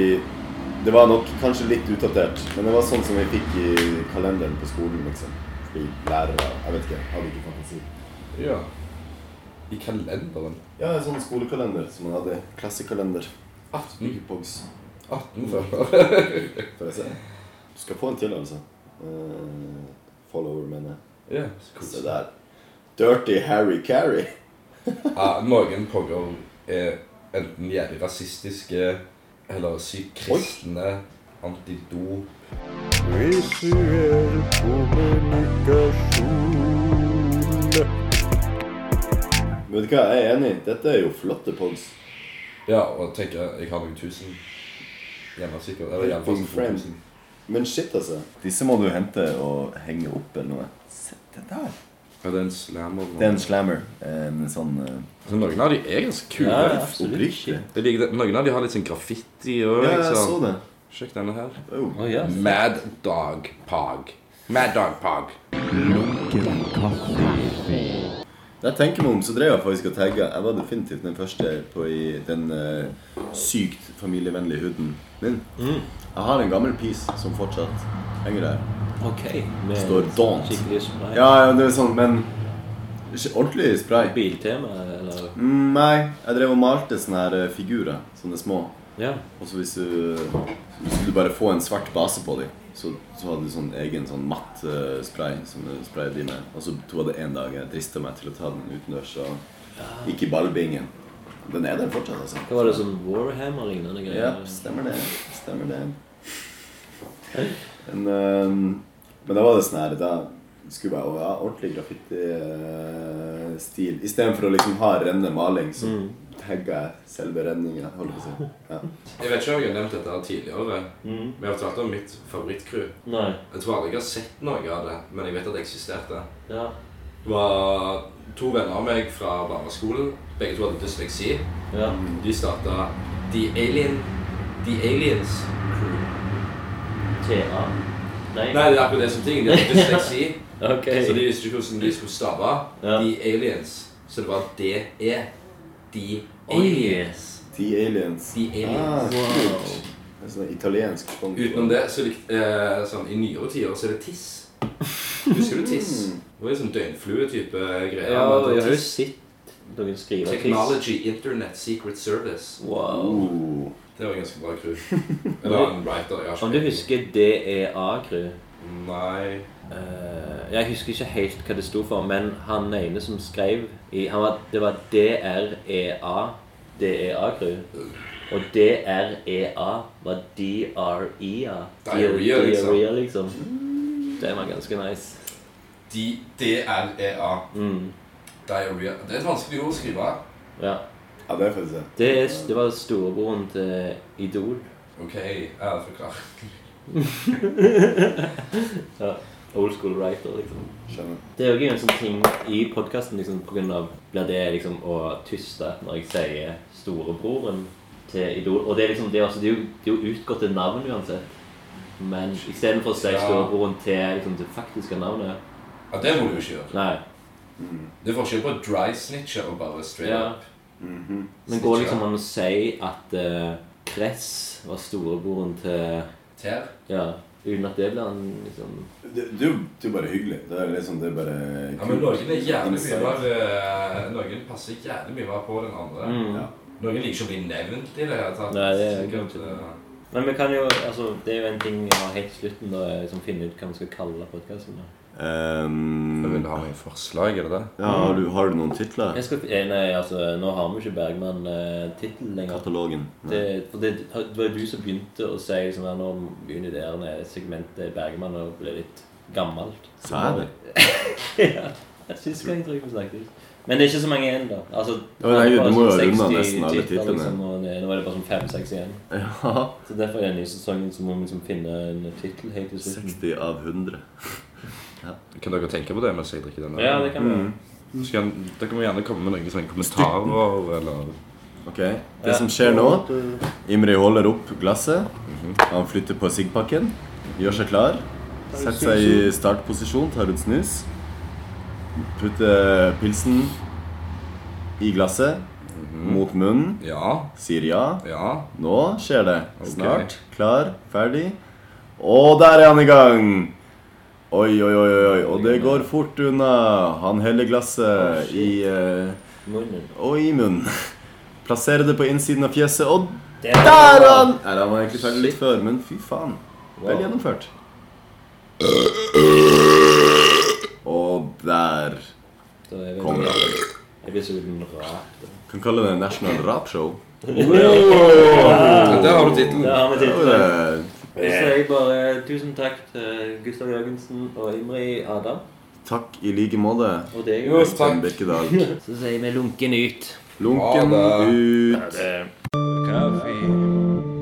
det var nok kanskje litt utdatert. Men det var sånn som vi fikk i kalenderen på skolen, liksom. Fordi lærere Jeg vet ikke. Hadde ikke fantasi. Ja. I kalenderen. Ja, en sånn skolekalender som man hadde. Klassekalender. 18. Mye pogs. 18 følger. Får jeg se. Du skal få en til, altså. Eh, follower, mener jeg. *laughs* Ja, så Se koselig. der. Dirty Harry Carry. Ja, noen pogger er enten jævlig rasistiske eller sykt kristne. Antido. Visuell kommunikasjon. Men vet du hva, jeg er enig. Dette er jo flotte pogs. Ja, og tenker jeg, jeg har noen tusen hjemme sikkert. Eller i alle fall Big to friend. tusen. Men shit, altså. Disse må du hente og henge opp eller noe. Se det der. Ja, det er en slammer. Det er en slammer. En sånn uh, Så noen av de er ganske kule. Ja, absolutt. oppriktig. Jeg liker det. Noen av de har litt sånn graffiti og Ja, jeg så liksom. det. Sjekk denne her. Oh. Å ja. Mad Dog Pog. Mad Dog Pog. Jeg tenker meg om, så drev jeg faktisk og tagga. Jeg var definitivt den første på i den eh, sykt familievennlige huden min. Jeg har en gammel piece som fortsatt henger der. Ok. Med sånn Står don't. Skikkelig spray. Ja, ja, det er sånn, men Ikke ordentlig spray. Biltema, eller Mm, nei, jeg drev og malte sånne her eh, figurer. Sånne små. Ja. Og så hvis du så skulle du bare få en svart base på dem, så, så hadde du sånn egen sånn matt eh, spray som du sprayet de med. Og så tok det en dag jeg drista meg til å ta den utendørs og gikk i ballbingen. Den er der fortsatt, altså. Hva var det sånn Warhammer-lignende Ja, greier? stemmer det. Stemmer det. Men, øhm, men da var det sånn her Da skulle jeg jo ha ordentlig graffitistil. I stedet for å liksom ha rennende maling, så Mm. tagga jeg selve renninga. holdt jeg på å si. Ja. Jeg vet ikke om jeg har nevnt dette her tidligere. Vi har talt om mitt favorittcrew. Mm. Nei. Jeg tror aldri jeg har sett noe av det, men jeg vet at det eksisterte. Ja. Det var to venner av meg fra barneskolen. Begge to hadde dysleksi. Ja. De starta The Alien The Aliens Crew. TA. Nei. Nei, det er akkurat det som ting. De hadde dysleksi, *laughs* Ok. så de visste ikke hvordan de skulle stave. Ja. The Aliens. Så det var DE. The Oi, Aliens. yes. The Aliens. The Aliens. Ah, Wow. kult. Det er sånn italiensk språk. Utenom det, så likt, eh, sånn, i nyere tider så er det tiss. Husker du tiss? Det var en sånn døgnflue-type greier. Mm. Ja, jeg men det har var jo tiss. sett noen skrive Technology Internet Secret Service. Wow. Oh. Det var en ganske bra *laughs* crew. Eller en writer. Jeg har ikke Om du E peiling. husker DEA-crew Nei. Eh, Jeg husker ikke helt hva det sto for, men han ene som skrev i han var, Det var E DREA. DEA-crew. E Og DREA var DREA. Diarrhea, liksom. Diarrhea, liksom. Det var ganske nice. Mm, D- DREA. Diarrhea. Det er et vanskelig ord å skrive. Ja. Ja, det er faktisk det. Det, er, det var storebroren til Idol. OK, jeg er forklart. Ja. Old school writer, liksom. Skjønner. Det er jo en sånn ting i podkasten liksom, på grunn av blir det liksom å tyste når jeg sier storebroren til Idol. Og det er liksom, det er, altså, det er jo, det er jo utgåtte navn uansett. Men istedenfor å si Ja. storebroren til liksom, det faktiske navnet Ja, det må du jo ikke gjøre. Nei. Det er forskjell på dry snitcher og bare straight Ja. up. Men går liksom an å si at eh, Kress var storebroren til Ter. Ja, uten at det blir en liksom Det, det, er jo- det er jo bare hyggelig. Det er liksom det er bare Ja, men noen er jævlig mye Inside. mer eh, Noen passer jævlig mye mer på den andre. Ja. Noen liker ikke å bli nevnt i det hele tatt. Mm. Nei, det er Sikkert, greit. eh, Men vi kan jo, altså, det er jo en ting vi har helt til slutten, da, er liksom finne ut hva vi skal kalle podkasten. Ehm, ha noen forslag, er det det? ja, har du, har du noen titler? Jeg skal, eh, nei, altså, nå har vi ikke Bergman-tittel lenger. Katalogen. Det, for det, det var jo du som begynte å si liksom, her, nå begynner det der nede, segmentet Bergman og blir litt gammelt. Sa jeg det? ja, jeg synes ikke jeg tror jeg vi snakket ut. Men det er ikke så mange igjen, da. Altså, Ja, nei, det var du må jo sånn 60 runde nesten alle titler, titlene. Liksom, og det, nå er det bare sånn fem-seks igjen. Ja. Så derfor i den nye sesongen så må vi liksom finne en tittel helt til slutten. 60 av 100. Kan dere tenke på det mens jeg drikker den? Ja, det kan Mm. vi. Skal jeg- Dere må gjerne komme med noen sånne kommentarer eller Ok, Det som skjer nå Imri holder opp glasset. Han flytter på siggpakken. Gjør seg klar. Setter seg i startposisjon, tar ut snus. Putter pilsen i glasset. Mot munnen. Ja. Sier ja. Ja. Nå skjer det. Ok. Snart. Klar. Ferdig. Og der er han i gang! Oi, oi, oi, oi, oi. og det går fort unna. Han heller glasset i eh, Munnen. og i munnen. *laughs* Plassere det på innsiden av fjeset, og Der der er han! Nei, han var egentlig ferdig litt før, men fy faen. Vel gjennomført. Og der Da er kom vel rapen. episoden rart. da. Kan kalle det National Rap Show. Ja, Der har du tittelen. Der har vi Det er jo tittelen. det. Så sier jeg bare tusen takk til Gustav Jørgensen og Imri Adam. Takk i like måte, Og deg. Øystein Birkedal. Så sier vi lunken ut. Lunken Ha ut. Kaffe.